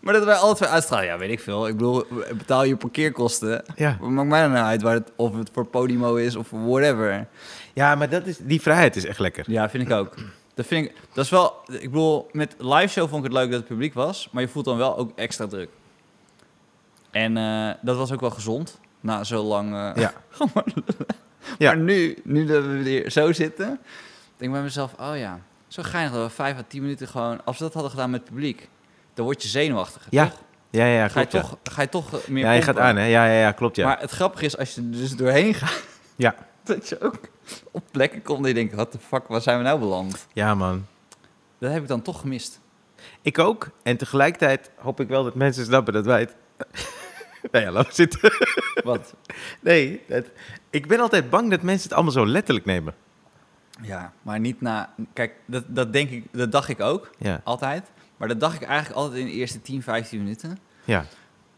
Speaker 2: Maar dat wij altijd weer uitstralen, ja, weet ik veel. Ik bedoel, betaal je parkeerkosten.
Speaker 1: Ja.
Speaker 2: Wat maakt mij dan nou uit waar het, of het voor Podimo is of voor whatever.
Speaker 1: ja, maar dat is, die vrijheid is echt lekker.
Speaker 2: Ja, vind ik ook. Dat vind ik, dat is wel, ik bedoel, met live show vond ik het leuk dat het publiek was, maar je voelt dan wel ook extra druk. En eh, dat was ook wel gezond, na zo lang. eh,
Speaker 1: Ja.
Speaker 2: gewoon maar lullen.
Speaker 1: Ja.
Speaker 2: Maar nu, nu dat we weer zo zitten, denk ik bij mezelf, oh ja, zo geinig dat we vijf à tien minuten gewoon, als we dat hadden gedaan met het publiek, dan word je zenuwachtig.
Speaker 1: Ja.
Speaker 2: Toch?
Speaker 1: Ja, ja, ja,
Speaker 2: Ga je,
Speaker 1: klopt. ja.
Speaker 2: toch, ga je toch eh, meer
Speaker 1: Ja, je gaat
Speaker 2: pompen.
Speaker 1: aan, hè? Ja, ja, ja klopt, ja.
Speaker 2: Maar het grappige is, als je er dus doorheen gaat...
Speaker 1: Ja.
Speaker 2: dat je ook op plekken komt en je denkt... What the fuck, waar zijn we nou beland?
Speaker 1: Ja, man.
Speaker 2: Dat heb ik dan toch gemist.
Speaker 1: Ik ook. En tegelijkertijd hoop ik wel dat mensen snappen dat wij het... nee, ja, laat maar zitten.
Speaker 2: Wat?
Speaker 1: Nee, dat- ik ben altijd bang dat mensen het allemaal zo letterlijk nemen.
Speaker 2: Ja, maar niet na... Kijk, dat, dat denk ik... Dat dacht ik ook,
Speaker 1: Ja,
Speaker 2: altijd. Maar dat dacht ik eigenlijk altijd in de eerste 10, 15 minuten.
Speaker 1: ja,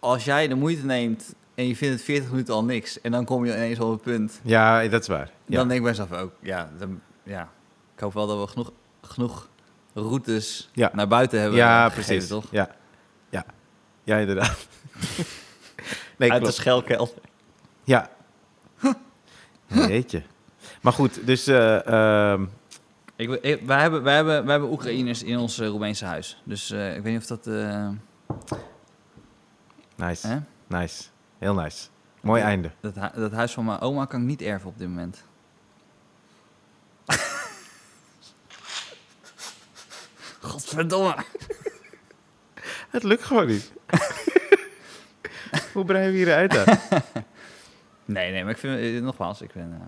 Speaker 2: Als jij de moeite neemt en je vindt het 40 minuten al niks... en dan kom je ineens op het punt...
Speaker 1: ja dat is waar. Ja.
Speaker 2: Dan denk ik mezelf ook, ja, dan- ja. Ik hoop wel dat we genoeg, genoeg routes
Speaker 1: Ja.
Speaker 2: naar buiten hebben.
Speaker 1: ja,
Speaker 2: gegeven,
Speaker 1: precies.
Speaker 2: Toch?
Speaker 1: Ja. ja, ja, inderdaad. nee,
Speaker 2: Uit de
Speaker 1: klopt.
Speaker 2: schelkelder.
Speaker 1: Ja. Jeetje. Maar goed, dus... eh, ehm,
Speaker 2: Ik, wil- ik- wij, hebben, wij, hebben, wij hebben Oekraïners in ons eh, Roemeense huis. Dus eh, ik weet niet of dat... eh,
Speaker 1: nice,
Speaker 2: hè?
Speaker 1: nice. Heel nice. Mooi
Speaker 2: Ja.
Speaker 1: einde.
Speaker 2: Dat, hu- dat huis van mijn oma kan ik niet erven op dit moment. Godverdomme.
Speaker 1: Het lukt gewoon niet. Hoe breien we hieruit uit?
Speaker 2: Nee, nee, maar ik vind... eh, nogmaals, ik ben... eh,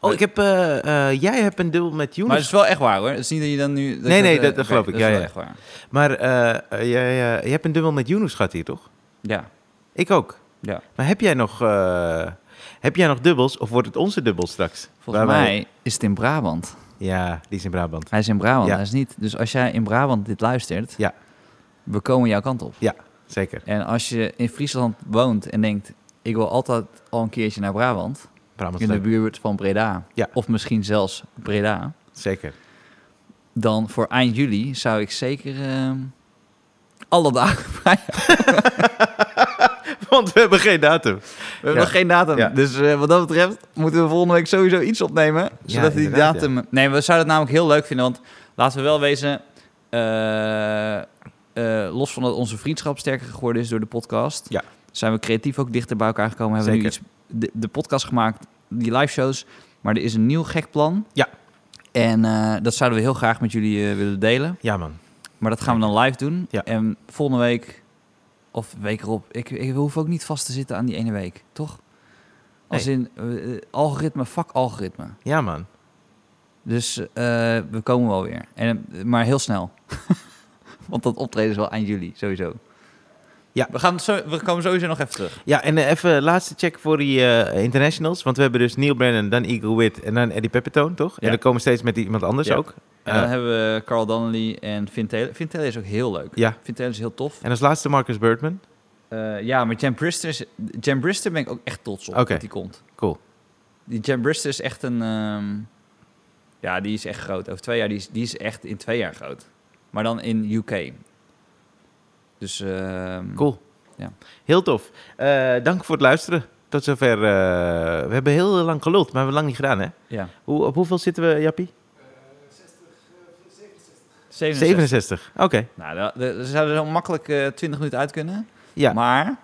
Speaker 1: Oh, ik heb, eh, eh, jij hebt een deal met Younes.
Speaker 2: Maar het is wel echt waar, hoor. Het is niet dat je dan nu... dat
Speaker 1: Nee,
Speaker 2: je
Speaker 1: nee,
Speaker 2: eh,
Speaker 1: dat- dat
Speaker 2: oké,
Speaker 1: geloof ik.
Speaker 2: is
Speaker 1: Ja,
Speaker 2: wel
Speaker 1: ja.
Speaker 2: echt waar.
Speaker 1: Maar eh, eh, jij, eh, je hebt een dubbel met Younes gehad hier, toch?
Speaker 2: Ja,
Speaker 1: Ik ook.
Speaker 2: ja.
Speaker 1: Maar heb jij nog, eh, heb jij nog dubbels of wordt het onze dubbel straks?
Speaker 2: Volgens
Speaker 1: Waar wij-
Speaker 2: mij is het in Brabant.
Speaker 1: Ja, die is in Brabant.
Speaker 2: Hij is in Brabant,
Speaker 1: Ja.
Speaker 2: hij is niet. Dus als jij in Brabant dit luistert,
Speaker 1: Ja.
Speaker 2: we komen jouw kant op.
Speaker 1: Zeker.
Speaker 2: En als je in Friesland woont en denkt, ik wil altijd al een keertje naar Brabant,
Speaker 1: Brabant is
Speaker 2: in de
Speaker 1: leuk.
Speaker 2: buurt van Breda,
Speaker 1: Ja.
Speaker 2: of misschien zelfs Breda,
Speaker 1: Zeker.
Speaker 2: dan voor eind juli zou ik zeker ehm, alle dagen vrij. We
Speaker 1: Want we hebben geen datum.
Speaker 2: hebben
Speaker 1: Ja.
Speaker 2: nog geen datum,
Speaker 1: Ja.
Speaker 2: dus eh, wat dat betreft moeten we volgende week sowieso iets opnemen, zodat die
Speaker 1: inderdaad,
Speaker 2: datum. Nee, we zouden het namelijk heel leuk vinden, want laten we wel wezen. eh, eh, los van dat onze vriendschap sterker geworden is door de podcast,
Speaker 1: Ja.
Speaker 2: zijn we creatief ook dichter bij elkaar gekomen. Hebben we nu
Speaker 1: Zeker.
Speaker 2: iets, de, de podcast gemaakt, die live shows. Maar er is een nieuw gek plan.
Speaker 1: Ja.
Speaker 2: En eh, dat zouden we heel graag met jullie eh, willen delen.
Speaker 1: Ja, man.
Speaker 2: Maar dat gaan we dan live doen.
Speaker 1: Ja.
Speaker 2: En volgende week, of de week erop, ik, ik hoef ook niet vast te zitten aan die ene week, toch? Als in eh, eh, algoritme, fuck algoritme.
Speaker 1: Ja, man.
Speaker 2: Dus eh, we komen wel weer. En, eh, maar heel snel. Want dat optreden is wel eind juli, sowieso.
Speaker 1: Ja.
Speaker 2: We, gaan zo, we komen sowieso nog even terug.
Speaker 1: Ja, en eh, even laatste check voor die eh, internationals. Want we hebben dus Neil Brennan, dan Eagle Wit en dan Eddie Pepitone, toch?
Speaker 2: Ja.
Speaker 1: En dan komen we steeds met iemand anders
Speaker 2: Ja.
Speaker 1: ook.
Speaker 2: En
Speaker 1: Eh,
Speaker 2: dan hebben we Carl Donnelly en Finn Taylor. Finn Taylor is ook heel leuk.
Speaker 1: Ja.
Speaker 2: Finn Taylor is heel tof.
Speaker 1: En als laatste Marcus Birdman.
Speaker 2: Eh, ja, maar Jan Brister, is, Jan Brister ben ik ook echt trots op
Speaker 1: Oké.
Speaker 2: dat die komt.
Speaker 1: Cool.
Speaker 2: Die Jan Brister is echt een... ehm, ja, die is echt groot. Over twee jaar, die is, die is echt in twee jaar groot. Maar dan in UK. Dus... ehm,
Speaker 1: Cool.
Speaker 2: Ja.
Speaker 1: Heel tof. Eh, dank voor het luisteren. Tot zover. eh, we hebben heel lang geluld, maar we hebben lang niet gedaan, hè?
Speaker 2: Ja.
Speaker 1: Hoe, op hoeveel zitten we, Jappie?
Speaker 2: 67.
Speaker 1: 67. Oké.
Speaker 2: Nou, daar- daar daar zouden we zo makkelijk eh, 20 minuten uit kunnen.
Speaker 1: Ja,
Speaker 2: Maar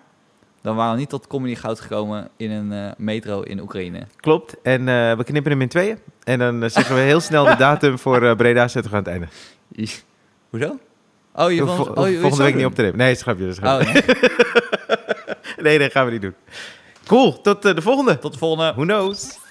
Speaker 2: dan waren we niet tot comedy goud gekomen in een eh, metro in Oekraïne.
Speaker 1: klopt. En eh, we knippen hem in tweeën. En dan eh, zeggen we heel snel de datum voor eh, Breda zetten we aan het einde.
Speaker 2: Hoezo? Oh, je
Speaker 1: We
Speaker 2: vond-
Speaker 1: vo-
Speaker 2: oh, je- je
Speaker 1: volgende
Speaker 2: zou
Speaker 1: week niet
Speaker 2: doen.
Speaker 1: op te nemen. Nee, schrapje. dat is een grapje.
Speaker 2: Oh, nee. Oh.
Speaker 1: Nee, dat gaan we niet doen. Cool. Tot eh, de volgende.
Speaker 2: Tot de volgende.
Speaker 1: Who knows?